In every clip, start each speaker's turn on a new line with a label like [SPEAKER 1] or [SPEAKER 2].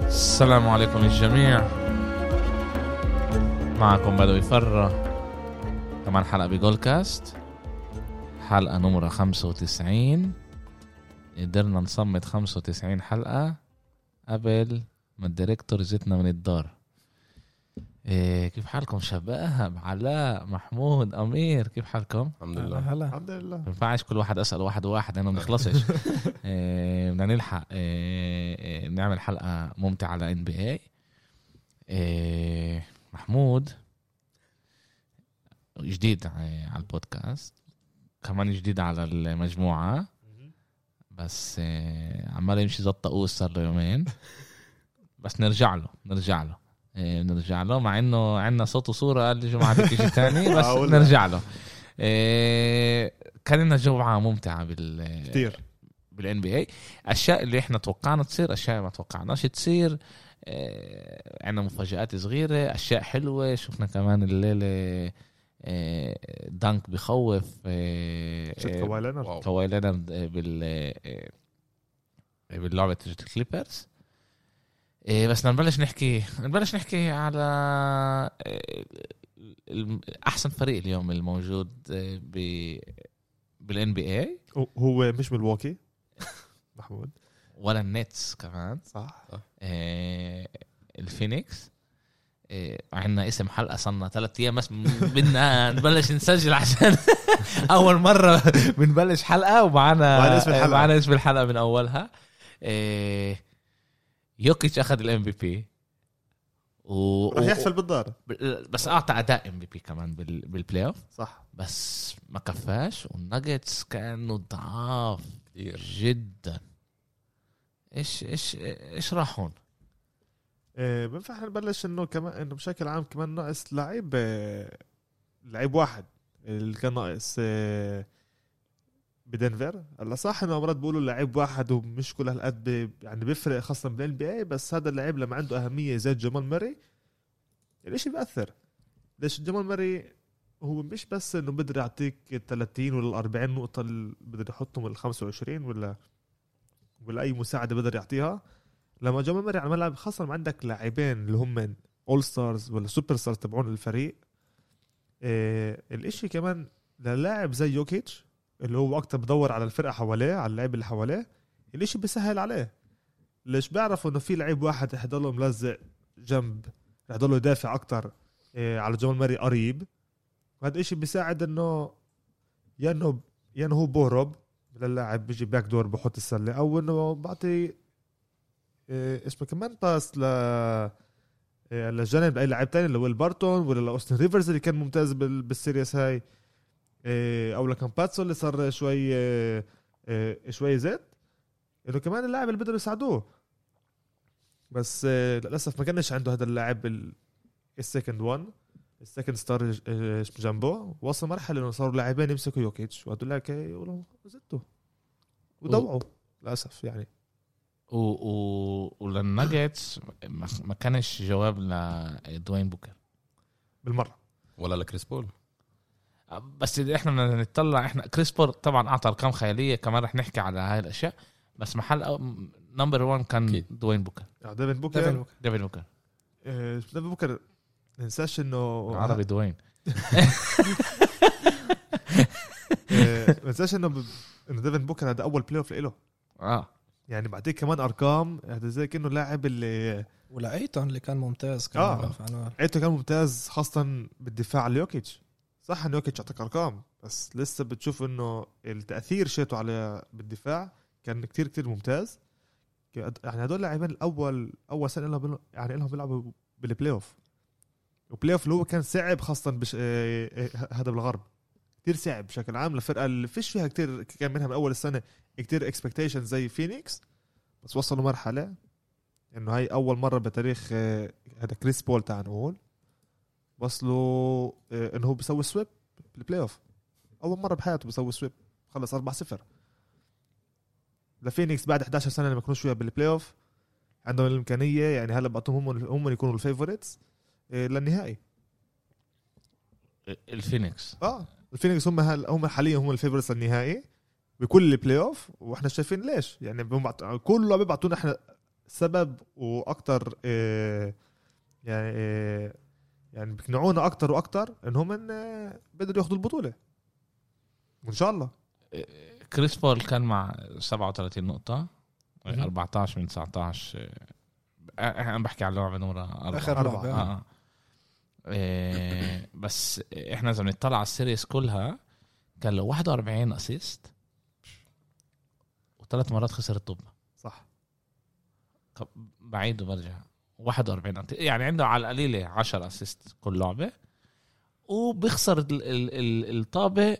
[SPEAKER 1] السلام عليكم للجميع معكم بدوي فرة كمان حلقة بجول كاست حلقة نمرة 95 قدرنا نصمت 95 حلقة قبل ما الديريكتور زتنا من الدار إيه كيف حالكم شباب علاء محمود امير كيف حالكم؟
[SPEAKER 2] الحمد لله
[SPEAKER 3] هلا
[SPEAKER 4] الحمد لله
[SPEAKER 1] ما ينفعش كل واحد اسال واحد واحد لانه ما بنخلصش إيه، بدنا نلحق إيه، إيه، نعمل حلقه ممتعه على ان بي اي آه، محمود جديد آه، على على البودكاست كمان جديد على المجموعه بس إيه، عمال يمشي زي الطاووس صار له يومين بس نرجع له نرجع له إيه، نرجع له مع انه عندنا صوت وصوره قال لي جمعه بدك شيء ثاني بس
[SPEAKER 4] آه، قلنا.
[SPEAKER 1] نرجع له إيه، كان لنا جمعه ممتعه بال
[SPEAKER 4] كثير
[SPEAKER 2] إيه،
[SPEAKER 1] بالان بي اي اشياء اللي احنا توقعنا تصير اشياء ما توقعناش تصير آه، عندنا مفاجات صغيره اشياء حلوه شفنا كمان الليله آه، دانك بخوف آه،
[SPEAKER 4] شفت
[SPEAKER 1] آه،
[SPEAKER 4] كواي لينارد
[SPEAKER 2] واو
[SPEAKER 1] كواي لينارد آه، بال آه، آه، باللعبه تجت الكليبرز آه، بس بدنا نبلش نحكي نبلش نحكي على آه، الم- احسن فريق اليوم الموجود آه، ب بالان بي اي
[SPEAKER 4] هو- هو مش ملواكي محمود
[SPEAKER 1] ولا النتس كمان
[SPEAKER 4] صح
[SPEAKER 1] آه، الفينيكس آه، عندنا اسم حلقه صرنا ثلاث ايام بس بدنا نبلش نسجل عشان اول مره بنبلش حلقه ومعنا
[SPEAKER 4] معنا اسم الحلقة.
[SPEAKER 1] معنا اسم الحلقه من اولها آه، يوكيتش اخذ الام بي بي و...
[SPEAKER 4] رح يحصل بالدار
[SPEAKER 1] بس اعطى اداء ام بي بي كمان بال... بالبلاي اوف
[SPEAKER 4] صح
[SPEAKER 1] بس ما كفاش والناجتس كانوا ضعاف
[SPEAKER 2] كثير
[SPEAKER 1] جدا ايش ايش ايش راح هون؟
[SPEAKER 4] آه، بنفع إحنا نبلش انه كمان انه بشكل عام كمان ناقص لعيب آه، لعيب واحد اللي كان ناقص آه، بدنفر هلا صح انه مرات بيقولوا لعيب واحد ومش كل هالقد بي- يعني بيفرق خاصه بالان بي اي بس هذا اللعيب لما عنده اهميه زي جمال ماري الاشي بياثر ليش جمال ماري هو مش بس انه بقدر يعطيك 30 ولا 40 نقطه اللي بقدر يحطهم ال 25 ولا ولا اي مساعده بقدر يعطيها لما جمال مري على الملعب خاصة لما عندك لاعبين اللي هم اول ستارز ولا سوبر ستارز تبعون الفريق إيه الاشي كمان للاعب زي يوكيتش اللي هو اكتر بدور على الفرقة حواليه على اللعيبة اللي حواليه الاشي بيسهل عليه ليش بعرف انه في لعيب واحد رح يضله ملزق جنب رح يضله يدافع اكتر إيه على جمال مري قريب وهذا الاشي بيساعد انه يا انه يا انه هو بهرب للاعب بيجي باك دور بحط السله او انه بعطي إيه، اسمه كمان باس ل إيه، للجانب لاي لاعب تاني لويل بارتون ولا لاوستن ريفرز اللي كان ممتاز بال- بالسيريس هاي إيه، او لكامباتسو اللي صار شوي إيه، إيه، شوي زيت انه كمان اللاعب اللي بدهم يساعدوه بس إيه، للاسف ما كانش عنده هذا اللاعب ال- السكند وان السكند ستار جنبه آه، وصل مرحله انه صاروا لاعبين يمسكوا يوكيتش وهدول هيك يقولوا زدتوا وضوعوا للاسف يعني
[SPEAKER 1] و و وللناجتس ما ما كانش جواب لدوين بوكر
[SPEAKER 4] بالمره
[SPEAKER 2] ولا لكريس بول
[SPEAKER 1] بس اللي احنا بدنا نتطلع احنا كريس بول طبعا اعطى ارقام خياليه كمان رح نحكي على هاي الاشياء بس محل نمبر 1 كان
[SPEAKER 2] أكيد.
[SPEAKER 1] دوين بوكر
[SPEAKER 4] آه، ديفن بوكر
[SPEAKER 3] ديفن بوكر.
[SPEAKER 1] ديفيد بوكر
[SPEAKER 4] آه، ديفن بوكر ننساش انه
[SPEAKER 1] عربي دوين
[SPEAKER 4] آه، ما ننساش انه ب- انه ديفن بوكر هذا اول بلاي اوف له
[SPEAKER 1] اه
[SPEAKER 4] يعني بعطيك كمان ارقام هذا زي كانه لاعب اللي
[SPEAKER 3] ولأيتون اللي كان ممتاز كان
[SPEAKER 4] آه.
[SPEAKER 3] رفع نار
[SPEAKER 4] عيته كان ممتاز خاصه بالدفاع على يوكيتش صح انه يوكيتش اعطاك ارقام بس لسه بتشوف انه التاثير شيته على بالدفاع كان كتير كتير ممتاز يعني هدول اللاعبين الاول اول سنه لهم يعني لهم بيلعبوا بالبلاي اوف البلاي اوف اللي هو كان صعب خاصه بش... آه، آه، هذا بالغرب كتير صعب بشكل عام للفرقه اللي فيش فيها كتير كان منها من اول السنه كتير اكسبكتيشن زي فينيكس بس وصلوا مرحله انه هاي اول مره بتاريخ آه، هذا كريس بول تعال نقول وصلوا آه، انه هو بيسوي سويب بالبلاي اوف اول مره بحياته بيسوي سويب خلص 4 0 لفينيكس بعد 11 سنه لما يكونوش فيها بالبلاي اوف عندهم الامكانيه يعني هلا بعطوهم هم هم يكونوا الفيفوريتس آه، للنهائي
[SPEAKER 1] الفينيكس
[SPEAKER 4] اه الفينيكس هم هل هم حاليا هم الفيفوريتس للنهائي بكل البلاي اوف واحنا شايفين ليش يعني بمبعت... كله بيبعتونا احنا سبب واكثر يعني آه، يعني بيقنعونا اكثر واكثر انهم إن آه، بيقدروا ياخذوا البطوله وان شاء الله
[SPEAKER 1] كريس بول كان مع 37 نقطة
[SPEAKER 3] مهم.
[SPEAKER 1] 14 من 19 آه، انا بحكي على اللعبة نورة أربعة.
[SPEAKER 3] اخر
[SPEAKER 1] آه،
[SPEAKER 4] أربعة.
[SPEAKER 3] لعبه
[SPEAKER 1] آه. إيه، بس احنا اذا بنطلع على السيريز كلها كان له 41 اسيست وثلاث مرات خسر الطب
[SPEAKER 4] صح
[SPEAKER 1] طب بعيد وبرجع 41 أنت- يعني عنده على القليله 10 اسيست كل لعبه وبيخسر ال- ال- ال- الطابه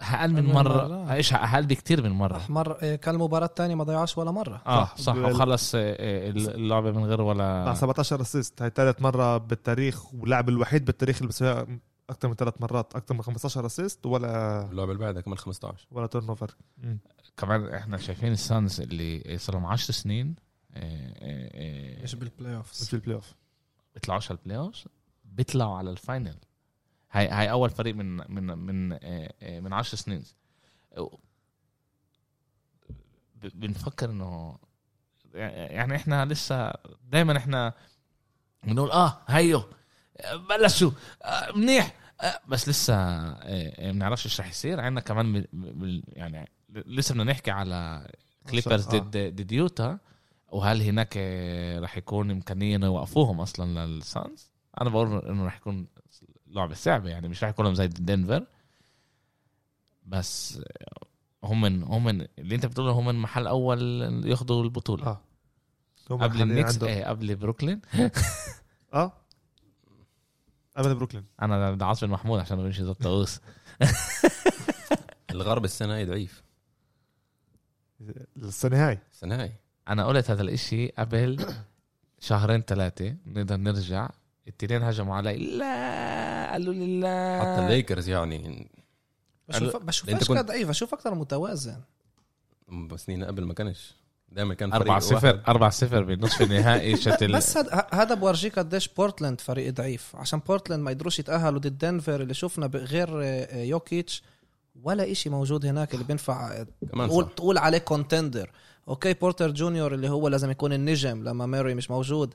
[SPEAKER 1] اقل من
[SPEAKER 3] من
[SPEAKER 1] مره
[SPEAKER 3] مرة.
[SPEAKER 1] ايش اقل آه، بكتير من مره
[SPEAKER 3] راح مر إيه، كان المباراه الثانيه ما ضيعش ولا مره
[SPEAKER 1] اه
[SPEAKER 4] صح.
[SPEAKER 1] صح
[SPEAKER 4] بال-
[SPEAKER 1] وخلص آه، آه، اللعبه من غير
[SPEAKER 4] مع
[SPEAKER 1] ولا
[SPEAKER 4] 17 اسيست هاي ثالث مره بالتاريخ واللاعب الوحيد بالتاريخ اللي بيسويها اكثر من ثلاث مرات اكثر من 15 اسيست ولا
[SPEAKER 2] اللعبه اللي بعدها كمان 15
[SPEAKER 4] ولا تيرن اوفر
[SPEAKER 1] كمان احنا شايفين السانز اللي صار لهم 10 سنين آه، آه، آه،
[SPEAKER 3] مش بالبلاي اوفز
[SPEAKER 4] في البلاي اوف
[SPEAKER 1] بيطلعوش على البلاي اوف بيطلعوا على الفاينل هاي هاي اول فريق من من من آه، آه، من 10 سنين و- ب- بنفكر انه يعني احنا لسه دائما احنا بنقول اه هيو آه، بلشوا آه، منيح آه، بس لسه آه، آه، بنعرفش ايش رح يصير عندنا كمان بال- بال- يعني لسه بدنا نحكي على كليبرز
[SPEAKER 4] آه.
[SPEAKER 1] ضد ضد يوتا وهل هناك راح يكون امكانيه انه يوقفوهم اصلا للسانز؟ انا بقول انه راح يكون لعبه صعبه يعني مش راح يكون لهم زي دنفر بس هم من هم من اللي انت بتقوله هم من محل اول ياخذوا البطوله
[SPEAKER 4] اه هم
[SPEAKER 1] قبل
[SPEAKER 4] حالياً
[SPEAKER 1] النكس
[SPEAKER 4] عندهم-
[SPEAKER 1] ايه قبل بروكلين
[SPEAKER 4] اه قبل بروكلين
[SPEAKER 1] انا بدي عاصم محمود عشان ما بمشي ضد طاووس
[SPEAKER 2] الغرب السنه هاي ضعيف
[SPEAKER 4] السنه هاي
[SPEAKER 2] السنه هاي
[SPEAKER 1] انا قلت هذا الاشي قبل شهرين ثلاثه نقدر نرجع التنين هجموا علي لا قالوا لي لا
[SPEAKER 2] حتى
[SPEAKER 3] آه.
[SPEAKER 2] الليكرز يعني
[SPEAKER 3] بشوف
[SPEAKER 2] أنت
[SPEAKER 3] بشوفهاش
[SPEAKER 2] كنت-
[SPEAKER 3] ضعيف بشوف اكثر متوازن
[SPEAKER 2] سنين قبل ما كانش دائما كان فريق
[SPEAKER 1] 4 0
[SPEAKER 2] واحد.
[SPEAKER 1] 4 0 بنصف النهائي شتل
[SPEAKER 3] بس هاد- ه- هذا بورجيك قديش بورتلاند فريق ضعيف عشان بورتلاند ما يقدروش يتاهلوا ضد دنفر اللي شفنا غير آه، آه، يوكيتش ولا إشي موجود هناك اللي بينفع آه،
[SPEAKER 2] كمان صح.
[SPEAKER 3] تقول تقول عليه كونتندر اوكي بورتر جونيور اللي هو لازم يكون النجم لما ميري مش موجود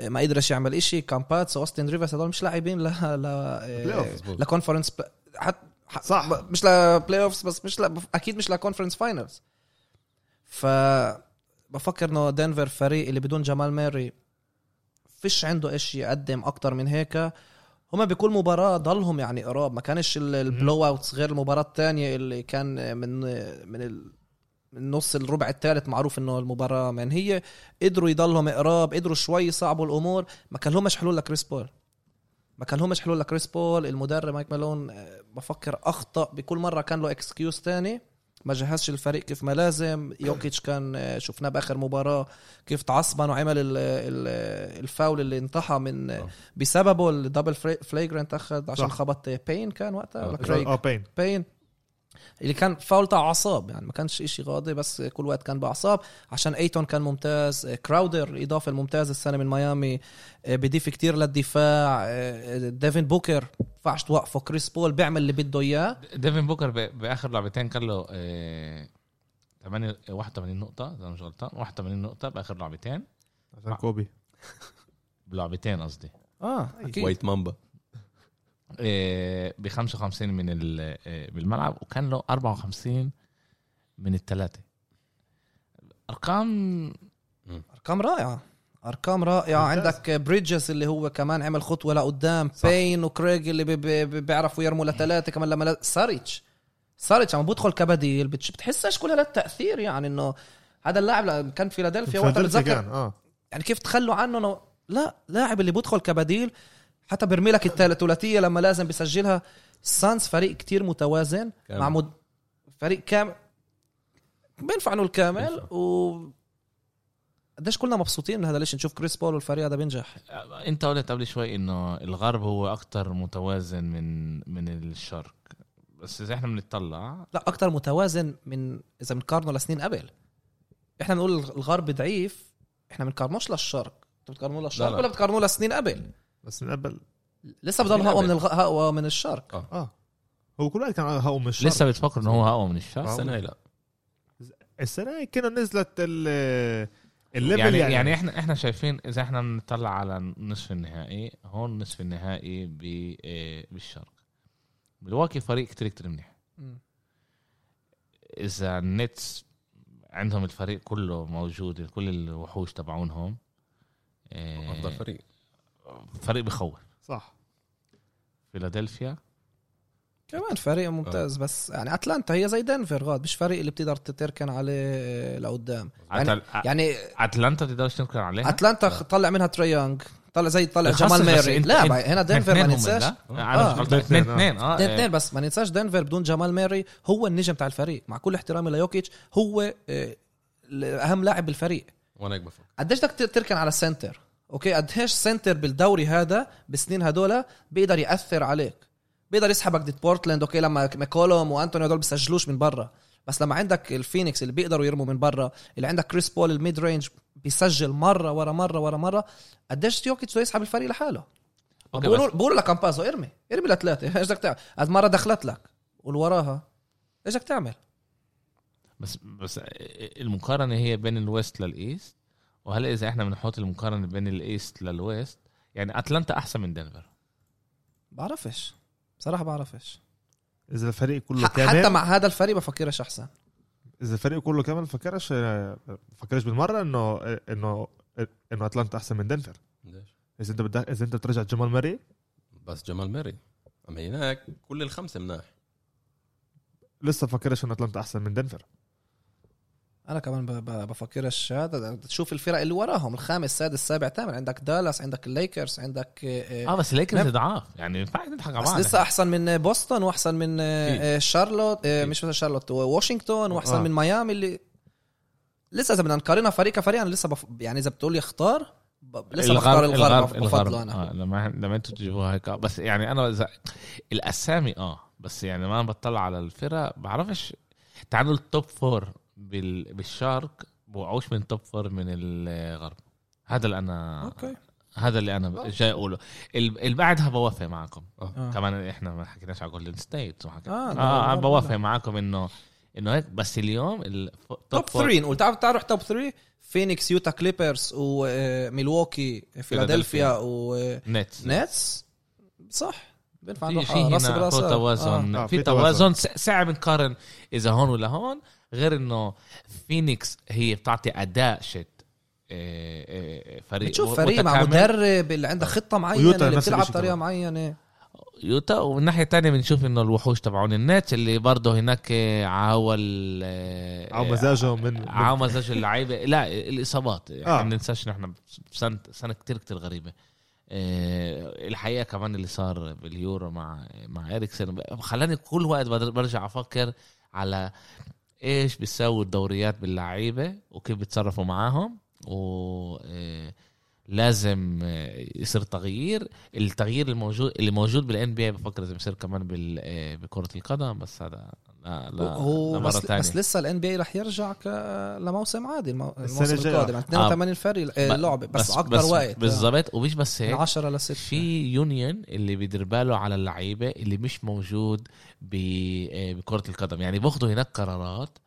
[SPEAKER 3] آه، ما قدرش يعمل إشي كامباتس واستن ريفرز هذول مش لاعبين ل ل
[SPEAKER 4] بلاي
[SPEAKER 3] آه،
[SPEAKER 4] أوف.
[SPEAKER 2] مظبوط.
[SPEAKER 3] لكونفرنس بلا- حت ح-
[SPEAKER 4] صح.
[SPEAKER 3] ب- مش لبلاي اوفز بس مش ل... اكيد مش لكونفرنس فاينلز ف بفكر انه دنفر فريق اللي بدون جمال ماري فيش عنده ايش يقدم اكتر من هيك هما بكل مباراة ضلهم يعني قراب ما كانش ال- البلو اوتس غير المباراة الثانية اللي كان من من ال... من نص الربع الثالث معروف انه المباراة منهية قدروا يضلهم قراب قدروا شوي يصعبوا الامور ما كان لهمش حلول لكريس بول ما كان لهمش حلول لكريس بول المدرب مايك مالون آه، بفكر اخطا بكل مره كان له اكسكيوز تاني ما جهزش الفريق كيف ما لازم يوكيتش كان آه، شفناه باخر مباراه كيف تعصبن وعمل ال- ال- الفاول اللي انطحى من آه،
[SPEAKER 2] آه.
[SPEAKER 3] بسببه الدبل فري- فليجرنت اخذ عشان
[SPEAKER 4] صح.
[SPEAKER 3] خبط بين كان وقتها
[SPEAKER 2] آه.
[SPEAKER 3] ولا كريج
[SPEAKER 4] اه بين
[SPEAKER 3] بين اللي كان فاول تاع اعصاب يعني ما كانش إشي غاضي بس كل وقت كان باعصاب عشان ايتون كان ممتاز كراودر الاضافه الممتازه السنه من ميامي آه، بيضيف كتير للدفاع آه، ديفن بوكر ينفعش توقفه كريس بول بيعمل اللي بده اياه
[SPEAKER 1] ديفن بوكر ب- باخر لعبتين كان له آه، 8 81 نقطة إذا أنا مش غلطان 81 نقطة بآخر لعبتين
[SPEAKER 4] عشان كوبي
[SPEAKER 1] بلعبتين قصدي
[SPEAKER 3] اه اكيد
[SPEAKER 2] وايت مامبا
[SPEAKER 1] ب 55 آه، من ال- آه، بالملعب وكان له 54 من الثلاثة أرقام
[SPEAKER 3] ارقام رائعه ارقام رائعه
[SPEAKER 4] ممتاز.
[SPEAKER 3] عندك بريدجز اللي هو كمان عمل خطوه لقدام
[SPEAKER 4] صح.
[SPEAKER 3] بين وكريج اللي بي- بي- بي- بيعرفوا يرموا لثلاثه كمان لما لا- ساريتش ساريتش عم بدخل كبديل بتش- بتحسش كل هذا التاثير يعني انه هذا اللاعب لما كان في فيلادلفيا وقتها
[SPEAKER 4] فيلادلفيا
[SPEAKER 3] بتذكر
[SPEAKER 4] كان، اه
[SPEAKER 3] يعني كيف تخلوا عنه إنه لا لاعب اللي بدخل كبديل حتى بيرمي لك التال- الثلاثيه لما لازم بيسجلها سانس فريق كتير متوازن
[SPEAKER 2] كامل.
[SPEAKER 3] مع مد... فريق كامل بينفع انه الكامل
[SPEAKER 2] بينفع.
[SPEAKER 3] و قديش كلنا مبسوطين من هذا ليش نشوف كريس بول والفريق هذا بينجح
[SPEAKER 1] آه، أنت قلت قبل شوي إنه الغرب هو أكتر متوازن من من الشرق بس إذا إحنا بنطلع
[SPEAKER 3] لا اكثر متوازن من اذا بنقارنه لسنين قبل احنا بنقول الغرب ضعيف احنا بنقارنوش للشرق انتوا بتقارنوه للشرق
[SPEAKER 2] لا.
[SPEAKER 3] ولا بتقارنوه لسنين قبل
[SPEAKER 4] بس من قبل
[SPEAKER 3] لسه بضل
[SPEAKER 2] سنين
[SPEAKER 3] اقوى
[SPEAKER 2] قبل.
[SPEAKER 3] من الغ... اقوى من الشرق
[SPEAKER 4] اه هو كل واحد كان هو مش
[SPEAKER 1] لسه بتفكر آه. إنه هو أقوى من الشرق
[SPEAKER 2] السنه هاي لا
[SPEAKER 4] السنه هاي كنا نزلت ال الليفل
[SPEAKER 1] يعني يعني احنا احنا شايفين اذا احنا بنطلع على نصف النهائي هون نصف النهائي ب- إيه، بالشرق ملواكي فريق كتير كتير منيح
[SPEAKER 3] مم.
[SPEAKER 1] اذا النتس عندهم الفريق كله موجود كل الوحوش تبعونهم إيه،
[SPEAKER 2] افضل فريق
[SPEAKER 1] فريق بخوف
[SPEAKER 4] صح
[SPEAKER 1] فيلادلفيا
[SPEAKER 3] كمان فريق
[SPEAKER 1] آه.
[SPEAKER 3] ممتاز بس يعني اتلانتا هي زي دنفر غاد مش فريق اللي بتقدر تتركن عليه لقدام يعني,
[SPEAKER 1] أتل-
[SPEAKER 3] يعني
[SPEAKER 1] اتلانتا تقدرش تنكر عليها
[SPEAKER 3] اتلانتا خ- طلع منها تري يونغ طلع زي طلع
[SPEAKER 1] خاصة
[SPEAKER 3] جمال
[SPEAKER 1] آه. بس
[SPEAKER 3] ميري
[SPEAKER 1] انت-
[SPEAKER 3] لا
[SPEAKER 1] انت-
[SPEAKER 3] بقى هنا دنفر ما
[SPEAKER 1] اثنين هم،
[SPEAKER 3] ننساش
[SPEAKER 1] لا؟ انا مش غلطان
[SPEAKER 4] آه.
[SPEAKER 1] اثنين اثنين اه
[SPEAKER 3] اثنين اثنين بس ما ننساش دنفر بدون جمال ميري هو النجم تاع الفريق مع كل احترامي ليوكيتش هو آه، ال- اهم لاعب بالفريق
[SPEAKER 2] وانا هيك بفكر
[SPEAKER 3] قديش بدك تر- تركن على السنتر اوكي قديش سنتر بالدوري هذا بالسنين هدول بيقدر ياثر عليك بيقدر يسحبك ضد بورتلاند اوكي لما ماكولوم وانتوني هدول بيسجلوش من برا بس لما عندك الفينيكس اللي بيقدروا يرموا من برا اللي عندك كريس بول الميد رينج بيسجل مره ورا مره ورا مره قديش يوكيتش بده يسحب الفريق لحاله
[SPEAKER 1] أوكي،
[SPEAKER 3] بقولوا بقولوا لك امبازو ارمي ارمي لثلاثه ايش بدك تعمل هاد مره دخلت لك واللي وراها ايش بدك تعمل
[SPEAKER 1] بس بس المقارنه هي بين الويست للايست وهلا اذا احنا بنحط المقارنه بين الايست للويست يعني اتلانتا احسن من دنفر
[SPEAKER 3] بعرفش بصراحه بعرفش
[SPEAKER 4] اذا الفريق كله
[SPEAKER 3] ح- حتى
[SPEAKER 4] كامل
[SPEAKER 3] مع هذا الفريق بفكرش احسن
[SPEAKER 4] اذا الفريق كله كامل فكرش فكرش بالمره انه انه انه اتلانتا احسن من دنفر
[SPEAKER 2] ليش؟
[SPEAKER 4] اذا انت بدك اذا انت بترجع جمال ماري
[SPEAKER 2] بس جمال ماري اما هناك كل الخمسه مناح
[SPEAKER 4] لسه فكرش انه اتلانتا احسن من دنفر
[SPEAKER 3] انا كمان ب- ب- بفكرش هذا تشوف الفرق اللي وراهم الخامس السادس السابع الثامن عندك دالاس عندك الليكرز عندك آه،
[SPEAKER 1] اه
[SPEAKER 3] آه،
[SPEAKER 1] بس ليكرز
[SPEAKER 3] نعم.
[SPEAKER 1] ضعاف يعني ما ينفعش نضحك على
[SPEAKER 3] بس
[SPEAKER 1] بعض
[SPEAKER 3] لسه احسن من آه، بوسطن واحسن من آه، آه، شارلوت آه، مش بس شارلوت واشنطن واحسن
[SPEAKER 4] آه.
[SPEAKER 3] من ميامي اللي لسه اذا بدنا نقارنها فريق كفريق انا لسه بف... يعني اذا بتقول لي اختار ب... لسه بختار الغرب بفضله انا
[SPEAKER 1] آه لما لما انتم تجيبوها هيك آه، بس يعني انا إذا الاسامي اه بس يعني لما أنا بطلع على الفرق بعرفش تعالوا التوب فور بال... بالشرق بوقعوش من توب فور من الغرب هذا اللي انا
[SPEAKER 3] اوكي
[SPEAKER 1] هذا اللي انا جاي اقوله ال- اللي بعدها بوافق معكم
[SPEAKER 3] آه.
[SPEAKER 1] كمان احنا ما حكيناش على جولدن ستيت وحكي...
[SPEAKER 3] آه،
[SPEAKER 1] اه,
[SPEAKER 3] لا،
[SPEAKER 1] آه, آه
[SPEAKER 3] لا،
[SPEAKER 1] بوافق
[SPEAKER 3] لا.
[SPEAKER 1] معكم انه انه هيك بس اليوم التوب
[SPEAKER 3] توب 3 نقول تعال تعال نروح توب 3 فينيكس يوتا كليبرز آه، وميلواكي فيلادلفيا ونتس
[SPEAKER 1] نتس
[SPEAKER 3] صح بينفع
[SPEAKER 1] في
[SPEAKER 3] نروح
[SPEAKER 1] في
[SPEAKER 3] آه، راس
[SPEAKER 1] هنا
[SPEAKER 3] براس
[SPEAKER 1] في
[SPEAKER 3] آه. آه.
[SPEAKER 1] توازن
[SPEAKER 4] آه،
[SPEAKER 1] في
[SPEAKER 4] في
[SPEAKER 1] توازن س- صعب نقارن اذا هون ولا هون غير انه فينيكس هي بتعطي اداء شت إيه، إيه، فريق و-
[SPEAKER 3] بتشوف فريق مع
[SPEAKER 1] متكامل. آه.
[SPEAKER 3] مدرب اللي عنده خطه معينه
[SPEAKER 4] ويوتا
[SPEAKER 3] اللي
[SPEAKER 4] نفس
[SPEAKER 3] بتلعب
[SPEAKER 4] الشيء
[SPEAKER 3] طريقه
[SPEAKER 4] كمان.
[SPEAKER 3] معينه
[SPEAKER 1] يوتا ومن الناحيه الثانيه بنشوف انه الوحوش تبعون النت اللي برضه هناك إيه، عوال إيه،
[SPEAKER 4] او مزاجه من, من
[SPEAKER 1] عوام مزاج اللعيبه لا الاصابات احنا
[SPEAKER 4] آه.
[SPEAKER 1] ما بننساش ان احنا سنه سنه كتير كتير غريبه إيه، الحقيقه كمان اللي صار باليورو مع مع اريكسن خلاني كل وقت بدر- برجع افكر على ايش بيساووا الدوريات باللعيبه وكيف بيتصرفوا معاهم و إيه، لازم إيه، يصير تغيير التغيير الموجود اللي موجود بالان بي اي بفكر لازم يصير كمان بال- إيه، بكره القدم بس هذا لا لا
[SPEAKER 3] هو
[SPEAKER 1] لا مرة
[SPEAKER 3] بس,
[SPEAKER 1] تانية.
[SPEAKER 3] بس لسه الان بي رح يرجع ك... لموسم عادي المو...
[SPEAKER 4] السنة
[SPEAKER 3] الموسم
[SPEAKER 4] الجاية.
[SPEAKER 3] القادم يعني 82 فريق آه، لعبه بس, آه، اكثر وقت
[SPEAKER 1] بالظبط ومش بس
[SPEAKER 3] من
[SPEAKER 1] هيك
[SPEAKER 3] 10 ل 6
[SPEAKER 1] في يونيون اللي بيدير باله على اللعيبه اللي مش موجود ب- آه، بكره القدم يعني باخذوا هناك قرارات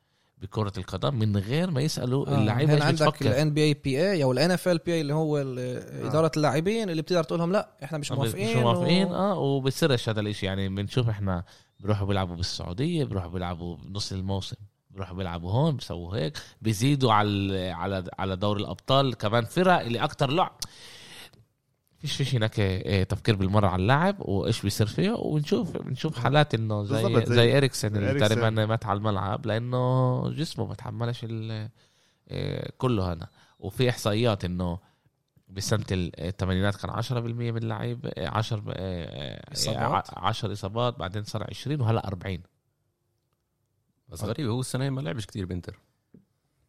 [SPEAKER 1] بكره القدم من غير ما يسالوا
[SPEAKER 3] آه،
[SPEAKER 1] اللعيبه
[SPEAKER 3] هنا
[SPEAKER 1] ايش
[SPEAKER 3] عندك
[SPEAKER 1] بتفكر
[SPEAKER 3] الان بي اي بي اي او الان اف ال بي اي اللي هو ال- اداره اللاعبين اللي بتقدر تقول لهم لا احنا مش
[SPEAKER 1] آه،
[SPEAKER 3] موافقين
[SPEAKER 1] مش موافقين
[SPEAKER 3] و-
[SPEAKER 1] اه وبصيرش هذا الاشي يعني بنشوف احنا بيروحوا بيلعبوا بالسعوديه بيروحوا بيلعبوا بنص الموسم بيروحوا بيلعبوا هون بيسووا هيك بيزيدوا على على على دوري الابطال كمان فرق اللي اكتر لعب فيش فيش هناك آه، تفكير بالمره على اللاعب وايش بيصير فيه ونشوف
[SPEAKER 3] آه.
[SPEAKER 1] بنشوف حالات انه زي
[SPEAKER 4] بالضبط،
[SPEAKER 1] زي,
[SPEAKER 4] زي-
[SPEAKER 1] زي اريكسن اللي
[SPEAKER 4] إريكسن.
[SPEAKER 1] تقريبا مات على الملعب لانه جسمه ما تحملش ال- آه، كله هذا وفي احصائيات انه بسنه الثمانينات كان 10% من اللعيب آه، 10 آه،
[SPEAKER 3] إصابات.
[SPEAKER 1] 10 اصابات بعدين صار 20 وهلا 40
[SPEAKER 2] بس غريب هو السنه هي ما لعبش كتير بانتر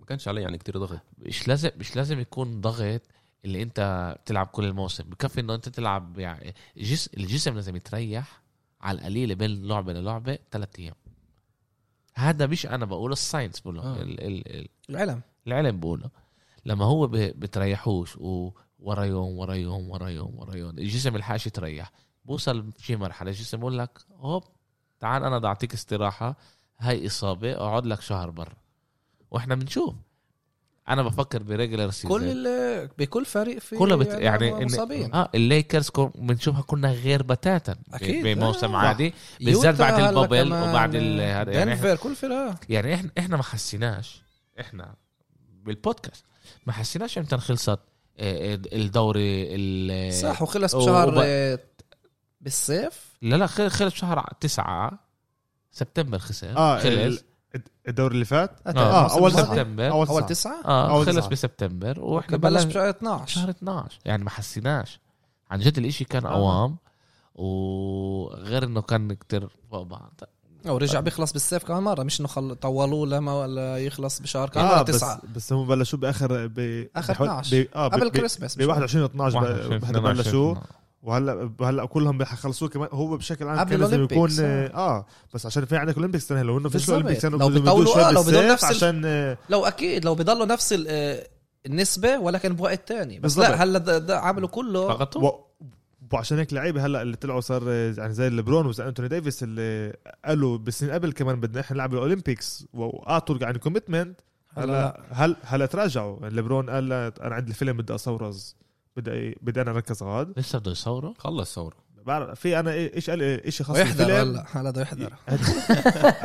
[SPEAKER 2] ما كانش عليه يعني كتير ضغط
[SPEAKER 1] مش لازم مش لازم يكون ضغط اللي انت بتلعب كل الموسم بكفي انه انت تلعب يعني جس الجسم لازم يتريح على القليله بين لعبه للعبه ثلاث ايام هذا مش انا بقوله الساينس بقوله
[SPEAKER 2] آه.
[SPEAKER 1] آه. ال ال ال
[SPEAKER 3] العلم
[SPEAKER 1] العلم بقوله لما هو ب- بتريحوش وورا يوم ورا يوم ورا يوم ورا يوم الجسم الحاش يتريح بوصل في مرحله الجسم بقول لك هوب تعال انا بدي اعطيك استراحه هاي اصابه اقعد لك شهر برا واحنا بنشوف انا بفكر بريجلر سيزون
[SPEAKER 3] كل ال- بكل فريق في
[SPEAKER 1] كلها بت... يعني إن-
[SPEAKER 3] مصابين
[SPEAKER 1] اه الليكرز كو- بنشوفها كنا غير بتاتا ب-
[SPEAKER 3] أكيد،
[SPEAKER 1] بموسم
[SPEAKER 3] آه.
[SPEAKER 1] عادي بالذات بعد البابل وبعد ال- هذا يعني إحنا-
[SPEAKER 3] دنفر كل فرقه
[SPEAKER 1] يعني احنا احنا ما حسيناش احنا بالبودكاست ما حسيناش امتى خلصت آه، آه، الدوري ال-
[SPEAKER 3] صح وخلص
[SPEAKER 1] و-
[SPEAKER 3] بشهر
[SPEAKER 1] إيه. وب-
[SPEAKER 3] آه، بالصيف
[SPEAKER 1] لا لا خل- خلص شهر تسعة سبتمبر خسر
[SPEAKER 4] اه
[SPEAKER 1] خلص
[SPEAKER 4] ال- الدوري اللي فات
[SPEAKER 1] آه،
[SPEAKER 3] الموسم
[SPEAKER 4] أول
[SPEAKER 3] الماضي،
[SPEAKER 4] سبتمبر.
[SPEAKER 1] سبتمبر
[SPEAKER 4] اول
[SPEAKER 3] اول
[SPEAKER 4] تسعة آه،
[SPEAKER 3] تسعه
[SPEAKER 1] اه
[SPEAKER 4] أول
[SPEAKER 1] خلص
[SPEAKER 4] تسعة.
[SPEAKER 1] بسبتمبر واحنا
[SPEAKER 3] احنا بلش
[SPEAKER 1] بلشنا
[SPEAKER 3] بشهر 12
[SPEAKER 1] شهر 12 يعني ما حسيناش عن جد الاشي كان
[SPEAKER 4] آه.
[SPEAKER 1] قوام وغير انه كان كتير فوق بعض
[SPEAKER 3] او
[SPEAKER 4] آه.
[SPEAKER 3] رجع بيخلص بالصيف كمان مره مش انه خل... طولوه لما ولا يخلص بشهر كمان
[SPEAKER 4] اه
[SPEAKER 3] مره
[SPEAKER 4] بس
[SPEAKER 3] تسعه
[SPEAKER 4] بس هم بلشوا باخر ب
[SPEAKER 3] آخر
[SPEAKER 4] بحول-
[SPEAKER 3] 12.
[SPEAKER 4] ب- اه
[SPEAKER 3] قبل
[SPEAKER 4] ب- ب-
[SPEAKER 3] كريسماس
[SPEAKER 4] ب 21 12
[SPEAKER 1] 21
[SPEAKER 4] ب- هذا بلشوا
[SPEAKER 1] 22.
[SPEAKER 4] وهلا هلا كلهم حيخلصوه كمان هو بشكل عام
[SPEAKER 3] قبل
[SPEAKER 4] كان لازم
[SPEAKER 3] الأولمبيكس،
[SPEAKER 4] يكون
[SPEAKER 3] آه.
[SPEAKER 4] اه بس عشان في عندك اولمبيكس السنه لو انه فيش
[SPEAKER 3] بالظبط.
[SPEAKER 4] اولمبيكس كانوا
[SPEAKER 3] لو
[SPEAKER 4] بدهم يمدوه
[SPEAKER 3] بيطولوا،
[SPEAKER 4] شوي
[SPEAKER 3] آه، لو بدهم
[SPEAKER 4] بالصيف
[SPEAKER 3] نفس ال-
[SPEAKER 4] عشان آه،
[SPEAKER 3] لو اكيد لو بيضلوا نفس ال- آه، النسبه ولكن بوقت تاني بس
[SPEAKER 4] بالضبط.
[SPEAKER 3] لا هلا ده, ده عملوا كله
[SPEAKER 1] فقط
[SPEAKER 4] و- وعشان هيك لعيبه هلا اللي طلعوا صار آه، يعني زي ليبرون وزي انتوني ديفيس اللي قالوا بالسنين قبل كمان بدنا احنا نلعب الاولمبيكس واعطوا يعني كوميتمنت هلا هل هلا تراجعوا ليبرون قال لا، انا عندي الفيلم بدي اصورز بدي بدي انا اركز غاد
[SPEAKER 1] لسه بده يصوروا
[SPEAKER 2] خلص ثوره
[SPEAKER 4] بعرف في انا إيه- ايش قال شيء خاص
[SPEAKER 3] ويحضر
[SPEAKER 4] بالفيلم آه،
[SPEAKER 3] هلا هلا بده يحضر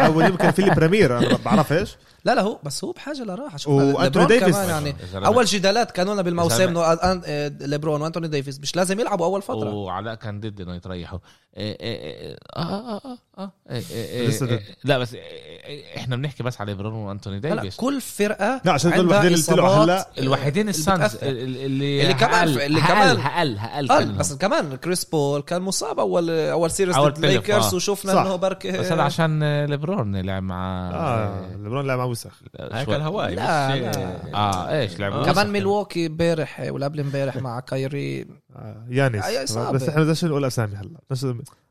[SPEAKER 4] او يمكن في البريمير انا ما بعرفش
[SPEAKER 3] لا لا هو بس هو بحاجه لراحه شوف
[SPEAKER 4] وأنتوني
[SPEAKER 3] ليبرون
[SPEAKER 4] ديفيس.
[SPEAKER 3] كمان يعني
[SPEAKER 1] يا زلمة.
[SPEAKER 3] اول جدالات كانوا لنا بالموسم
[SPEAKER 1] زلمة.
[SPEAKER 3] انه أن- آه، ليبرون وانتوني ديفيس مش لازم يلعبوا اول فتره
[SPEAKER 1] وعلاء كان ضد انه يتريحوا إيه إيه إيه، اه اه اه اه إيه إيه إيه
[SPEAKER 4] لسه ضد.
[SPEAKER 1] إيه، لا بس إيه إيه إيه، احنا بنحكي بس على برونو وانتوني
[SPEAKER 3] هلا
[SPEAKER 1] ديفيس
[SPEAKER 3] كل فرقه
[SPEAKER 4] لا عشان دول
[SPEAKER 3] عندها
[SPEAKER 4] الوحيدين اللي طلعوا
[SPEAKER 3] إصابات.
[SPEAKER 4] هلا
[SPEAKER 1] الوحيدين السانز
[SPEAKER 3] بتأثر.
[SPEAKER 1] اللي اللي
[SPEAKER 3] اللي كمان-
[SPEAKER 1] هقل-
[SPEAKER 3] اللي
[SPEAKER 1] هقل-
[SPEAKER 3] كمان-
[SPEAKER 1] هقل هقل
[SPEAKER 3] قال
[SPEAKER 1] كان
[SPEAKER 3] آه، بس كمان كريس بول كان مصاب اول اول سيريز
[SPEAKER 1] أول
[SPEAKER 3] ضد
[SPEAKER 1] بلاي أوف،
[SPEAKER 3] ليكرز
[SPEAKER 1] آه.
[SPEAKER 4] صح.
[SPEAKER 3] وشفنا انه بركي
[SPEAKER 1] بس هذا عشان ليبرون لعب مع إيه.
[SPEAKER 4] اه ليبرون لعب مع وسخ
[SPEAKER 2] هيك
[SPEAKER 1] شوي.
[SPEAKER 2] الهواء
[SPEAKER 3] لا،
[SPEAKER 2] مش-
[SPEAKER 3] لا.
[SPEAKER 1] اه ايش لعب
[SPEAKER 2] آه.
[SPEAKER 1] وسخ
[SPEAKER 3] كمان ميلواكي امبارح ولا قبل امبارح مع كايري
[SPEAKER 4] آه، يانس
[SPEAKER 3] أي إصابة.
[SPEAKER 4] بس احنا بدناش نقول اسامي هلا بس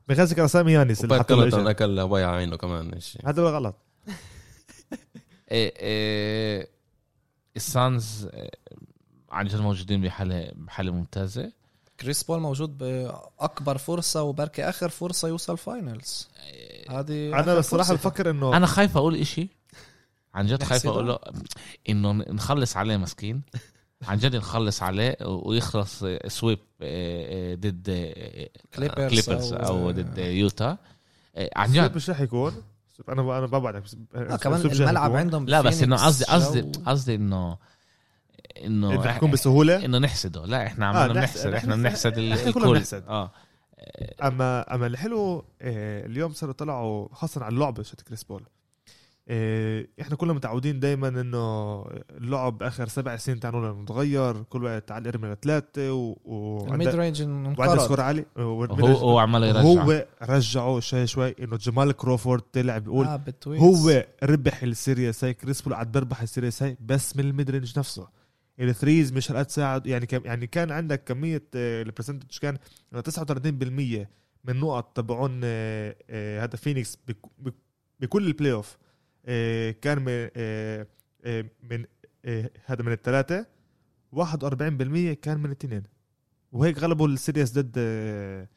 [SPEAKER 4] بنغزك اسامي يانس اللي حطوا له
[SPEAKER 2] وبركلتون
[SPEAKER 4] إجا.
[SPEAKER 2] اكل هواء على عينه كمان إيش.
[SPEAKER 4] هذا ولا غلط
[SPEAKER 1] إيه إيه السانز إيه، عن جد موجودين بحاله بحاله ممتازه
[SPEAKER 3] كريس بول موجود باكبر فرصه وبركي اخر فرصه يوصل فاينلز
[SPEAKER 1] آه،
[SPEAKER 3] هذه
[SPEAKER 4] انا
[SPEAKER 3] آخر
[SPEAKER 4] بصراحه
[SPEAKER 3] فرصة.
[SPEAKER 4] بفكر انه
[SPEAKER 1] انا خايف اقول إشي عن جد خايف
[SPEAKER 3] نحسده؟
[SPEAKER 1] اقول له انه نخلص عليه مسكين عن جد نخلص عليه ويخلص سويب آه، آه، ضد آه،
[SPEAKER 3] Clippers
[SPEAKER 1] Clippers
[SPEAKER 3] أو-
[SPEAKER 1] او ضد يوتا آه، عن
[SPEAKER 4] سوب
[SPEAKER 1] جد
[SPEAKER 4] مش رح يكون سوب- انا انا ببعدك بس-
[SPEAKER 3] آه،
[SPEAKER 4] سوب
[SPEAKER 3] كمان
[SPEAKER 4] مش رح
[SPEAKER 3] الملعب
[SPEAKER 4] يكون.
[SPEAKER 3] عندهم
[SPEAKER 1] لا بس انه
[SPEAKER 3] بفينيكس
[SPEAKER 1] قصدي قصدي
[SPEAKER 3] جو.
[SPEAKER 1] قصدي انه
[SPEAKER 4] انه
[SPEAKER 1] انه
[SPEAKER 4] حيكون بسهوله
[SPEAKER 1] انه نحسده لا احنا عمالنا
[SPEAKER 4] آه، نحسد.
[SPEAKER 1] بنحسد احنا
[SPEAKER 4] إحنا-
[SPEAKER 1] بنحسد ال-
[SPEAKER 4] إحنا كلنا
[SPEAKER 1] الكل
[SPEAKER 4] بنحسد.
[SPEAKER 1] اه
[SPEAKER 4] اما اما الحلو آه، اليوم صاروا طلعوا خاصه على اللعبه شت كريس بول آه، احنا كلنا متعودين دائما انه اللعب اخر سبع سنين تاعنا نتغير كل وقت تعال ارمي لثلاثه و... و...
[SPEAKER 3] الميد رينج
[SPEAKER 4] وعنده
[SPEAKER 3] انقرض
[SPEAKER 4] سكور عالي آه،
[SPEAKER 1] هو هو عمال يرجع
[SPEAKER 4] هو رجعه شوي شوي انه جمال كروفورد طلع بيقول
[SPEAKER 3] آه، بالتويتس.
[SPEAKER 4] هو ربح السيريس هاي كريس بول قاعد بربح السيريس هاي بس من الميد رينج نفسه يعني الثريز مش هالقد ساعد يعني كم يعني كان عندك كميه البرسنتج كان إنه 39% من نقط تبعون آه، آه، هذا فينيكس بك- بك- بكل البلاي اوف آه، كان من آه، آه، من آه، هذا من الثلاثه 41% كان من الاثنين وهيك غلبوا السيريس ضد آه،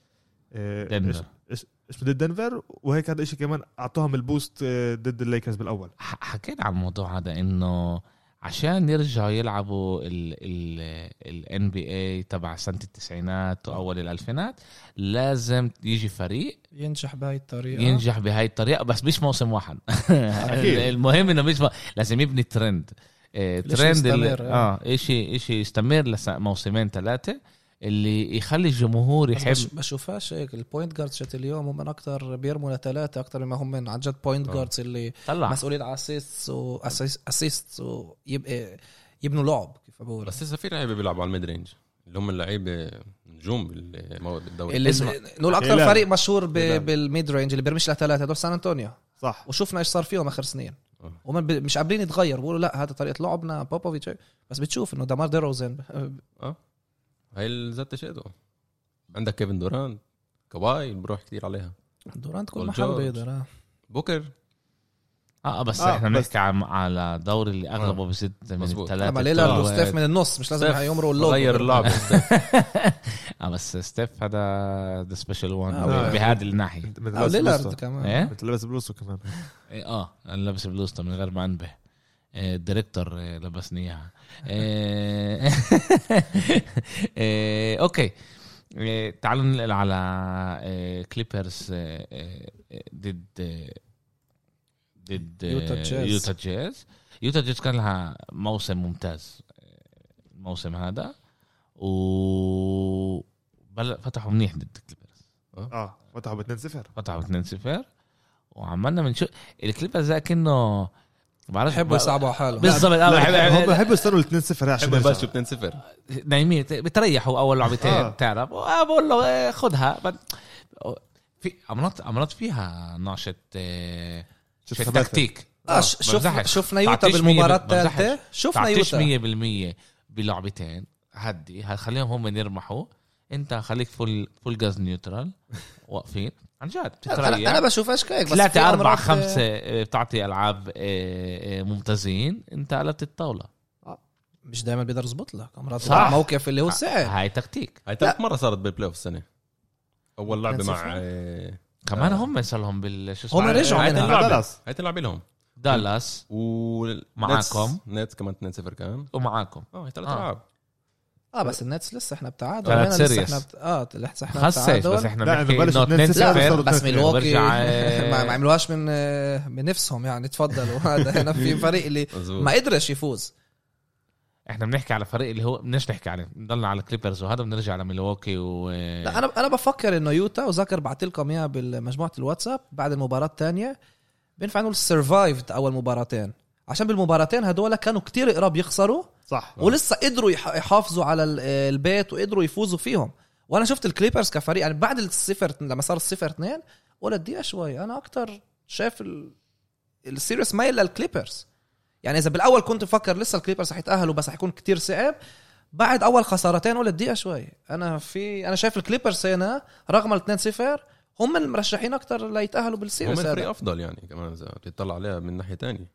[SPEAKER 4] آه،
[SPEAKER 1] دنفر
[SPEAKER 4] اسمه ضد دنفر وهيك هذا الشيء كمان اعطوهم البوست آه، ضد الليكرز بالاول
[SPEAKER 1] ح- حكينا عن الموضوع هذا انه عشان يرجعوا يلعبوا ال ان بي اي تبع سنه التسعينات واول الالفينات لازم يجي فريق
[SPEAKER 3] ينجح بهاي الطريقه
[SPEAKER 1] ينجح بهاي الطريقه بس مش موسم واحد
[SPEAKER 4] أكيد.
[SPEAKER 1] المهم انه مش م... لازم يبني ترند آه،
[SPEAKER 3] الإشي
[SPEAKER 1] ترند اللي...
[SPEAKER 3] يستمر، آه.
[SPEAKER 1] اه شيء شيء يستمر لموسمين ثلاثه اللي يخلي الجمهور
[SPEAKER 3] بس
[SPEAKER 1] يحب
[SPEAKER 3] بش- بشوفهاش هيك البوينت جاردز شت اليوم هم من اكثر بيرموا لثلاثه اكثر مما هم من عن جد بوينت
[SPEAKER 2] آه.
[SPEAKER 3] جاردز اللي
[SPEAKER 1] طلع
[SPEAKER 3] مسؤولين على اسيستس واسيستس ويبقى إيه، يبنوا لعب كيف بقول
[SPEAKER 2] بس لسه في لعيبه بيلعبوا على الميد رينج اللي هم اللعيبه نجوم بال- مو- بالدوري
[SPEAKER 3] اللي
[SPEAKER 1] اسمع.
[SPEAKER 3] نقول اكثر
[SPEAKER 4] إعلان.
[SPEAKER 3] فريق مشهور ب-
[SPEAKER 4] إعلان.
[SPEAKER 3] بالميد رينج اللي بيرميش لثلاثه هدول سان انطونيو
[SPEAKER 4] صح
[SPEAKER 3] وشفنا ايش صار فيهم اخر سنين
[SPEAKER 2] آه.
[SPEAKER 3] ومن ب- مش قابلين يتغير بيقولوا لا هذا طريقه لعبنا بوبوفيتش بس بتشوف انه دمار ديروزن
[SPEAKER 2] هاي ال- ذات شيء عندك كيفن دوران كواي بروح كثير عليها
[SPEAKER 3] دورانت كل
[SPEAKER 2] بول
[SPEAKER 3] محل
[SPEAKER 2] جورج.
[SPEAKER 3] بيقدر آه.
[SPEAKER 2] بوكر
[SPEAKER 1] اه بس
[SPEAKER 4] آه،
[SPEAKER 1] احنا
[SPEAKER 4] بس-
[SPEAKER 1] بنحكي عم- على دوري اللي اغلبه بست من
[SPEAKER 2] مزبوط.
[SPEAKER 1] الثلاثه
[SPEAKER 3] اما
[SPEAKER 1] بتوع-
[SPEAKER 3] ليلى وستيف من النص مش
[SPEAKER 1] طيب،
[SPEAKER 3] لازم
[SPEAKER 2] ستيف
[SPEAKER 3] يمروا اللوب
[SPEAKER 2] غير اللعبه
[SPEAKER 1] اه بس ستيف هذا ذا سبيشال وان
[SPEAKER 3] آه.
[SPEAKER 1] بهذه الناحيه
[SPEAKER 3] او
[SPEAKER 4] متلبس
[SPEAKER 3] ليلارد
[SPEAKER 4] بلوزته
[SPEAKER 3] آه، كمان
[SPEAKER 1] ايه
[SPEAKER 4] متلبس بلوزته كمان
[SPEAKER 1] آه، إيه، اه انا لابس بلوزته من غير ما انبه آه، الديريكتور آه، لبسني اياها آه، آه، اوكي آه، تعالوا ننقل إيه، على كليبرز إيه، ضد آه، ضد آه،
[SPEAKER 3] يوتا جاز.
[SPEAKER 1] يوتا جاز يوتا جاز كان لها موسم ممتاز آه، الموسم هذا و بل- فتحوا منيح ضد الكليبرز
[SPEAKER 4] اه فتحوا ب 2 0
[SPEAKER 1] قطعوا 2-0 وعملنا بنشوف الكليبرز زي كأنه بعرفش
[SPEAKER 3] بحبوا يصعبوا حالهم
[SPEAKER 1] بالضبط
[SPEAKER 4] هم
[SPEAKER 1] آه،
[SPEAKER 4] بحبوا يستنوا ال 2 0 عشان
[SPEAKER 2] حبوا
[SPEAKER 4] يرجعوا.
[SPEAKER 2] يبلشوا 2 0
[SPEAKER 1] نايمين بتريحوا اول
[SPEAKER 4] آه.
[SPEAKER 1] لعبتين بتعرف آه، بقول له آه، خدها بعد- في عملت عملت فيها نعشة آه،
[SPEAKER 4] شفت
[SPEAKER 1] شت
[SPEAKER 4] خباتها.
[SPEAKER 1] تكتيك
[SPEAKER 3] آه، ش- شفنا
[SPEAKER 1] بمزحش.
[SPEAKER 3] شفنا يوتا
[SPEAKER 1] تعطيش مية
[SPEAKER 3] بالمباراه
[SPEAKER 1] بال- بمزحش.
[SPEAKER 3] الثالثه شفنا
[SPEAKER 1] تعطيش
[SPEAKER 3] يوتا
[SPEAKER 1] 100% بلعبتين هدي ه- خليهم هم يرمحوا انت خليك فول فول جاز نيوترال واقفين عن جد
[SPEAKER 3] انا
[SPEAKER 1] بتتريح.
[SPEAKER 3] أنا بشوفهاش كيك بس في
[SPEAKER 1] ثلاثة أربعة
[SPEAKER 3] مرات-
[SPEAKER 1] خمسة آه، بتعطي ألعاب آه، آه، ممتازين أنت قلبت الطاولة
[SPEAKER 3] مش دائما بيقدر يظبط لك مرات
[SPEAKER 1] صح. آه.
[SPEAKER 3] صح. موقف اللي هو ساعة
[SPEAKER 1] هاي تكتيك
[SPEAKER 2] هاي ثالث مره صارت بالبلاي اوف السنه اول لعبه
[SPEAKER 3] 2-0.
[SPEAKER 2] مع آه،
[SPEAKER 1] كمان
[SPEAKER 2] آه.
[SPEAKER 1] هم صار لهم بال شو
[SPEAKER 3] هم
[SPEAKER 1] اسمه؟
[SPEAKER 3] رجعوا
[SPEAKER 2] هاي
[SPEAKER 3] منها
[SPEAKER 2] تلعب. لعبة.
[SPEAKER 4] خلاص
[SPEAKER 2] هاي تلعب لهم
[SPEAKER 1] دالاس
[SPEAKER 2] و
[SPEAKER 1] معاكم.
[SPEAKER 2] نت كمان 2 0 كمان
[SPEAKER 1] ومعاكم
[SPEAKER 2] اه هي ثلاث
[SPEAKER 1] آه.
[SPEAKER 2] العاب
[SPEAKER 3] اه بس النتس لسه احنا بتعادل
[SPEAKER 1] ثلاث
[SPEAKER 3] وهنا لسه
[SPEAKER 1] سيريس.
[SPEAKER 3] احنا بت... اه لسه احنا
[SPEAKER 1] خسيش
[SPEAKER 3] بتعادل.
[SPEAKER 1] بس احنا
[SPEAKER 4] لا،
[SPEAKER 1] بنحكي
[SPEAKER 4] إذا بلشوا
[SPEAKER 1] انه
[SPEAKER 4] 2-0
[SPEAKER 1] 2-0
[SPEAKER 4] صاروا
[SPEAKER 3] لا بس
[SPEAKER 4] 2-0.
[SPEAKER 3] ملواكي
[SPEAKER 1] برجع، آه،
[SPEAKER 3] ما ما عملوهاش من آه، من نفسهم يعني تفضلوا هذا هنا في فريق اللي
[SPEAKER 2] مظبوط
[SPEAKER 3] ما قدرش يفوز
[SPEAKER 1] احنا بنحكي على فريق اللي هو بدناش نحكي عليه بنضلنا على كليبرز وهذا بنرجع على ميلواكي و
[SPEAKER 3] لا انا انا بفكر انه يوتا وذكر بعت لكم اياها بالمجموعه الواتساب بعد المباراه الثانيه بينفع نقول سرفايفد اول مباراتين عشان بالمباراتين هدول كانوا كتير قراب يخسروا
[SPEAKER 4] صح
[SPEAKER 3] ولسه قدروا يح- يحافظوا على ال- البيت وقدروا يفوزوا فيهم وانا شفت الكليبرز كفريق يعني بعد الصفر لما صار الصفر اثنين ولا دقيقه شوي انا اكتر شايف ال- السيريس مايل للكليبرز يعني اذا بالاول كنت مفكر لسه الكليبرز حيتاهلوا بس حيكون كتير صعب بعد اول خسارتين ولا دقيقه شوي انا في انا شايف الكليبرز هنا رغم ال 2 0 هم المرشحين اكتر ليتاهلوا
[SPEAKER 2] هم
[SPEAKER 3] بالسيريس
[SPEAKER 2] الفريق
[SPEAKER 3] هذا
[SPEAKER 2] افضل يعني كمان اذا بتطلع عليها من ناحيه تانية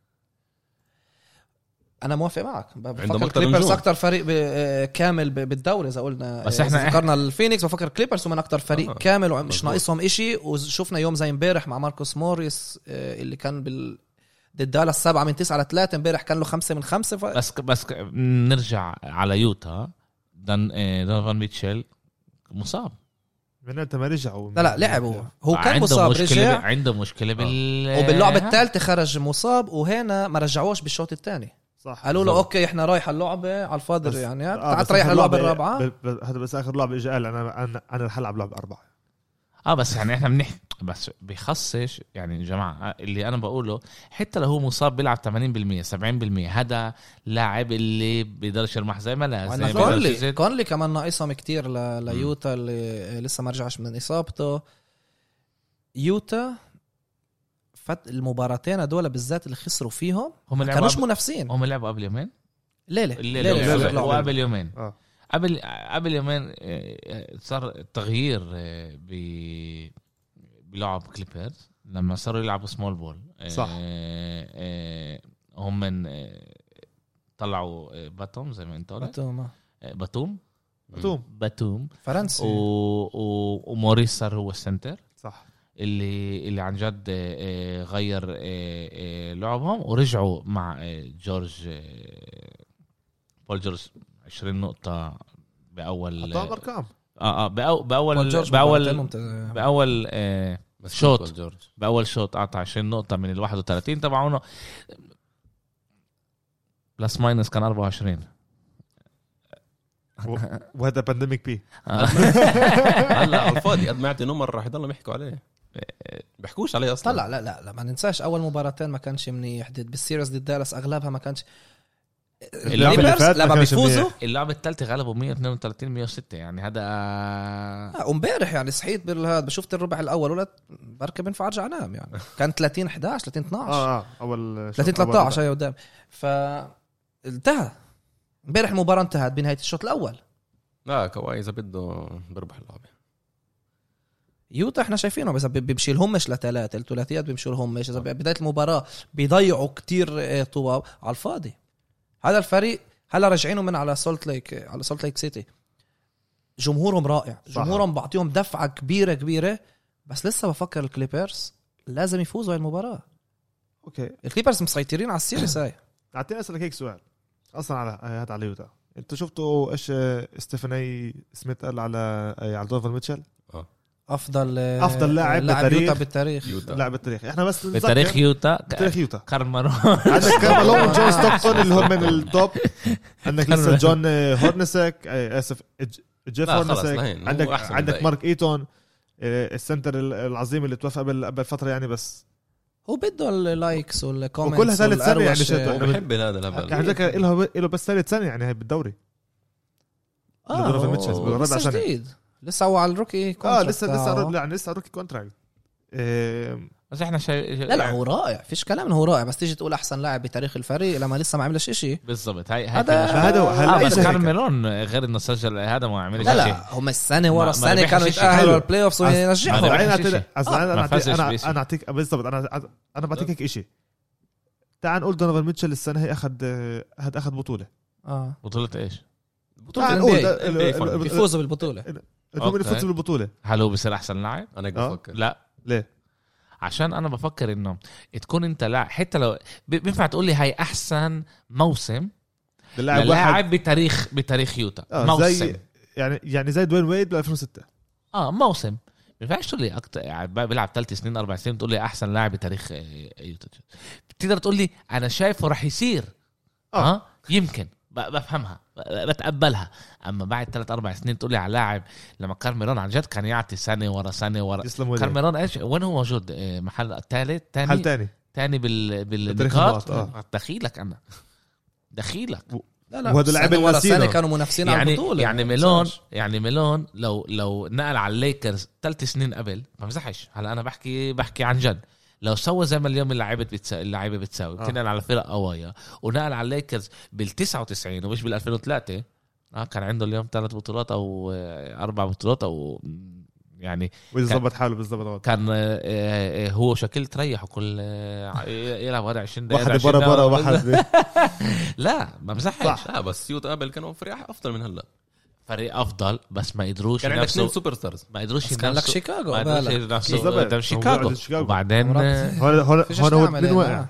[SPEAKER 3] انا موافق معك بفكر
[SPEAKER 2] عندهم أكتر
[SPEAKER 3] الكليبرز
[SPEAKER 2] نجوم.
[SPEAKER 3] اكتر فريق ب- آه، كامل ب- بالدوري اذا قلنا
[SPEAKER 1] بس
[SPEAKER 3] آه،
[SPEAKER 1] إحنا-
[SPEAKER 3] إذا ذكرنا الفينيكس بفكر الكليبرز هم اكتر فريق
[SPEAKER 2] آه،
[SPEAKER 3] كامل ومش
[SPEAKER 2] مظبوط.
[SPEAKER 3] ناقصهم إشي وشفنا يوم زي امبارح مع ماركوس موريس آه، اللي كان بال ضد دالاس 7 من 9 ل 3 امبارح كان له 5 من 5 ف...
[SPEAKER 1] آه، بس بس نرجع على يوتا دان آه، دونوفان ميتشل مصاب
[SPEAKER 4] من متى ما رجعوا
[SPEAKER 3] لا لا لعب هو هو كان
[SPEAKER 1] آه، عنده
[SPEAKER 3] مصاب
[SPEAKER 1] مشكلة
[SPEAKER 3] رجع آه.
[SPEAKER 1] ب... عنده مشكلة بال آه.
[SPEAKER 3] وباللعبه الثالثه خرج مصاب وهنا ما رجعوش بالشوط الثاني
[SPEAKER 4] صح
[SPEAKER 3] قالوا له
[SPEAKER 4] بالضبط.
[SPEAKER 3] اوكي احنا رايح على اللعبه على
[SPEAKER 4] بس-
[SPEAKER 3] الفاضي يعني
[SPEAKER 4] آه،
[SPEAKER 3] تعال
[SPEAKER 4] بس
[SPEAKER 3] تريح
[SPEAKER 4] آخر
[SPEAKER 3] اللعبه
[SPEAKER 4] لعبة-
[SPEAKER 3] الرابعه
[SPEAKER 4] ب- ب- هذا بس اخر لعبه اجى قال انا انا انا رح العب لعبه اربعه
[SPEAKER 1] اه بس يعني احنا بنحكي بس بخصش يعني يا جماعه اللي انا بقوله حتى لو هو مصاب بيلعب 80% 70% هذا لاعب اللي بيقدرش يرمح زي ما لا
[SPEAKER 3] وعندنا
[SPEAKER 1] زي ما بيقدرش
[SPEAKER 3] كونلي
[SPEAKER 1] يزيد.
[SPEAKER 3] كونلي كمان ناقصهم كتير ل... ليوتا اللي لسه ما رجعش من اصابته يوتا فت المباراتين هدول بالذات اللي خسروا فيهم
[SPEAKER 1] هم لعبوا
[SPEAKER 3] كانوش
[SPEAKER 1] قبل-
[SPEAKER 3] منافسين
[SPEAKER 1] هم لعبوا قبل يومين
[SPEAKER 3] ليله
[SPEAKER 1] الليله
[SPEAKER 4] ليلة.
[SPEAKER 1] والصبح
[SPEAKER 4] ليلة.
[SPEAKER 1] وقبل يومين
[SPEAKER 4] اه
[SPEAKER 1] قبل قبل يومين آه، صار تغيير آه، ب بلعب كليبرز لما صاروا يلعبوا سمول بول آه،
[SPEAKER 4] صح.
[SPEAKER 1] آه، هم من آه، طلعوا آه، باتوم زي ما انت قلت
[SPEAKER 3] باتوما.
[SPEAKER 1] آه، باتوم
[SPEAKER 4] بتوم
[SPEAKER 1] باتوم
[SPEAKER 3] فرنسي
[SPEAKER 1] و... و... وموريس صار هو السنتر
[SPEAKER 4] صح
[SPEAKER 1] اللي اللي عن جد آه، آه، غير آه، آه، لعبهم ورجعوا مع آه، جورج آه، بول جورج 20 نقطة بأول
[SPEAKER 4] حطوا
[SPEAKER 1] اه
[SPEAKER 4] ارقام
[SPEAKER 1] اه بأو-
[SPEAKER 3] بول
[SPEAKER 1] بأول
[SPEAKER 3] جورج مباراتين
[SPEAKER 1] بأول
[SPEAKER 3] ممتاز-
[SPEAKER 1] بأول آه،
[SPEAKER 2] بس
[SPEAKER 1] شوت.
[SPEAKER 2] بول جورج
[SPEAKER 1] بأول شوط قطع 20 نقطة من ال 31 تبعونه بلس ماينس كان 24
[SPEAKER 4] و- وهذا بانديميك بي
[SPEAKER 1] آه.
[SPEAKER 2] هلا على الفاضي قد ما يعطي نمر راح يضلوا يحكوا عليه بيحكوش عليه اصلا
[SPEAKER 3] طلع لا لا لا ما ننساش اول مباراتين ما كانش منيح ضد بالسيريز ضد دالاس اغلبها ما كانش
[SPEAKER 1] اللعبة
[SPEAKER 4] اللي
[SPEAKER 3] الكليبرز
[SPEAKER 4] فات ما
[SPEAKER 3] لما
[SPEAKER 4] كانش
[SPEAKER 3] بيفوزوا
[SPEAKER 4] منيح.
[SPEAKER 1] اللعبة الثالثة غلبوا 132 106 يعني هذا آه،
[SPEAKER 3] آه، وامبارح يعني صحيت بالهاد شفت الربع الاول ولا بركب ينفع ارجع انام يعني كان 30 11 30 12
[SPEAKER 4] اه اه اول
[SPEAKER 3] 30
[SPEAKER 4] أول
[SPEAKER 3] 13 هي قدام ف انتهى امبارح المباراه انتهت بنهايه الشوط الاول
[SPEAKER 2] لا كواي اذا بده بربح اللعبه
[SPEAKER 3] يوتا احنا شايفينهم اذا بي- بيمشي لهمش لثلاثه الثلاثيات بيمشي لهمش اذا بدايه المباراه بيضيعوا كتير طواب على الفاضي هذا الفريق هلا راجعينه من على سولت ليك على سولت ليك سيتي جمهورهم رائع
[SPEAKER 4] صح.
[SPEAKER 3] جمهورهم بعطيهم دفعه كبيره كبيره بس لسه بفكر الكليبرز لازم يفوزوا هاي المباراه
[SPEAKER 4] اوكي
[SPEAKER 3] الكليبرز مسيطرين على السيريس هاي
[SPEAKER 4] اعطيني اسالك هيك سؤال اصلا على آه، هاد على يوتا انتوا شفتوا ايش آه، ستيفاني سميث قال على آه، على دوفن ميتشل
[SPEAKER 3] افضل
[SPEAKER 4] أفضل آه، لاعب بالتاريخ.
[SPEAKER 3] يوتا بالتاريخ
[SPEAKER 2] يوتا.
[SPEAKER 4] لاعب بالتاريخ احنا بس نتذكر-
[SPEAKER 1] بتاريخ يوتا
[SPEAKER 4] بتاريخ يوتا
[SPEAKER 1] كارل مارون
[SPEAKER 4] عندك كارمالون جون ستوكسون اللي هم من التوب عندك لسه
[SPEAKER 1] كارمالون.
[SPEAKER 4] جون آه، هورنسك آه، اسف ج- جيف
[SPEAKER 2] لا، خلص،
[SPEAKER 4] هورنسك
[SPEAKER 2] لهين. هو
[SPEAKER 4] عندك
[SPEAKER 2] أحسن
[SPEAKER 4] عندك
[SPEAKER 2] بداية.
[SPEAKER 4] مارك ايتون آه، السنتر ال- العظيم اللي توفى قبل قبل فتره يعني بس
[SPEAKER 3] هو بده اللايكس والكومنتس
[SPEAKER 4] وكلها ثالث سنة
[SPEAKER 3] آه،
[SPEAKER 4] يعني شتوى.
[SPEAKER 2] هو بحب هذا الهبل
[SPEAKER 4] يعني ذاك له له بس ثالث سنه يعني هاي بالدوري لدونوفان
[SPEAKER 3] اه
[SPEAKER 4] ميتشل،
[SPEAKER 3] هو
[SPEAKER 4] بالربع
[SPEAKER 3] لسه
[SPEAKER 4] سنة.
[SPEAKER 3] جديد لسه هو على الروكي آه.
[SPEAKER 4] اه
[SPEAKER 3] contract
[SPEAKER 4] لسه لسه
[SPEAKER 3] تاعه.
[SPEAKER 4] رو- يعني لسه آه، روكي كونتراكت
[SPEAKER 1] بس احنا شايف
[SPEAKER 3] لا لا هو رائع فيش كلام انه هو رائع بس تيجي تقول احسن لاعب بتاريخ الفريق لما لسه ما عملش إشي
[SPEAKER 1] بالضبط هاي هاي
[SPEAKER 3] هذا- آه،
[SPEAKER 1] كنا-
[SPEAKER 4] هذا هو
[SPEAKER 1] اه
[SPEAKER 4] هلا
[SPEAKER 1] بس
[SPEAKER 4] إجا هيك.
[SPEAKER 1] كارل مارون غير انه سجل هذا ما عملش
[SPEAKER 3] لا
[SPEAKER 1] شيء.
[SPEAKER 3] لا هم السنه ورا
[SPEAKER 1] ما- ما
[SPEAKER 3] السنه
[SPEAKER 1] ربحش
[SPEAKER 3] كانوا
[SPEAKER 1] إشي.
[SPEAKER 3] يتاهلوا
[SPEAKER 4] حلو.
[SPEAKER 3] على البلاي اوف وينجحوا
[SPEAKER 1] ما
[SPEAKER 4] بعدين
[SPEAKER 1] ربحش
[SPEAKER 4] أعطيني-
[SPEAKER 1] إشي.
[SPEAKER 4] أصلاً
[SPEAKER 1] ما
[SPEAKER 4] انا
[SPEAKER 1] فازش
[SPEAKER 4] أعطيك- انا
[SPEAKER 1] بإشي.
[SPEAKER 4] انا اعطيك بالضبط انا انا بعطيك هيك شيء تعال نقول دونوفان ميتشل السنه هي اخذ هاد اخذ بطوله
[SPEAKER 3] اه
[SPEAKER 1] بطولة ايش؟
[SPEAKER 4] تعال
[SPEAKER 3] ال
[SPEAKER 4] نقول
[SPEAKER 3] NBA.
[SPEAKER 4] ده- ال- ال- ال-
[SPEAKER 3] إيه. بيفوزوا بالبطوله
[SPEAKER 4] الهم اللي
[SPEAKER 1] أوكي.
[SPEAKER 4] فوزوا بالبطوله
[SPEAKER 1] هل هو بصير احسن لاعب؟
[SPEAKER 2] انا هيك
[SPEAKER 4] آه.
[SPEAKER 2] بفكر
[SPEAKER 1] لا
[SPEAKER 4] ليه؟
[SPEAKER 1] عشان انا بفكر انه تكون انت لاعب حتى لو ب- بينفع تقول لي هاي احسن موسم
[SPEAKER 4] اللاعب واحد
[SPEAKER 1] للاعب بتاريخ بتاريخ يوتا
[SPEAKER 4] آه،
[SPEAKER 1] موسم
[SPEAKER 4] زي يعني يعني زي دوين ويد بال 2006
[SPEAKER 1] اه موسم ما ينفعش تقول لي أكتر يعني بيلعب ثلاث سنين اربع سنين تقول لي احسن لاعب بتاريخ آه، يوتا بتقدر تقول لي انا شايفه راح يصير
[SPEAKER 4] آه.
[SPEAKER 1] اه, آه؟ يمكن ب- بفهمها ب- بتقبلها اما بعد ثلاث اربع سنين تقول لي على لاعب لما كارميرون عن جد كان يعطي سنه ورا سنه ورا
[SPEAKER 4] يسلم ويد
[SPEAKER 1] كارميرون ايش وين هو موجود آه، محل الثالث
[SPEAKER 4] حل
[SPEAKER 1] ثاني
[SPEAKER 4] تاني
[SPEAKER 1] تاني بال
[SPEAKER 4] بتاريخ
[SPEAKER 1] بالنقاط
[SPEAKER 4] النقاط،
[SPEAKER 1] دخيلك انا دخيلك
[SPEAKER 3] لا
[SPEAKER 4] وهدول
[SPEAKER 3] سنة
[SPEAKER 4] لاعبين
[SPEAKER 3] ورا
[SPEAKER 4] غسيلة.
[SPEAKER 3] سنه كانوا منافسين على
[SPEAKER 1] يعني
[SPEAKER 3] البطوله
[SPEAKER 1] يعني ميلون يعني ميلون لو لو نقل على الليكرز ثلاث سنين قبل ما بمزحش هلا انا بحكي بحكي عن جد لو سوى زي ما اليوم اللعيبه بتساوي اللعيبه بتساوي
[SPEAKER 4] آه.
[SPEAKER 1] بتنقل على فرق قوايا ونقل على الليكرز بال 99 ومش بال 2003 اه كان عنده اليوم ثلاث بطولات او آه، اربع بطولات او م، يعني
[SPEAKER 4] ويد ظبط حاله بالضبط
[SPEAKER 1] كان آه، آه، هو شكل تريحه كل آه، يلعب هذا 20 دقيقه
[SPEAKER 4] واحد
[SPEAKER 1] 20
[SPEAKER 4] برا برا
[SPEAKER 1] دقيقة.
[SPEAKER 4] واحد
[SPEAKER 1] لا ما بمزحش
[SPEAKER 2] لا بس سيوت قبل كانوا فريق افضل من هلا
[SPEAKER 1] فريق افضل بس ما قدروش
[SPEAKER 2] كان عندك اثنين
[SPEAKER 1] ينافسوا
[SPEAKER 2] سوبر ستارز
[SPEAKER 1] ما قدروش
[SPEAKER 3] بس كان لك
[SPEAKER 1] ينافسوا
[SPEAKER 3] شيكاغو
[SPEAKER 1] ما قدروش
[SPEAKER 3] بالك.
[SPEAKER 1] ينافسوا
[SPEAKER 4] بالظبط.
[SPEAKER 1] قدام
[SPEAKER 4] هو قاعد
[SPEAKER 1] شيكاغو
[SPEAKER 4] شيكاغو.
[SPEAKER 1] وبعدين
[SPEAKER 3] مرات-
[SPEAKER 4] هون هون
[SPEAKER 3] فيش
[SPEAKER 4] هون هو
[SPEAKER 3] نعمل
[SPEAKER 4] اثنين
[SPEAKER 3] هنا.
[SPEAKER 4] واقع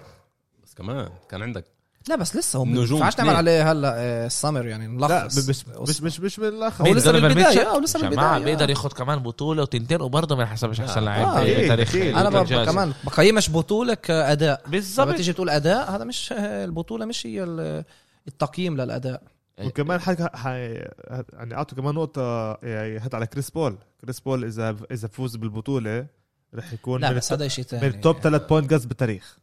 [SPEAKER 2] بس كمان كان عندك
[SPEAKER 3] لا بس لسه هم ما
[SPEAKER 2] نجوم
[SPEAKER 3] ينفعش نعمل
[SPEAKER 2] اثنين.
[SPEAKER 3] عليه هلا السمر يعني
[SPEAKER 4] لا
[SPEAKER 3] نلخص
[SPEAKER 4] مش مش مش مش من الاخر
[SPEAKER 3] هو لسه
[SPEAKER 1] دونوفان
[SPEAKER 3] بالبداية،
[SPEAKER 1] ميتشل.
[SPEAKER 3] آه، ولسه
[SPEAKER 1] جماعة
[SPEAKER 3] بالبداية، آه.
[SPEAKER 1] بيقدر ياخد كمان بطولة وتنتين وبرضه ما ينحسبش أحسن
[SPEAKER 2] آه،
[SPEAKER 1] لاعب
[SPEAKER 3] آه،
[SPEAKER 1] في
[SPEAKER 4] أكيد،
[SPEAKER 1] تاريخ
[SPEAKER 4] أكيد.
[SPEAKER 3] انا ب-
[SPEAKER 1] الجاز.
[SPEAKER 3] كمان بقيمش بطوله كاداء لما
[SPEAKER 1] بالظبط
[SPEAKER 3] تيجي تقول اداء هذا مش البطوله مش هي ال- التقييم للاداء
[SPEAKER 4] وكمان حكى ح- يعني اعطوا كمان نقطة يعني هات على كريس بول، كريس بول إذا إذا فوز بالبطولة رح يكون
[SPEAKER 3] لا
[SPEAKER 4] من
[SPEAKER 3] بس يعني
[SPEAKER 4] التوب-
[SPEAKER 3] هذا شيء
[SPEAKER 4] من
[SPEAKER 3] ثاني
[SPEAKER 4] التوب ثلاث بوينت جاز بالتاريخ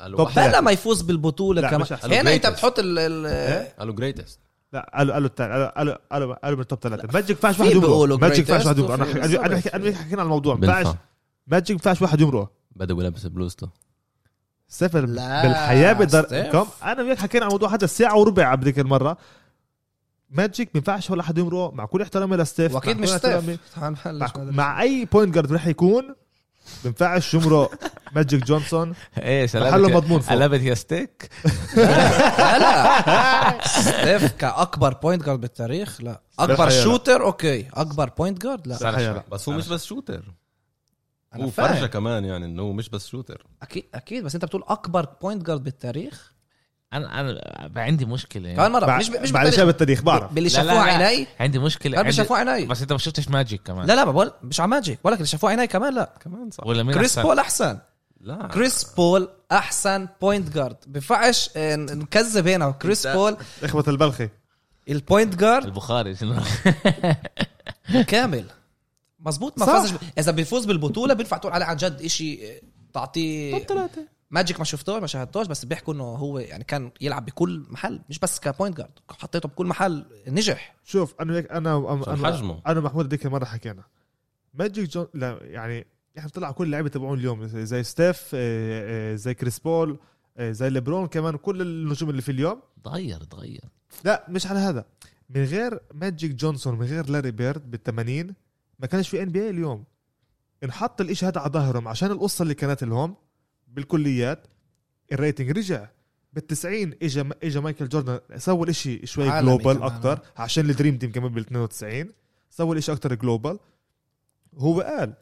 [SPEAKER 2] قالوا
[SPEAKER 4] طب.
[SPEAKER 3] بلا
[SPEAKER 4] ثلاثة.
[SPEAKER 3] ما يفوز بالبطوله
[SPEAKER 4] لا،
[SPEAKER 3] كمان
[SPEAKER 4] مش أحسن.
[SPEAKER 3] هنا انت
[SPEAKER 2] Greatest.
[SPEAKER 3] بتحط ال- ال
[SPEAKER 2] قالوا جريتست
[SPEAKER 4] لا قالوا قالوا الثاني قالوا قالوا قالوا, قالوا من التوب ثلاثة ماجيك ينفعش
[SPEAKER 3] في
[SPEAKER 4] واحد
[SPEAKER 3] بيقولوا
[SPEAKER 4] يمرق ماجيك
[SPEAKER 3] greatest
[SPEAKER 4] ينفعش واحد يمرق
[SPEAKER 3] وفي
[SPEAKER 4] أنا أنا
[SPEAKER 3] بالظبط.
[SPEAKER 4] حكي- أنا حكينا على الموضوع ينفعش
[SPEAKER 2] بينفع
[SPEAKER 4] ماجيك ينفعش واحد يمرق
[SPEAKER 2] بدأ لابس بلوزته
[SPEAKER 4] صفر
[SPEAKER 3] لا،
[SPEAKER 4] بالحياة بقدر
[SPEAKER 3] ستيف.
[SPEAKER 4] كم أنا وياك حكينا عن الموضوع هذا ساعة وربع بديك المرة ماجيك ما ينفعش ولا حد يمرق مع كل احترامي لستيف
[SPEAKER 3] واكيد
[SPEAKER 4] مع
[SPEAKER 3] مش
[SPEAKER 4] كل احترامي-
[SPEAKER 3] ستيف تعال نبلش
[SPEAKER 4] مع,
[SPEAKER 3] ما أدري.
[SPEAKER 4] طيب، مع أي بوينت جارد رح يكون بينفعش يمرق ماجيك جونسون
[SPEAKER 1] إيه
[SPEAKER 4] محله مضمون فوق.
[SPEAKER 1] قلبت يا ستيك
[SPEAKER 3] لا لا ستيف كاكبر بوينت جارد بالتاريخ لا اكبر
[SPEAKER 4] بالحقيقة لا.
[SPEAKER 3] شوتر اوكي اكبر بوينت جارد لا
[SPEAKER 1] صح.
[SPEAKER 4] لا.
[SPEAKER 2] بس هو مش بس شوتر
[SPEAKER 3] انا
[SPEAKER 2] هو فرجة
[SPEAKER 3] فاهم
[SPEAKER 2] كمان يعني انه هو مش بس شوتر
[SPEAKER 3] اكيد اكيد بس انت بتقول اكبر بوينت جارد بالتاريخ
[SPEAKER 1] أنا أنا بقى عندي مشكلة
[SPEAKER 3] كمان مره
[SPEAKER 4] بع-
[SPEAKER 3] مش ب- مش
[SPEAKER 4] معلش
[SPEAKER 3] بالتاريخ
[SPEAKER 4] أنا بالتاريخ بعرف
[SPEAKER 3] باللي
[SPEAKER 1] لا، لا،
[SPEAKER 3] شافوه
[SPEAKER 1] لا.
[SPEAKER 3] عيني
[SPEAKER 1] عندي مشكلة
[SPEAKER 3] ما
[SPEAKER 1] عندي-
[SPEAKER 3] شافوه عيني
[SPEAKER 1] بس أنت ما شفتش ماجيك كمان
[SPEAKER 3] لا لا ما بقول مش على ماجيك ولكن اللي شافوه عيني كمان لا
[SPEAKER 2] كمان صح
[SPEAKER 1] ولا مين
[SPEAKER 3] كريس
[SPEAKER 1] أحسن؟
[SPEAKER 3] بول احسن
[SPEAKER 2] لا
[SPEAKER 3] كريس بول احسن بوينت جارد بينفعش آه، نكذب هنا كريس
[SPEAKER 2] أنت-
[SPEAKER 3] بول
[SPEAKER 4] اخوة البلخي
[SPEAKER 3] البوينت جارد
[SPEAKER 1] البخاري شنو؟
[SPEAKER 3] كامل مزبوط ما
[SPEAKER 4] صح.
[SPEAKER 3] فازش ب- اذا بيفوز بالبطوله بينفع تقول عليه عن جد إشي آه، تعطيه ماجيك ما شفتوش ما شاهدتوش بس بيحكوا انه هو يعني كان يلعب بكل محل مش بس كبوينت جارد حطيته بكل محل نجح
[SPEAKER 4] شوف انا وياك انا أنا-
[SPEAKER 2] عشان
[SPEAKER 4] انا
[SPEAKER 2] حجمه
[SPEAKER 4] انا محمود ديك المره حكينا ماجيك جون لا يعني احنا طلع كل اللعيبه تبعون اليوم زي ستيف آه، آه، زي كريس بول آه، زي ليبرون كمان كل النجوم اللي في اليوم
[SPEAKER 1] تغير تغير
[SPEAKER 4] لا مش على هذا من غير ماجيك جونسون من غير لاري بيرد بال 80 ما كانش في ان بي اي اليوم انحط الاشي هذا على ظهرهم عشان القصه اللي كانت لهم بالكليات الريتنج رجع بال 90 اجى اجى مايكل جوردن سوى الاشي شوي
[SPEAKER 3] عالمي
[SPEAKER 4] جلوبال
[SPEAKER 3] كمان.
[SPEAKER 4] اكثر عشان الدريم تيم كمان بال 92 سوى الاشي اكثر جلوبال هو قال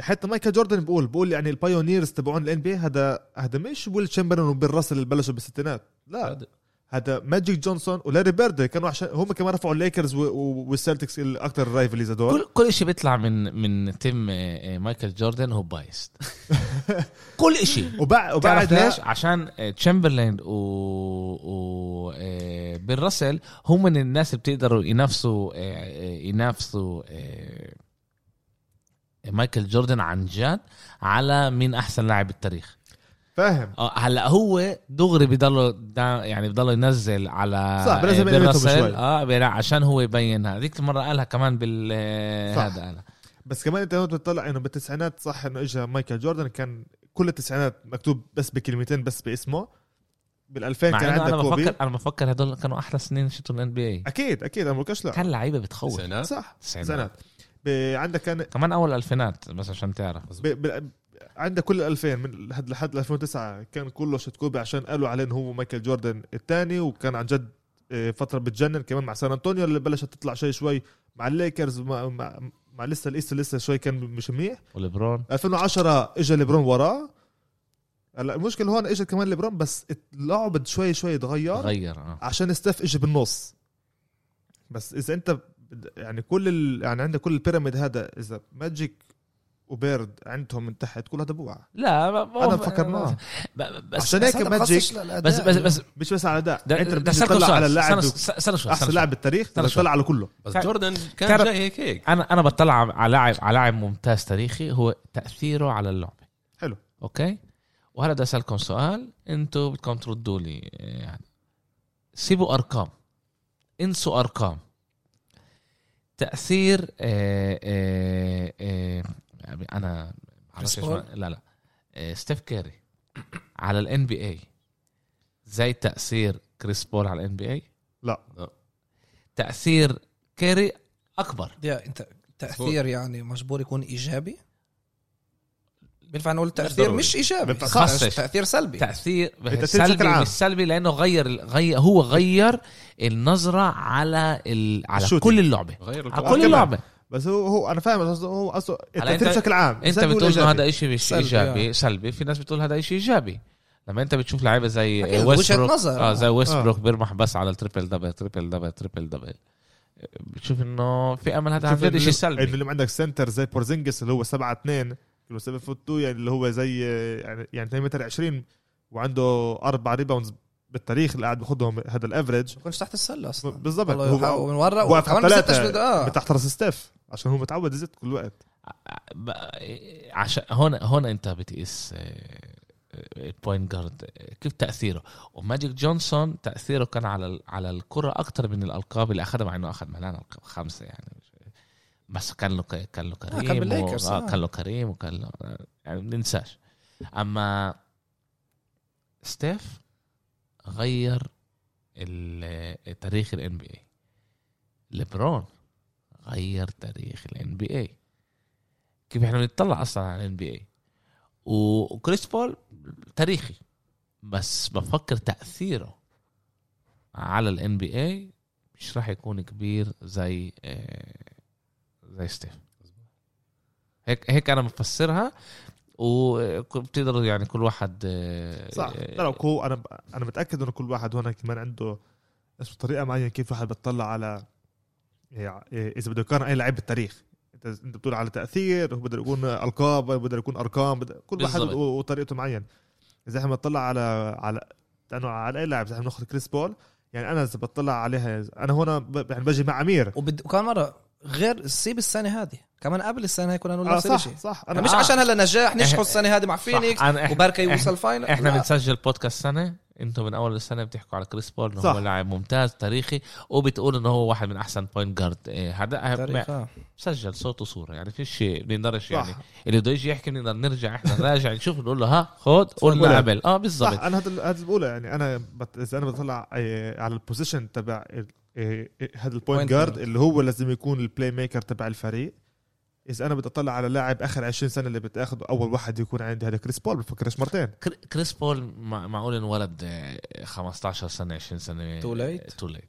[SPEAKER 4] حتى مايكل جوردن بقول بقول يعني البايونيرز تبعون الان بي هذا هذا مش ويل تشامبرلين وبيل راسل اللي بلشوا بالستينات لا
[SPEAKER 2] صادق.
[SPEAKER 4] هذا ماجيك جونسون ولاري بيرد كانوا عشان هم كمان رفعوا الليكرز و- و- والسلتكس الاكثر رايفليز هدول
[SPEAKER 1] كل كل شيء بيطلع من من تم آه، آه، مايكل جوردن هو بايست كل شيء
[SPEAKER 4] وبع-
[SPEAKER 1] تعرف
[SPEAKER 4] وبعدها
[SPEAKER 1] ليش؟ عشان آه، تشامبرلين و, و... آه، بيل راسل هم من الناس اللي بتقدروا ينافسوا آه، آه، ينافسوا آه، مايكل جوردن عن جد على مين احسن لاعب بالتاريخ
[SPEAKER 4] فاهم
[SPEAKER 1] آه، هلا هو دغري بضله دا- يعني بضله ينزل على
[SPEAKER 4] صح، بلازم
[SPEAKER 1] آه، بيل
[SPEAKER 4] يقلبهم
[SPEAKER 1] راسل.
[SPEAKER 4] شوي.
[SPEAKER 1] اه بيل- عشان هو يبين هذا هذيك المره قالها كمان بال آه،
[SPEAKER 4] صح.
[SPEAKER 1] هذا قالها
[SPEAKER 4] بس كمان انت لو بتطلع انه بالتسعينات صح انه اجى مايكل جوردن كان كل التسعينات مكتوب بس بكلمتين بس باسمه بال2000
[SPEAKER 1] مع
[SPEAKER 4] إيه، كان
[SPEAKER 1] انه
[SPEAKER 4] عندك أيوة.
[SPEAKER 1] انا
[SPEAKER 4] كوبي
[SPEAKER 1] بفكر انا بفكر هدول كانوا احلى سنين شفتوا الان بي اي
[SPEAKER 4] اكيد اكيد انا بقولكش لا
[SPEAKER 1] كان لعيبه بتخوف
[SPEAKER 2] سنة
[SPEAKER 4] صح
[SPEAKER 1] التسعينات
[SPEAKER 4] تسعينات
[SPEAKER 1] نعم.
[SPEAKER 4] ب- عندك كان
[SPEAKER 1] كمان اول الفينات بس عشان تعرف
[SPEAKER 4] ب... ب... عندك كل 2000 من لحد لحد 2009 كان كله شوت كوبي عشان قالوا عليه انه هو مايكل جوردن الثاني وكان عن جد آه، فتره بتجنن كمان مع سان انطونيو اللي بلشت تطلع شوي شوي مع الليكرز مع, مع... مع لسه الايست لسه شوي كان مش منيح
[SPEAKER 1] ولبرون
[SPEAKER 4] 2010 اجى ليبرون وراه هلا المشكله هون اجى كمان ليبرون بس اللعب شوي شوي تغير آه.
[SPEAKER 1] غير اه
[SPEAKER 4] عشان ستيف اجى بالنص بس اذا انت بد- يعني كل ال... يعني عندك كل البيراميد هذا اذا ماجيك وبيرد عندهم من تحت كل هذا بوقع
[SPEAKER 1] لا ب-
[SPEAKER 4] انا
[SPEAKER 1] ب-
[SPEAKER 4] فكرناه
[SPEAKER 1] ب- ب- بس
[SPEAKER 4] عشان هيك
[SPEAKER 3] هذا
[SPEAKER 4] ماجيك
[SPEAKER 3] بخصش للأداء.
[SPEAKER 1] بس بس بس
[SPEAKER 4] مش بس على ده,
[SPEAKER 1] ده-
[SPEAKER 4] انت
[SPEAKER 1] ده
[SPEAKER 4] بدك
[SPEAKER 1] سألكم
[SPEAKER 4] تطلع
[SPEAKER 1] سؤال.
[SPEAKER 4] على اللاعب
[SPEAKER 1] استنى- استنى- استنى شوي
[SPEAKER 4] احسن
[SPEAKER 1] استنى
[SPEAKER 4] لاعب بالتاريخ
[SPEAKER 1] استنى
[SPEAKER 4] بدك
[SPEAKER 1] شوي.
[SPEAKER 4] تطلع على كله
[SPEAKER 2] بس
[SPEAKER 1] تعرف-
[SPEAKER 2] جوردن كان
[SPEAKER 1] تعرف-
[SPEAKER 2] جاي هيك هيك
[SPEAKER 1] انا انا إيه، بطلع على لاعب على لاعب ممتاز تاريخي هو تاثيره على اللعبه
[SPEAKER 4] حلو.
[SPEAKER 1] اوكي وهلا بدي اسالكم سؤال انتم بدكم تردوا لي إيه، يعني سيبوا ارقام انسوا ارقام تاثير آه آه آه انا عرفت
[SPEAKER 3] كريس
[SPEAKER 1] إيش
[SPEAKER 3] بول؟
[SPEAKER 1] ما- لا لا آه، ستيف كاري على الان بي اي زي تاثير كريس بول على الان بي اي
[SPEAKER 4] لا.
[SPEAKER 2] لا.
[SPEAKER 1] تاثير كاري اكبر
[SPEAKER 3] يا انت تاثير يعني مجبور يكون ايجابي بينفع نقول تاثير
[SPEAKER 2] ضروري.
[SPEAKER 3] مش ايجابي
[SPEAKER 4] بينفع
[SPEAKER 1] خصص.
[SPEAKER 3] تاثير سلبي
[SPEAKER 1] تاثير
[SPEAKER 4] بشكل
[SPEAKER 1] سلبي
[SPEAKER 4] عام.
[SPEAKER 1] مش سلبي لانه غير غير هو غير النظره على ال... على
[SPEAKER 4] الشوتينج.
[SPEAKER 1] كل اللعبه
[SPEAKER 3] آه،
[SPEAKER 2] غير
[SPEAKER 1] على
[SPEAKER 4] كمان.
[SPEAKER 1] كل اللعبه
[SPEAKER 4] بس هو هو انا فاهم قصده- هو قصده
[SPEAKER 1] هلا
[SPEAKER 4] التأثير
[SPEAKER 1] انت-
[SPEAKER 4] بشكل عام
[SPEAKER 1] انت
[SPEAKER 4] بس
[SPEAKER 1] بتقول
[SPEAKER 4] إيجابي.
[SPEAKER 1] انه هذا شيء مش
[SPEAKER 3] سلبي،
[SPEAKER 1] ايجابي
[SPEAKER 3] آه.
[SPEAKER 1] سلبي في ناس بتقول هذا شيء ايجابي لما انت بتشوف لعيبه زي
[SPEAKER 3] أكيد،
[SPEAKER 1] ويست
[SPEAKER 3] وجهة
[SPEAKER 1] بروك
[SPEAKER 3] نظر.
[SPEAKER 1] اه زي
[SPEAKER 3] آه.
[SPEAKER 1] ويست بروك بيرمح بس على التريبل دبل تريبل دبل تريبل دبل بتشوف انه في امل هذا عن
[SPEAKER 4] شوف
[SPEAKER 1] جد شيء
[SPEAKER 4] اللي-
[SPEAKER 1] سلبي
[SPEAKER 4] اللي عندك سنتر زي بورزينجس اللي هو 7 2 اللي هو 7 فوت 2 يعني اللي هو زي يعني يعني 2 متر 20 وعنده اربع ريباوندز بالتاريخ اللي قاعد بياخذهم هذا الافرج
[SPEAKER 3] ما كنتش تحت السله اصلا
[SPEAKER 4] بالضبط
[SPEAKER 3] والله يحقق
[SPEAKER 4] هو
[SPEAKER 3] من ورا
[SPEAKER 4] واقف على
[SPEAKER 3] وكمان بستش
[SPEAKER 4] ثلاثة
[SPEAKER 3] بد- اه
[SPEAKER 4] تحت راس ستيف عشان هو متعود يزيد كل الوقت
[SPEAKER 1] ب- عشان هون هون انت بتقيس آه، البوينت جارد آه، كيف تاثيره وماجيك جونسون تاثيره كان على ال- على الكره اكثر من الالقاب اللي اخذها مع انه اخذ ملان القاب خمسه يعني مش- بس كان له ك- كان له كريم
[SPEAKER 3] كان
[SPEAKER 1] و-
[SPEAKER 3] بالليكرز،
[SPEAKER 1] آه،
[SPEAKER 3] آه.
[SPEAKER 1] كان له كريم وكان له يعني ما ننساش اما ستيف غير ال- تاريخ الان بي اي ليبرون غير تاريخ الان بي اي كيف احنا بنطلع اصلا على الان بي اي وكريس بول تاريخي بس بفكر تاثيره على الان بي اي مش راح يكون كبير زي آه، زي ستيف هيك هيك انا مفسرها وبتقدروا يعني كل واحد آه،
[SPEAKER 4] صح
[SPEAKER 1] آه،
[SPEAKER 4] لا لا هو انا انا متاكد انه كل واحد هون كمان عنده اسمه طريقه معينه كيف واحد بتطلع على إيه، إيه، اذا بده يقارن اي لعيب بالتاريخ انت انت بتقول على تاثير هو بده يكون القاب بده يكون ارقام بده كل واحد
[SPEAKER 1] بالظبط.
[SPEAKER 4] و- وطريقته معين اذا احنا بنطلع على على لانه على اي لاعب اذا احنا بناخذ كريس بول يعني انا اذا بطلع عليها انا هون ب- يعني بجي مع امير
[SPEAKER 3] وبد... وكمان مره غير سيب السنه هذه كمان قبل السنه هي كنا نقول
[SPEAKER 4] آه
[SPEAKER 3] نفس
[SPEAKER 4] صح
[SPEAKER 3] الشيء
[SPEAKER 4] صح
[SPEAKER 3] انا
[SPEAKER 4] انا
[SPEAKER 3] مش
[SPEAKER 1] آه.
[SPEAKER 3] عشان هلا نجاح
[SPEAKER 1] إح-
[SPEAKER 3] نجحوا السنه هذه مع
[SPEAKER 1] صح،
[SPEAKER 3] فينيكس
[SPEAKER 1] أنا- إحنا-
[SPEAKER 3] وبركه
[SPEAKER 1] إحنا-
[SPEAKER 3] يوصل فاينل
[SPEAKER 1] احنا
[SPEAKER 3] لا.
[SPEAKER 1] بنسجل بودكاست سنه انتم من اول السنه بتحكوا على كريس بول انه
[SPEAKER 4] صح.
[SPEAKER 1] هو لاعب ممتاز تاريخي وبتقول انه هو واحد من احسن بوينت جارد إيه، هذا
[SPEAKER 3] تاريخ، آه.
[SPEAKER 1] سجل صوت وصوره يعني في شيء بنقدرش
[SPEAKER 4] صح
[SPEAKER 1] يعني اللي بده يجي يحكي بنقدر نرجع احنا نراجع نشوف نقول له ها خد قلنا
[SPEAKER 4] ولا.
[SPEAKER 1] قبل اه
[SPEAKER 4] صح
[SPEAKER 1] بالضبط
[SPEAKER 4] انا هذا هذا اللي بقوله يعني انا بت... اذا انا بطلع آه، على البوزيشن تبع ال- آه، آه، هذا البوينت
[SPEAKER 3] Point
[SPEAKER 4] جارد
[SPEAKER 3] guard.
[SPEAKER 4] اللي هو لازم يكون البلاي ميكر تبع الفريق اذا انا بدي اطلع على لاعب اخر 20 سنه اللي بتاخده اول واحد يكون عندي هذا كريس بول بفكرش مرتين
[SPEAKER 1] كر- كريس بول مع- معقول انولد آه، 15 سنه 20 سنه
[SPEAKER 3] Too late.
[SPEAKER 1] تو ليت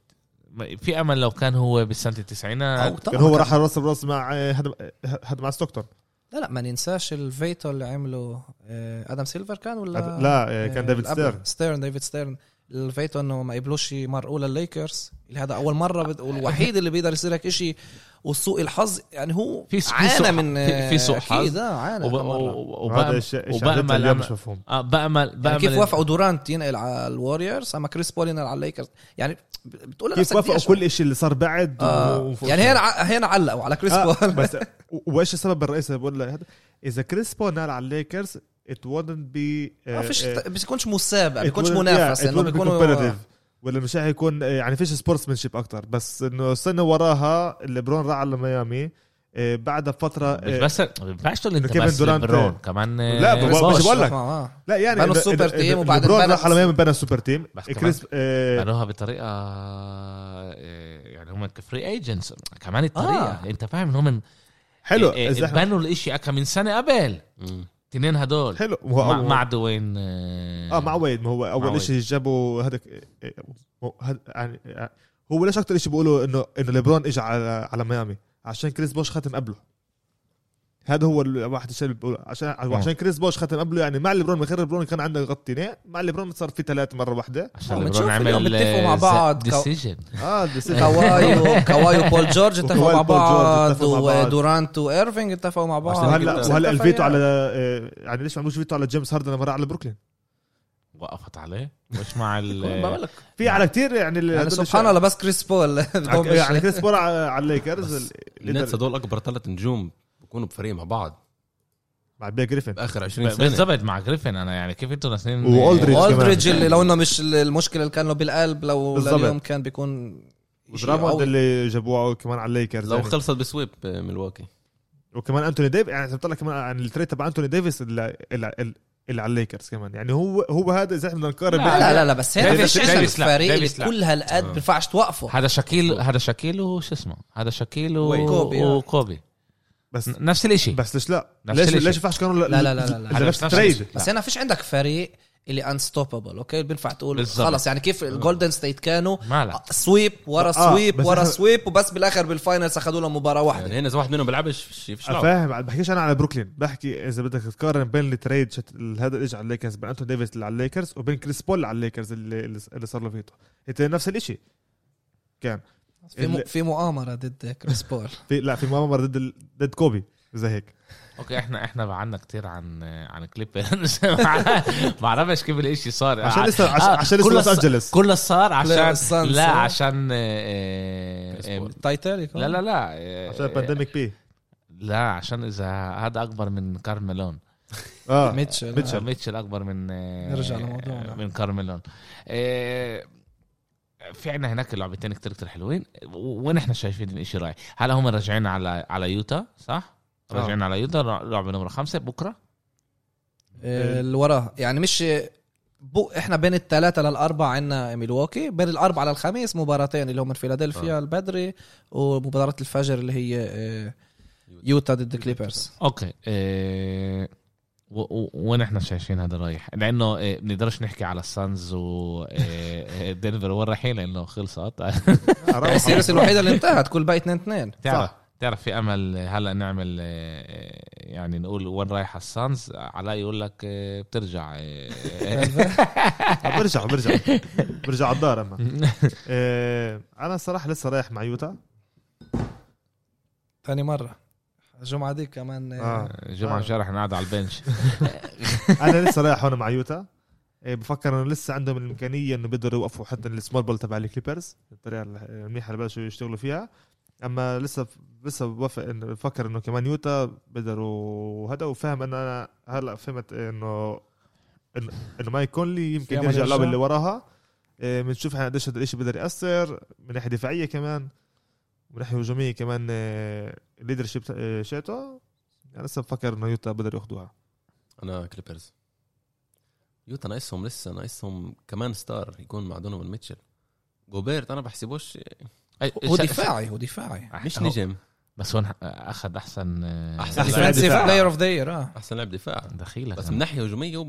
[SPEAKER 1] في امل لو كان هو بسنه التسعينات
[SPEAKER 3] أو طبعاً
[SPEAKER 4] كان هو
[SPEAKER 3] كان-
[SPEAKER 4] راح راس براس مع آه، إيه، هذا آه، هذا مع ستوكتون
[SPEAKER 3] لا لا ما ننساش الفيتو اللي عمله آه، ادم سيلفر كان ولا
[SPEAKER 4] لا آه، كان ديفيد
[SPEAKER 3] آه،
[SPEAKER 4] ستيرن
[SPEAKER 3] ستيرن ديفيد ستيرن الفيتو انه ما قبلوش مرقوه للليكرز اللي هذا اول مره بد... والوحيد اللي بيقدر يصير لك شيء وسوء الحظ يعني هو
[SPEAKER 1] في- في سوء-
[SPEAKER 3] عانى من
[SPEAKER 1] في- في سوء حظ.
[SPEAKER 3] اكيد آه، عانى
[SPEAKER 1] وب-
[SPEAKER 3] وب... مرة.
[SPEAKER 1] وب-
[SPEAKER 4] هذا
[SPEAKER 1] وبأمل
[SPEAKER 4] الشيء
[SPEAKER 1] وبأمل
[SPEAKER 4] اللي
[SPEAKER 1] أم-
[SPEAKER 4] مش مفهوم
[SPEAKER 1] آه، بأمل
[SPEAKER 3] يعني كيف
[SPEAKER 1] بأمل-
[SPEAKER 3] وافقوا دورانت ينقل على الوريورز اما كريس بول ينقل على الليكرز يعني بتقول
[SPEAKER 4] كيف
[SPEAKER 3] لنفسك دي
[SPEAKER 4] وافقوا
[SPEAKER 3] أشوف.
[SPEAKER 4] كل شيء اللي صار بعد و-
[SPEAKER 3] آه
[SPEAKER 4] وف-
[SPEAKER 3] يعني هنا ع- هنا علقوا على كريس
[SPEAKER 4] آه،
[SPEAKER 3] بول
[SPEAKER 4] بس و- وايش السبب الرئيسي بقول لك هذا؟ اذا كريس بول نال على الليكرز it wouldn't be
[SPEAKER 3] ما فيش
[SPEAKER 4] آه،
[SPEAKER 3] ما بيكونش مسابقه ما يعني
[SPEAKER 4] It
[SPEAKER 3] بيكونش
[SPEAKER 4] wouldn't-
[SPEAKER 3] منافسه
[SPEAKER 4] yeah, it
[SPEAKER 3] لانه
[SPEAKER 4] wouldn't be
[SPEAKER 3] بيكونوا
[SPEAKER 4] competitive. ولا مش رح يكون يعني فيش سبورتسمنشيب اكتر بس انه السنه وراها ليبرون راح على ميامي آه، بعدها بفتره
[SPEAKER 1] مش
[SPEAKER 4] آه،
[SPEAKER 1] بس ما ينفعش تقول انت
[SPEAKER 4] كيفن
[SPEAKER 1] بس
[SPEAKER 4] دورانت.
[SPEAKER 1] ليبرون كمان آه،
[SPEAKER 4] لا، بس-
[SPEAKER 1] بوش.
[SPEAKER 4] مش بقول لك.
[SPEAKER 3] آه.
[SPEAKER 4] لا يعني
[SPEAKER 3] بنوا
[SPEAKER 4] إذا-
[SPEAKER 3] السوبر
[SPEAKER 4] إذا-
[SPEAKER 3] تيم
[SPEAKER 4] إذا
[SPEAKER 3] وبعدين
[SPEAKER 4] ليبرون
[SPEAKER 3] بنوا-
[SPEAKER 4] راح على ميامي بنى السوبر تيم
[SPEAKER 1] بس كمان-
[SPEAKER 4] كريس آه،
[SPEAKER 1] بنوها بطريقه آه، يعني هم كفري ايجنتس كمان الطريقه
[SPEAKER 3] آه.
[SPEAKER 1] انت فاهم ان هم
[SPEAKER 4] حلو
[SPEAKER 1] آه،
[SPEAKER 4] إذا إحنا-
[SPEAKER 1] بنوا الاشي أكا من سنه قبل
[SPEAKER 2] مم.
[SPEAKER 1] تنين هدول
[SPEAKER 4] حلو هو
[SPEAKER 1] مع,
[SPEAKER 4] هو-
[SPEAKER 1] مع دوين اه
[SPEAKER 4] اه مع ويد ما هو
[SPEAKER 1] مع
[SPEAKER 4] اول شيء جابوا هذاك آه، هو- هذا- يعني آه، هو ليش اكثر شيء بيقولوا انه انه ليبرون اجى على على ميامي عشان كريس بوش ختم قبله هذا هو الواحد الشيء اللي بيقوله عشان عشان كريس بوش ختم قبله يعني مع ليبرون من غير ليبرون كان عندنا غطينين مع ليبرون صار في ثلاث مره واحده
[SPEAKER 1] عشان
[SPEAKER 3] آه،
[SPEAKER 1] ليبرون
[SPEAKER 3] بتشوف اليوم
[SPEAKER 1] عمل
[SPEAKER 3] بيتفقوا مع بعض.
[SPEAKER 1] ديسيجن
[SPEAKER 4] اه decision.
[SPEAKER 3] كواي كواي وبول جورج اتفقوا
[SPEAKER 4] وكواي
[SPEAKER 3] مع
[SPEAKER 4] وبول جورج
[SPEAKER 3] بعض
[SPEAKER 4] اتفقوا مع بعض.
[SPEAKER 3] ودورانت وايرفينج اتفقوا مع بعض
[SPEAKER 4] وهلا
[SPEAKER 3] بس
[SPEAKER 4] وهلا
[SPEAKER 3] اتفق
[SPEAKER 4] الفيتو على
[SPEAKER 3] يعني.
[SPEAKER 4] آه، يعني ليش ما عملوش فيتو على جيمس هاردن لما راح على بروكلين
[SPEAKER 1] وقفت عليه مش مع ال
[SPEAKER 2] بقولك
[SPEAKER 4] في على كثير يعني ال-
[SPEAKER 3] يعني
[SPEAKER 4] هدول
[SPEAKER 3] سبحان الله بس كريس بول
[SPEAKER 4] الشيء.
[SPEAKER 3] بدهم
[SPEAKER 4] يعني
[SPEAKER 3] مش-
[SPEAKER 4] كريس بول على على الليكرز
[SPEAKER 2] بس
[SPEAKER 4] ال-
[SPEAKER 2] النتس هدول اكبر ثلاث نجوم بكونوا بفريق مع بعض
[SPEAKER 4] مع بيا جريفن
[SPEAKER 2] باخر 20 سنه
[SPEAKER 1] بالضبط مع جريفن انا يعني كيف انتوا الاثنين
[SPEAKER 4] وأولدريج. كمان.
[SPEAKER 3] اولدريدج اللي لو انه مش المشكله اللي كان له بالقلب لو
[SPEAKER 4] بالظبط.
[SPEAKER 3] اليوم كان بيكون شيء
[SPEAKER 4] ودراموند
[SPEAKER 3] قوي.
[SPEAKER 4] اللي جابوه كمان على الليكرز
[SPEAKER 2] لو
[SPEAKER 4] يعني.
[SPEAKER 2] خلصت بسويب آه، ملواكي
[SPEAKER 4] وكمان انتوني ديفيس يعني بتطلع كمان عن التريد تبع انتوني ديفيس اللي, اللي, اللي على الليكرز كمان يعني هو هو هذا اذا احنا بدنا نقارن
[SPEAKER 1] لا،
[SPEAKER 4] بين-
[SPEAKER 3] لا لا لا بس هنا
[SPEAKER 1] ديفيس-
[SPEAKER 3] فيش عندك
[SPEAKER 1] ديفيس لا،
[SPEAKER 3] فريق
[SPEAKER 1] ديفيس لا. آه.
[SPEAKER 3] اللي كل هالقد ما بينفعش توقفه
[SPEAKER 1] هذا شاكيل هذا شاكيل وش اسمه هذا شاكيل
[SPEAKER 2] ويد.
[SPEAKER 1] وكوبي
[SPEAKER 3] كوبي، آه.
[SPEAKER 1] وكوبي
[SPEAKER 4] بس
[SPEAKER 1] ن- نفس الاشي
[SPEAKER 4] بس ليش لا؟
[SPEAKER 1] نفس
[SPEAKER 4] ليش
[SPEAKER 1] الاشي.
[SPEAKER 4] ليش ما ينفعش كانوا
[SPEAKER 3] لا، لا، لا، لا، لا.
[SPEAKER 4] نفس تريد
[SPEAKER 3] بس هنا فيش عندك فريق اللي انستوببل اوكي بينفع تقول
[SPEAKER 1] بالظبط.
[SPEAKER 3] خلص يعني كيف
[SPEAKER 1] آه.
[SPEAKER 3] الجولدن ستيت كانوا
[SPEAKER 1] مالك
[SPEAKER 3] سويب ورا
[SPEAKER 4] آه،
[SPEAKER 3] سويب
[SPEAKER 4] بس
[SPEAKER 3] ورا
[SPEAKER 4] إحنا-
[SPEAKER 3] سويب وبس بالاخر بالفاينلز اخذوا لهم مباراه واحده
[SPEAKER 2] يعني هنا اذا واحد منهم بيلعبش فيش فيش لعب
[SPEAKER 4] فاهم ما بحكيش انا على بروكلين بحكي اذا بدك تقارن بين التريد شت... هذا اللي اجى على الليكرز بين انتوني ديفيس اللي على الليكرز وبين كريس بول اللي على الليكرز اللي, اللي صار له فيتو انت نفس الشيء كان
[SPEAKER 3] في, م...
[SPEAKER 4] ال-
[SPEAKER 3] في مؤامره ضد كريس بول
[SPEAKER 4] في لا في مؤامره ضد ال... ضد كوبي زي هيك
[SPEAKER 1] اوكي احنا احنا بعدنا كتير عن عن كليبرز ما بعرفش كيف الاشي صار
[SPEAKER 4] عشان لسه عشان,
[SPEAKER 1] آه،
[SPEAKER 4] عشان لسه
[SPEAKER 1] كل الص-
[SPEAKER 4] لوس انجلس
[SPEAKER 1] كل الصار عشان
[SPEAKER 3] السانس،
[SPEAKER 1] لا
[SPEAKER 3] آه.
[SPEAKER 1] عشان آه، آه، آه،
[SPEAKER 3] تايتانيك
[SPEAKER 1] لا لا لا آه،
[SPEAKER 4] عشان
[SPEAKER 1] آه،
[SPEAKER 4] بانديميك بي
[SPEAKER 1] لا عشان اذا هذا اكبر من
[SPEAKER 3] نعم.
[SPEAKER 1] كارميلون
[SPEAKER 4] اه
[SPEAKER 3] ميتشل
[SPEAKER 1] آه،
[SPEAKER 4] ميتشل.
[SPEAKER 1] ميتشل اكبر من آه،
[SPEAKER 3] نرجع لموضوعنا.
[SPEAKER 1] من كارميلون آه، في عنا هناك لعبتين كتير كتير حلوين ونحن شايفين الاشي رايح هلا هم راجعين على على يوتا صح؟
[SPEAKER 4] آه.
[SPEAKER 1] راجعين على يوتا لعبه نمرة خمسة بكره
[SPEAKER 3] آه، اللي وراه يعني مش بو احنا بين الثلاثة للأربعة عندنا ميلواكي بين الأربعة للخميس مباراتين اللي هم من فيلادلفيا البدري ومباراة الفجر اللي هي آه، يوتا ضد كليبرز
[SPEAKER 1] اوكي إيه و- و- وين احنا شايفين هذا رايح؟ لانه إيه، بنقدرش نحكي على السانز ودنفر وين رايحين لانه خلصت
[SPEAKER 4] آه.
[SPEAKER 3] السيريس الوحيدة اللي انتهت كل باقي 2 2
[SPEAKER 1] تعرف تعرف في امل هلا نعمل إيه، يعني نقول وين رايح السانز علاء يقول لك إيه، بترجع إيه.
[SPEAKER 4] آه، برجع برجع برجع على الدار اما آه، انا صراحه لسه رايح مع يوتا
[SPEAKER 3] ثاني مرة الجمعة دي كمان آه.
[SPEAKER 4] آه.
[SPEAKER 1] جمعه شرح نقعد على البنش
[SPEAKER 4] انا لسه رايح هون مع يوتا آه، بفكر انه لسه عندهم الامكانيه انه بيقدروا يوقفوا حتى السمول بول تبع الكليبرز الطريقه المنيحه اللي بلشوا يشتغلوا فيها اما لسه لسه بوافق انه بفكر انه كمان يوتا بيقدروا هذا وفاهم ان انا هلا فهمت انه انه إنه مايك كونلي يمكن
[SPEAKER 3] فيها ما
[SPEAKER 4] يرجع اللعبه
[SPEAKER 3] يرجع.
[SPEAKER 4] اللي وراها آه، بنشوف احنا قديش هذا الشيء بيقدر ياثر من ناحيه دفاعيه كمان من ناحيه هجوميه كمان إيه، الليدرشيب شيتو انا لسه بفكر انه يوتا بيقدر ياخذوها
[SPEAKER 2] انا كليبرز يوتا ناقصهم لسه ناقصهم كمان ستار يكون مع دونوفان ميتشل جوبيرت انا بحسبوش
[SPEAKER 3] هو دفاعي هو دفاعي
[SPEAKER 2] مش نجم
[SPEAKER 1] آه، بس هون آه، اخذ احسن إيه،
[SPEAKER 2] أحسن لاعب
[SPEAKER 3] ديفنسيف
[SPEAKER 2] دفاع.
[SPEAKER 3] بلاير اوف ذا يير اه
[SPEAKER 2] احسن لاعب دفاع
[SPEAKER 1] دخيلك
[SPEAKER 2] بس من ناحيه هجوميه هو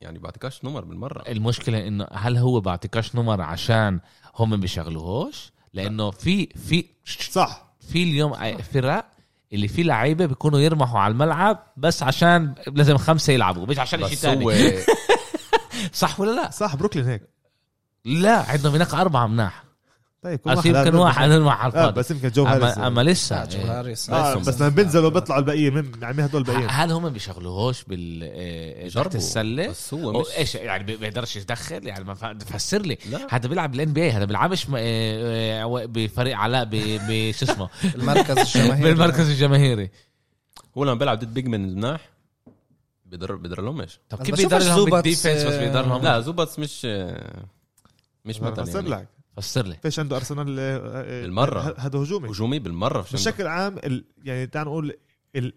[SPEAKER 2] يعني بعتكاش نمر بالمره
[SPEAKER 1] المشكله انه هل هو بعطيكاش نمر عشان هم بيشغلوهوش لانه في في
[SPEAKER 4] صح
[SPEAKER 1] في اليوم فرق اللي فيه لعيبه بيكونوا يرمحوا على الملعب بس عشان لازم خمسه يلعبوا مش عشان شيء
[SPEAKER 2] بس
[SPEAKER 1] ثاني
[SPEAKER 2] هو
[SPEAKER 1] صح ولا لا؟
[SPEAKER 4] صح بروكلين هيك
[SPEAKER 1] لا عندهم هناك اربعه مناح
[SPEAKER 4] طيب كل
[SPEAKER 1] بس يمكن
[SPEAKER 4] لازم-
[SPEAKER 1] واحد يرمح على
[SPEAKER 4] آه
[SPEAKER 1] الفاضي
[SPEAKER 4] بس يمكن جو هاريس
[SPEAKER 1] اما اما لسه
[SPEAKER 3] جو
[SPEAKER 1] إيه.
[SPEAKER 3] هاريس
[SPEAKER 4] آه
[SPEAKER 2] هاريسون.
[SPEAKER 4] بس لما بينزلوا بيطلعوا الباقيين من يعني مين هدول الباقيين
[SPEAKER 1] هل هم بيشغلوهوش بال إيه، تحت
[SPEAKER 2] جربوا.
[SPEAKER 1] السله؟
[SPEAKER 2] بس هو
[SPEAKER 1] أو
[SPEAKER 2] مش
[SPEAKER 1] ايش يعني بي- بيقدرش يدخل يعني ما فا- فسر لي
[SPEAKER 2] لا
[SPEAKER 1] هذا بيلعب بالان بي هذا بيلعبش م- إيه، إيه، بفريق علاء ب ب- شو اسمه
[SPEAKER 3] المركز الجماهيري
[SPEAKER 1] بالمركز الجماهيري
[SPEAKER 2] هو لما بيلعب ضد بيج من مناح بيضر بيضر لهمش
[SPEAKER 1] طب
[SPEAKER 3] بس
[SPEAKER 1] كيف
[SPEAKER 3] بشوفش
[SPEAKER 1] بيقدر لهم
[SPEAKER 3] زوبتس،
[SPEAKER 1] بالديفنس بس بيقدر لهم لا
[SPEAKER 2] لا زوباتس مش مش مثلا
[SPEAKER 4] بصير
[SPEAKER 2] يعني.
[SPEAKER 4] آه، لك
[SPEAKER 1] فسر لي
[SPEAKER 4] فيش عنده ارسنال آه، آه،
[SPEAKER 2] بالمرة.
[SPEAKER 4] ه- هذا هجومي
[SPEAKER 2] هجومي بالمره في شنطة.
[SPEAKER 4] بشكل عام ال... يعني تعال نقول ال...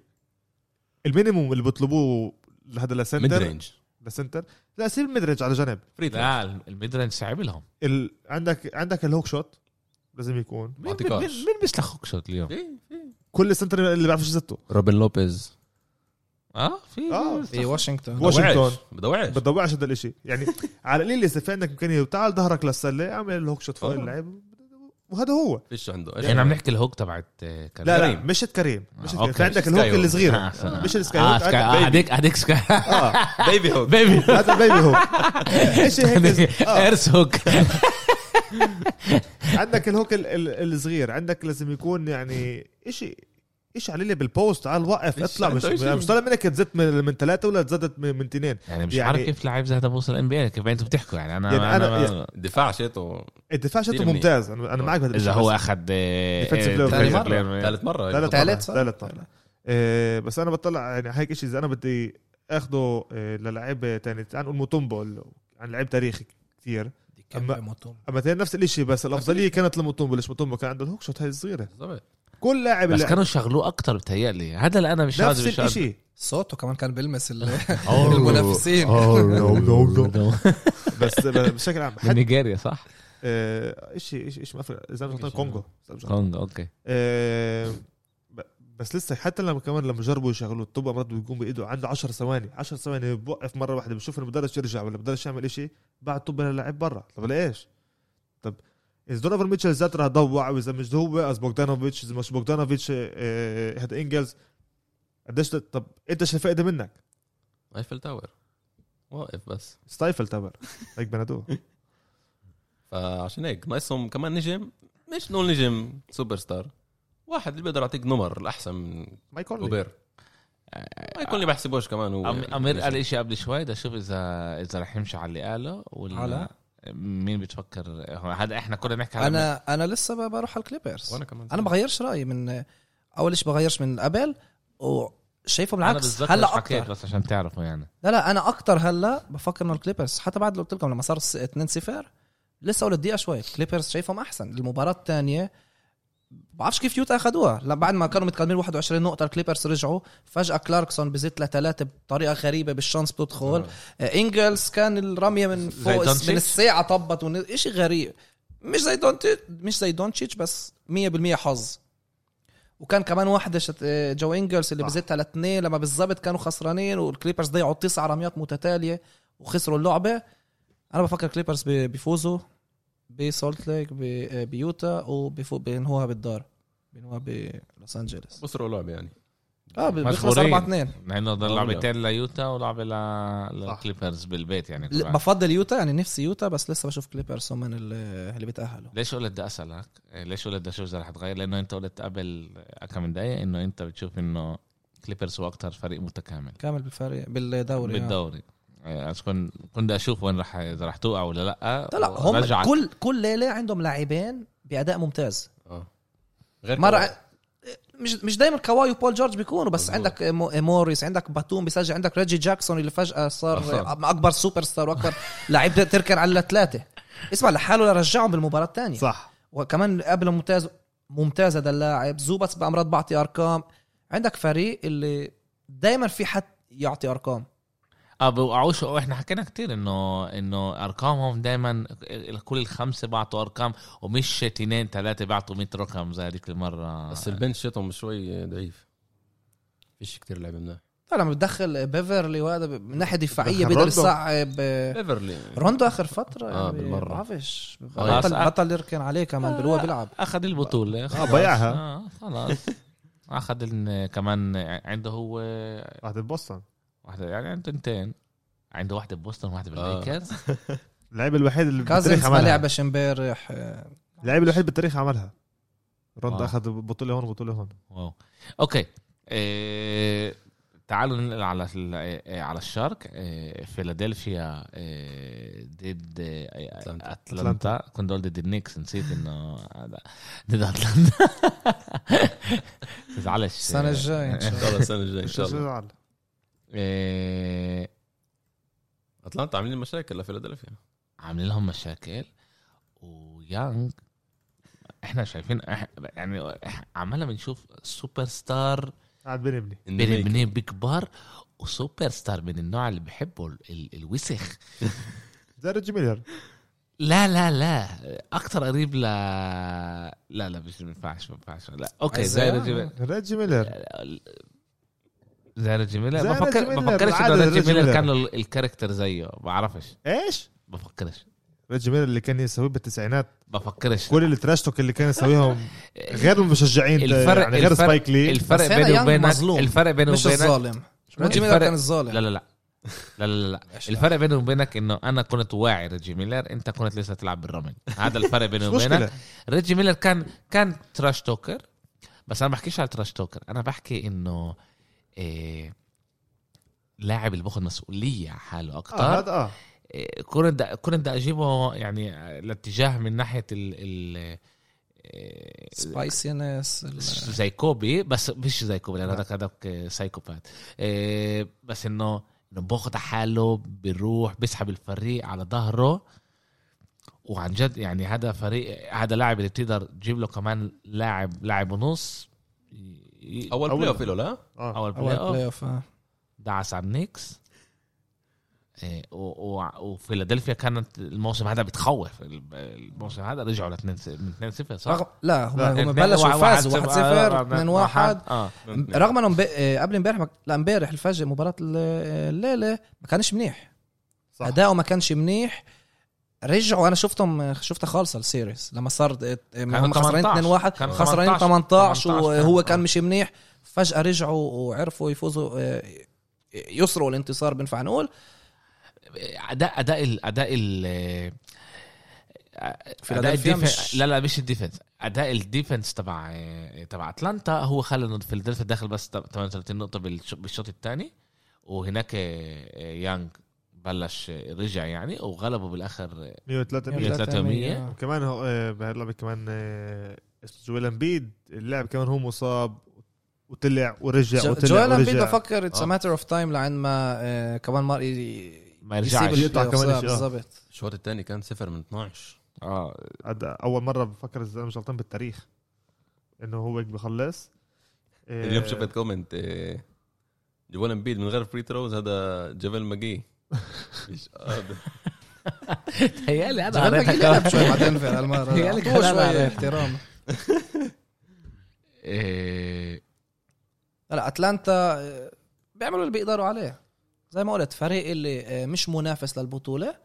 [SPEAKER 4] المينيموم اللي بيطلبوه لهذا
[SPEAKER 2] ميد
[SPEAKER 4] لسنتر
[SPEAKER 2] رينج
[SPEAKER 4] لسنتر لا سيب مدرج على جنب
[SPEAKER 2] فري ثرو.
[SPEAKER 1] لا الميد رينج صعب لهم
[SPEAKER 4] ال... عندك عندك الهوك شوت لازم يكون
[SPEAKER 1] مين مين
[SPEAKER 2] أعطيكاش.
[SPEAKER 1] مين بيسلخ هوك شوت اليوم؟
[SPEAKER 2] في- في.
[SPEAKER 4] كل سنتر اللي بيعرفش يزته
[SPEAKER 2] روبن لوبيز
[SPEAKER 1] اه في
[SPEAKER 4] آه.
[SPEAKER 3] في إيه، واشنطن
[SPEAKER 4] واشنطن
[SPEAKER 2] بدوعش
[SPEAKER 4] بتضوعش هذا الاشي يعني على القليل اذا في عندك امكانيه وتعال ظهرك للسله اعمل الهوك شوت فوق
[SPEAKER 2] آه.
[SPEAKER 4] اللاعب وهذا هو
[SPEAKER 2] فيش عنده إيش
[SPEAKER 1] احنا عم
[SPEAKER 2] عنده؟
[SPEAKER 1] نحكي الهوك تبعت آه، كريم.
[SPEAKER 4] لا لا
[SPEAKER 2] كريم.
[SPEAKER 4] مش كريم
[SPEAKER 1] آه،
[SPEAKER 4] مش
[SPEAKER 1] أوكي.
[SPEAKER 4] كريم عندك
[SPEAKER 2] سكاي
[SPEAKER 4] الهوك
[SPEAKER 2] هوك.
[SPEAKER 4] الصغيره
[SPEAKER 1] آه، آه.
[SPEAKER 4] مش السكاي
[SPEAKER 1] اه
[SPEAKER 4] هوك
[SPEAKER 1] سكاي
[SPEAKER 4] عندك
[SPEAKER 1] آه،
[SPEAKER 4] بيبي.
[SPEAKER 1] هديك هديك سكاي
[SPEAKER 4] اه
[SPEAKER 2] بيبي هوك
[SPEAKER 1] بيبي
[SPEAKER 4] هذا البيبي هوك ايش
[SPEAKER 1] يعني
[SPEAKER 4] هيك آه.
[SPEAKER 1] ايرس هوك
[SPEAKER 4] عندك الهوك ال- ال- الصغير عندك لازم يكون يعني اشي اشي عليه بالبوست تعال وقف
[SPEAKER 2] إيش
[SPEAKER 4] اطلع مش
[SPEAKER 2] عنده
[SPEAKER 4] مش
[SPEAKER 2] إشي؟
[SPEAKER 4] طالب منك تزت من من ثلاثه ولا تزدت من من اثنين
[SPEAKER 1] يعني مش
[SPEAKER 4] يعني-
[SPEAKER 1] عارف كيف لاعب زي هذا بوصل ان بي كيف انتم بتحكوا يعني انا
[SPEAKER 4] يعني أنا-
[SPEAKER 1] انا
[SPEAKER 2] دفاع شيته
[SPEAKER 4] الدفاع شفته
[SPEAKER 2] كتير منيح.
[SPEAKER 4] ممتاز انا انا معك بهذا
[SPEAKER 1] اذا
[SPEAKER 4] الإشي،
[SPEAKER 1] طيب. هو آه،
[SPEAKER 4] بس-
[SPEAKER 1] اخذ
[SPEAKER 4] Defensive player of the year.
[SPEAKER 2] ثالث مره
[SPEAKER 4] ثالث
[SPEAKER 3] ثالث
[SPEAKER 4] مرة.
[SPEAKER 3] صح؟
[SPEAKER 4] ثالث مرة. آه، بس انا بطلع يعني هيك شيء اذا انا بدي اخده آه، للعيب تاني تعال نقول موتومبو ال- عن لعيب تاريخي كثير أما- اما تاني نفس الشيء بس الافضليه كانت لموتومبو ليش موتومبو كان عنده الهوك شوت هاي الصغيره
[SPEAKER 2] بالضبط
[SPEAKER 4] كل لاعب
[SPEAKER 1] بس
[SPEAKER 4] اللي-
[SPEAKER 1] كانوا شغلوه اكتر بتهيألي هذا اللي انا مش
[SPEAKER 4] نفس
[SPEAKER 1] راضي- مش راضي.
[SPEAKER 4] الشيء
[SPEAKER 3] صوته كمان كان بيلمس ال-
[SPEAKER 1] أوه.
[SPEAKER 3] المنافسين
[SPEAKER 4] بس بشكل عام
[SPEAKER 1] من
[SPEAKER 4] حد
[SPEAKER 1] نيجيريا صح؟
[SPEAKER 4] آه، شيء شيء شيء من افريقيا اذا مش غلطان كونغو إذا مش غلطان.
[SPEAKER 1] كونغ اوكي
[SPEAKER 4] آه، ب- بس لسه حتى لما كمان لما جربوا يشغلوا الطبقه مرات بيقوم بايده عنده 10 ثواني 10 ثواني بوقف مره واحده بشوف المدرس يرجع ولا بقدرش يعمل إشي بعد طب للاعب برا طب ليش؟ طب اذا دونوفر ميتشل ذات رح ضوع واذا مش هو اذا بوغدانوفيتش اذا مش بوغدانوفيتش آه، هذا انجلز قديش طب انت شو الفائده منك؟
[SPEAKER 2] ايفل تاور واقف بس
[SPEAKER 4] ستايفل تبر هيك بنادوه
[SPEAKER 2] فعشان هيك ناقصهم كمان نجم مش نقول نجم سوبر ستار واحد اللي بيقدر يعطيك نمر الاحسن من
[SPEAKER 4] ما يكون
[SPEAKER 2] اوبير ما يكون اللي بحسبوش كمان هو
[SPEAKER 1] أم-
[SPEAKER 2] يعني
[SPEAKER 1] امير
[SPEAKER 2] نجم.
[SPEAKER 1] قال إشي قبل شوي بدي اشوف اذا اذا رح يمشي على اللي قاله ولا
[SPEAKER 3] على؟
[SPEAKER 1] مين بتفكر هو هذا احنا كنا بنحكي على
[SPEAKER 3] انا انا لسه ب- بروح على الكليبرز
[SPEAKER 2] وانا كمان
[SPEAKER 3] انا بغيرش رايي من اول شيء بغيرش من قبل وشايفه
[SPEAKER 1] أنا
[SPEAKER 3] بالعكس
[SPEAKER 1] بتذكر إيش
[SPEAKER 3] هلا
[SPEAKER 1] حكيت
[SPEAKER 3] اكتر
[SPEAKER 1] بس عشان تعرفوا يعني
[SPEAKER 3] لا لا انا اكتر هلا بفكر انه الكليبرز حتى بعد اللي قلت لكم لما صار 2 0 لسه اول دقيقه شوي الكليبرز شايفهم احسن المباراه الثانيه بعرفش كيف يوتا اخذوها لما بعد ما كانوا متقدمين 21 نقطه الكليبرز رجعوا فجاه كلاركسون بزيت لثلاثه بطريقه غريبه بالشانس بتدخل آه، انجلز كان الرميه من
[SPEAKER 1] زي
[SPEAKER 3] فوق
[SPEAKER 1] دونتيتش؟
[SPEAKER 3] من الساعه طبت ون- اشي غريب مش زي دونتيتش مش زي دونتيتش بس 100% حظ وكان كمان واحدة شت... آه، جو انجلز اللي
[SPEAKER 4] صح.
[SPEAKER 3] بزتها لاثنين لما بالظبط كانوا خسرانين والكليبرز ضيعوا تسع رميات متتالية وخسروا اللعبة أنا بفكر الكليبرز بي- بيفوزوا بسولت ليك ب- آه، بيوتا وبيفو بينهوها بالدار بينهوها بلوس انجلوس
[SPEAKER 2] بصروا لعبه يعني
[SPEAKER 3] اه بي- بيخلص
[SPEAKER 1] مجبورين.
[SPEAKER 3] 4 2
[SPEAKER 1] مع انه ضل
[SPEAKER 2] والله.
[SPEAKER 1] لعبتين ليوتا ولعبه ل- للكليبرز بالبيت يعني كل واحد.
[SPEAKER 3] بفضل يوتا يعني نفسي يوتا بس لسه بشوف كليبرز هم اللي اللي بيتأهلوا
[SPEAKER 1] ليش قلت بدي اسالك؟ إيه، ليش قلت بدي اشوف اذا رح تغير؟ لانه انت قلت قبل آه، كم من دقيقه انه انت بتشوف انه كليبرز هو اكثر فريق متكامل
[SPEAKER 3] كامل بالفريق بالدوري آه.
[SPEAKER 1] بالدوري إيه، أش- كن- كنت بدي اشوف وين رح اذا رح توقع ولا لا
[SPEAKER 3] لا لا هم
[SPEAKER 1] ورجعت.
[SPEAKER 3] كل كل ليله عندهم لاعبين باداء ممتاز
[SPEAKER 2] اه غير
[SPEAKER 3] مره
[SPEAKER 2] كمان.
[SPEAKER 3] مش مش دايما كواي وبول جورج بيكونوا بس
[SPEAKER 2] مظبوط.
[SPEAKER 3] عندك آه، مو- موريس عندك باتوم بيسجل عندك ريجي جاكسون اللي فجاه صار
[SPEAKER 1] آه.
[SPEAKER 3] اكبر سوبر ستار واكبر لعيب بده تركن على ثلاثه اسمع لحاله رجعهم بالمباراه الثانيه
[SPEAKER 4] صح
[SPEAKER 3] وكمان قبل ممتاز ممتاز هذا اللاعب زوبتس بامراض بعطي ارقام عندك فريق اللي دايما في حد يعطي ارقام
[SPEAKER 1] اه بوقعوش احنا حكينا كتير انه انه ارقامهم دائما كل الخمسه بعطوا ارقام ومش اثنين ثلاثه بعطوا 100 رقم زي هذيك المره
[SPEAKER 2] آه. بس البنش شيتهم شوي ضعيف فيش كتير لعبه منها
[SPEAKER 3] طيب لما بتدخل بيفرلي وهذا من ناحيه دفاعيه
[SPEAKER 4] دخل
[SPEAKER 3] بيقدر
[SPEAKER 4] روندو.
[SPEAKER 3] يصعب
[SPEAKER 2] بيفرلي
[SPEAKER 3] روندو اخر فتره
[SPEAKER 2] آه،
[SPEAKER 3] يعني
[SPEAKER 2] بالمرة.
[SPEAKER 3] بعرفش
[SPEAKER 1] خلاص،
[SPEAKER 3] بطل
[SPEAKER 1] آه.
[SPEAKER 3] بطل يركن عليه كمان بالهو بيلعب
[SPEAKER 4] آه،
[SPEAKER 1] اخذ البطوله خلاص.
[SPEAKER 4] ضيعها.
[SPEAKER 1] آه خلاص اخذ إن كمان عنده هو
[SPEAKER 4] راح تتبصن
[SPEAKER 1] واحده يعني عنده تنتين عنده واحده ببوسطن وواحده
[SPEAKER 2] آه.
[SPEAKER 1] بالليكرز
[SPEAKER 4] اللعيب الوحيد اللي
[SPEAKER 3] كازنز
[SPEAKER 4] بالتاريخ
[SPEAKER 3] ما
[SPEAKER 4] عملها
[SPEAKER 3] لعبش امبارح آه،
[SPEAKER 4] اللعيب الوحيد بالتاريخ عملها رد
[SPEAKER 1] آه.
[SPEAKER 4] اخذ بطوله هون بطوله هون
[SPEAKER 1] واو اوكي إيه... تعالوا ننقل على ال- إيه، على الشرق إيه... فيلادلفيا إيه... ضد إيه...
[SPEAKER 2] أتلانتا.
[SPEAKER 1] اتلانتا, أتلانتا. كنت قلت ضد النكس نسيت انه هذا- ضد اتلانتا تزعلش
[SPEAKER 3] السنه الجايه ان شاء
[SPEAKER 2] ان
[SPEAKER 3] الله
[SPEAKER 2] شاء الله السنه الجايه ان
[SPEAKER 4] مش
[SPEAKER 2] شاء الله
[SPEAKER 4] زعل
[SPEAKER 1] إيه...
[SPEAKER 2] اتلانتا عاملين مشاكل لفيلادلفيا
[SPEAKER 1] عاملين لهم مشاكل ويانج احنا شايفين إح... يعني إح... عمالنا بنشوف سوبر ستار
[SPEAKER 4] قاعد بنبني
[SPEAKER 1] بين بنين بكبار وسوبر ستار من النوع اللي بحبه ال- ال... الوسخ
[SPEAKER 4] زي ريجي ميلر
[SPEAKER 1] لا لا لا اكثر قريب ل لا لا مش ما ينفعش ما ينفعش لا أيوة. اوكي زي
[SPEAKER 3] إزاي؟
[SPEAKER 1] ريجي ميلر-
[SPEAKER 4] ريجي ميلر
[SPEAKER 1] زي ريجي ميلر
[SPEAKER 4] زي
[SPEAKER 1] ما
[SPEAKER 4] ريجي
[SPEAKER 1] بفكر
[SPEAKER 4] ميلر،
[SPEAKER 1] ما بفكرش
[SPEAKER 4] عادل
[SPEAKER 1] انه ريجي
[SPEAKER 4] ريجي
[SPEAKER 1] ميلر
[SPEAKER 4] ميلر.
[SPEAKER 1] كان له ال- الكاركتر زيه بعرفش
[SPEAKER 4] ايش؟
[SPEAKER 1] بفكرش
[SPEAKER 4] ريجي ميلر اللي كان يسويه بالتسعينات
[SPEAKER 1] بفكرش
[SPEAKER 4] كل التراش اللي كان يسويهم غير المشجعين
[SPEAKER 1] الفرق-
[SPEAKER 4] يعني غير
[SPEAKER 1] الفرق-
[SPEAKER 4] سبايك لي
[SPEAKER 1] الفرق
[SPEAKER 3] بس هنا
[SPEAKER 1] بينه
[SPEAKER 3] يانج
[SPEAKER 1] وبينك
[SPEAKER 3] مظلوم.
[SPEAKER 1] الفرق بينه
[SPEAKER 3] مش
[SPEAKER 1] وبينك
[SPEAKER 3] الظالم ريجي ميلر
[SPEAKER 1] الفرق-
[SPEAKER 3] كان الظالم
[SPEAKER 1] لا لا لا لا لا لا الفرق بينه وبينك انه انا كنت واعي ريجي ميلر انت كنت لسه تلعب بالرمل هذا الفرق بيني
[SPEAKER 4] مش
[SPEAKER 1] وبينك
[SPEAKER 4] مشكله
[SPEAKER 1] ريجي ميلر كان كان تراش توكر بس انا ما بحكيش على تراش توكر انا بحكي انه إيه لاعب اللي باخذ مسؤوليه على حاله
[SPEAKER 4] آه،
[SPEAKER 1] اكثر
[SPEAKER 4] هذا اه
[SPEAKER 1] إيه كنت كنت بدي اجيبه يعني الاتجاه من ناحيه ال ال إيه،
[SPEAKER 3] سبايسينس ال-
[SPEAKER 1] زي كوبي بس مش زي كوبي لان هذاك هذاك سايكوبات إيه، بس انه انه باخد حاله بيروح بيسحب الفريق على ظهره وعن جد يعني هذا فريق هذا لاعب اللي بتقدر تجيب له كمان لاعب لاعب ونص ي-
[SPEAKER 2] اول
[SPEAKER 4] أول-
[SPEAKER 2] بلاي اوف له لا
[SPEAKER 1] اول
[SPEAKER 4] اه
[SPEAKER 3] اول
[SPEAKER 1] بلاي
[SPEAKER 3] بلاي
[SPEAKER 1] اوف
[SPEAKER 3] اوف آه.
[SPEAKER 1] دعس على النكس إيه، و- و- وفيلادلفيا كانت الموسم هذا بتخوف الموسم هذا رجعوا ل 2 0 صح؟
[SPEAKER 3] رغم لا هم
[SPEAKER 4] لا،
[SPEAKER 3] هم
[SPEAKER 1] اتنين-
[SPEAKER 3] بلشوا
[SPEAKER 1] واحد-
[SPEAKER 3] فازوا
[SPEAKER 1] واحد
[SPEAKER 3] 1-0
[SPEAKER 1] صفر، آه،
[SPEAKER 3] 2-1
[SPEAKER 1] اه
[SPEAKER 3] رغم انه مب... آه، قبل امبارح ما... لا امبارح الفجر مباراه ال- الليله ما كانش منيح
[SPEAKER 4] صح.
[SPEAKER 3] اداؤه ما كانش منيح رجعوا انا شفتهم شفتها خالصه السيريس لما صار آه، هم خسرانين
[SPEAKER 1] 18.
[SPEAKER 3] 2 1
[SPEAKER 1] كانوا
[SPEAKER 3] خسرانين
[SPEAKER 1] 18 فعلاً.
[SPEAKER 3] 18 وهو كان
[SPEAKER 1] آه.
[SPEAKER 3] مش منيح فجاه رجعوا وعرفوا يفوزوا آه، يسروا الانتصار بنفع نقول
[SPEAKER 1] اداء اداء ال اداء ال اداء
[SPEAKER 3] فيلادلفيا
[SPEAKER 1] الديفنس
[SPEAKER 3] مش-
[SPEAKER 1] لا لا مش الديفنس اداء الديفنس تبع آه، تبع اتلانتا هو خلى انه فيلادلفيا داخل بس 38 نقطه بالش- بالشوط الثاني وهناك يانج بلش رجع يعني وغلبوا بالاخر 103.
[SPEAKER 4] 103 100
[SPEAKER 1] 300.
[SPEAKER 4] وكمان هو آه، بهاللعبه كمان آه، جويل امبيد اللاعب كمان هو مصاب وطلع ورجع
[SPEAKER 3] جو-
[SPEAKER 4] وطلع
[SPEAKER 3] جوال امبيد
[SPEAKER 4] ورجع
[SPEAKER 1] آه.
[SPEAKER 3] بفكر اتس ماتر اوف تايم لعند ما آه، كمان مار
[SPEAKER 1] ما يرجعش
[SPEAKER 4] يقطع كمان شيء، آه.
[SPEAKER 3] بالضبط
[SPEAKER 2] الشوط الثاني كان صفر من 12
[SPEAKER 1] اه
[SPEAKER 4] عد- اول مره بفكر اذا انا مش غلطان بالتاريخ انه هو هيك بخلص آه،
[SPEAKER 2] اليوم شفت كومنت إيه، جوال امبيد من غير فري ثروز هذا جافيل ماجي مش قادر
[SPEAKER 1] تهيألي انا
[SPEAKER 3] زمان
[SPEAKER 1] قريتها
[SPEAKER 3] بجي لعب
[SPEAKER 1] كمان.
[SPEAKER 3] شوي مع دنفر هالمرة
[SPEAKER 1] يا لك
[SPEAKER 3] اعطوه
[SPEAKER 1] حلال
[SPEAKER 3] شوي
[SPEAKER 1] عليك.
[SPEAKER 3] احترام
[SPEAKER 1] إيه،
[SPEAKER 3] لا، لا اتلانتا آه، بيعملوا اللي بيقدروا عليه زي ما قلت فريق اللي آه، مش منافس للبطولة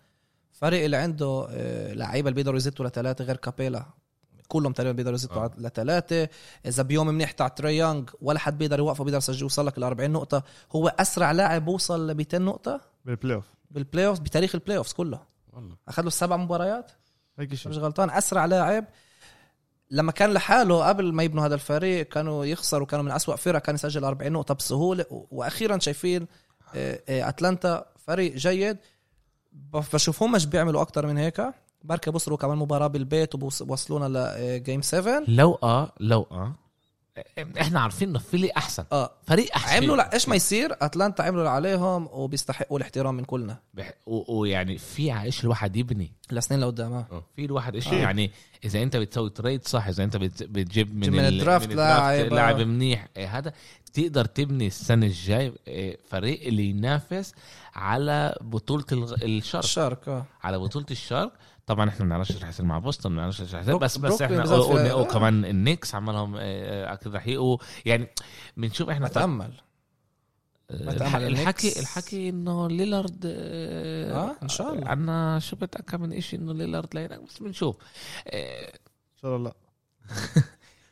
[SPEAKER 3] فريق اللي عنده آه، لعيبة اللي بيقدروا يزتوا لثلاثة غير كابيلا كلهم تقريبا بيقدروا يزتوا
[SPEAKER 2] آه.
[SPEAKER 3] على- لثلاثة إذا بيوم منيح تاع تري يونغ ولا حد بيقدر يوقفه بيقدر يسجل يوصل لك ل 40 نقطة هو أسرع لاعب بوصل ل 200 نقطة
[SPEAKER 4] بالبلاي اوف
[SPEAKER 3] بالبلاي أوف بتاريخ البلاي أوفز كله
[SPEAKER 2] والله
[SPEAKER 3] أخذ له سبع مباريات
[SPEAKER 4] هيك
[SPEAKER 3] مش
[SPEAKER 4] شيء
[SPEAKER 3] غلطان اسرع لاعب لما كان لحاله قبل ما يبنوا هذا الفريق كانوا يخسروا كانوا من أسوأ فرق كان يسجل 40 نقطه بسهوله و- واخيرا شايفين آه، آه، اتلانتا فريق جيد بف- بشوفهم مش بيعملوا اكتر من هيك بركة بصروا كمان مباراة بالبيت وبوصلونا آه، لجيم 7
[SPEAKER 1] لو اه لو اه احنا عارفين انه فيلي احسن
[SPEAKER 3] اه
[SPEAKER 1] فريق احسن
[SPEAKER 3] عملوا لا ايش ما يصير اتلانتا عملوا اللي عليهم وبيستحقوا الاحترام من كلنا
[SPEAKER 1] بح- و- ويعني في عايش الواحد يبني
[SPEAKER 3] لسنين لقدام آه.
[SPEAKER 1] في الواحد ايش
[SPEAKER 4] آه.
[SPEAKER 1] يعني اذا انت بتسوي تريد صح اذا انت بت- بتجيب من,
[SPEAKER 3] من الدرافت لاعب. آه.
[SPEAKER 1] لاعب منيح إيه هذا بتقدر تبني السنه الجاي إيه، فريق اللي ينافس على بطوله الغ- الشرق
[SPEAKER 3] الشرق اه
[SPEAKER 1] على بطوله الشرق طبعا احنا ما بنعرفش ايش رح يصير مع بوسطن ما بنعرفش ايش رح يصير
[SPEAKER 3] بروك-
[SPEAKER 1] بس بس
[SPEAKER 3] بروكلين
[SPEAKER 1] احنا
[SPEAKER 3] بالذات
[SPEAKER 1] قلنا
[SPEAKER 3] في-
[SPEAKER 1] أو كمان النكس عملهم إيه، اكيد رح يقوا يعني بنشوف احنا
[SPEAKER 3] بتامل
[SPEAKER 1] الح-
[SPEAKER 3] تعمل
[SPEAKER 1] الحكي
[SPEAKER 3] النكس.
[SPEAKER 1] الحكي انه ليلارد إيه،
[SPEAKER 3] آه، إن شاء الله.
[SPEAKER 1] انا شفت كم من شيء انه إيه، ليلارد لينك بس بنشوف آه،
[SPEAKER 4] ان شاء الله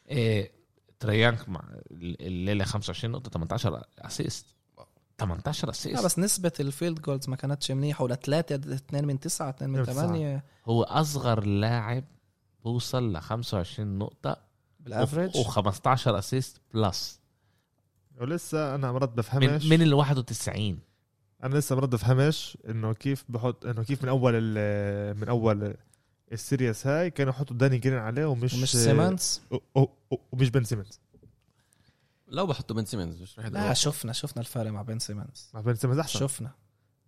[SPEAKER 1] آه، تريانك مع الليله 25 نقطه 18 اسيست 18
[SPEAKER 3] لا
[SPEAKER 1] اسيست
[SPEAKER 3] بس نسبة الفيلد جولز ما كانتش منيحة ولا 3 2 من 9 2 من
[SPEAKER 4] اتنين من
[SPEAKER 3] 8
[SPEAKER 1] هو اصغر لاعب بوصل ل 25 نقطه
[SPEAKER 3] بالافرج
[SPEAKER 1] و15 اسيست بلس
[SPEAKER 4] ولسه انا مرات بفهمش
[SPEAKER 1] من, من ال 91
[SPEAKER 4] انا لسه برضه بفهمش انه كيف بحط انه كيف من اول ال- من اول السيريس هاي كانوا يحطوا داني جرين عليه ومش
[SPEAKER 3] ومش سيمنز
[SPEAKER 4] و- و- ومش بن سيمنز
[SPEAKER 2] لو بحطوا بن سيمنز مش رح
[SPEAKER 3] لا شفنا شفنا الفرق مع بن سيمنز
[SPEAKER 4] مع بن سيمنز احسن شوف.
[SPEAKER 3] شفنا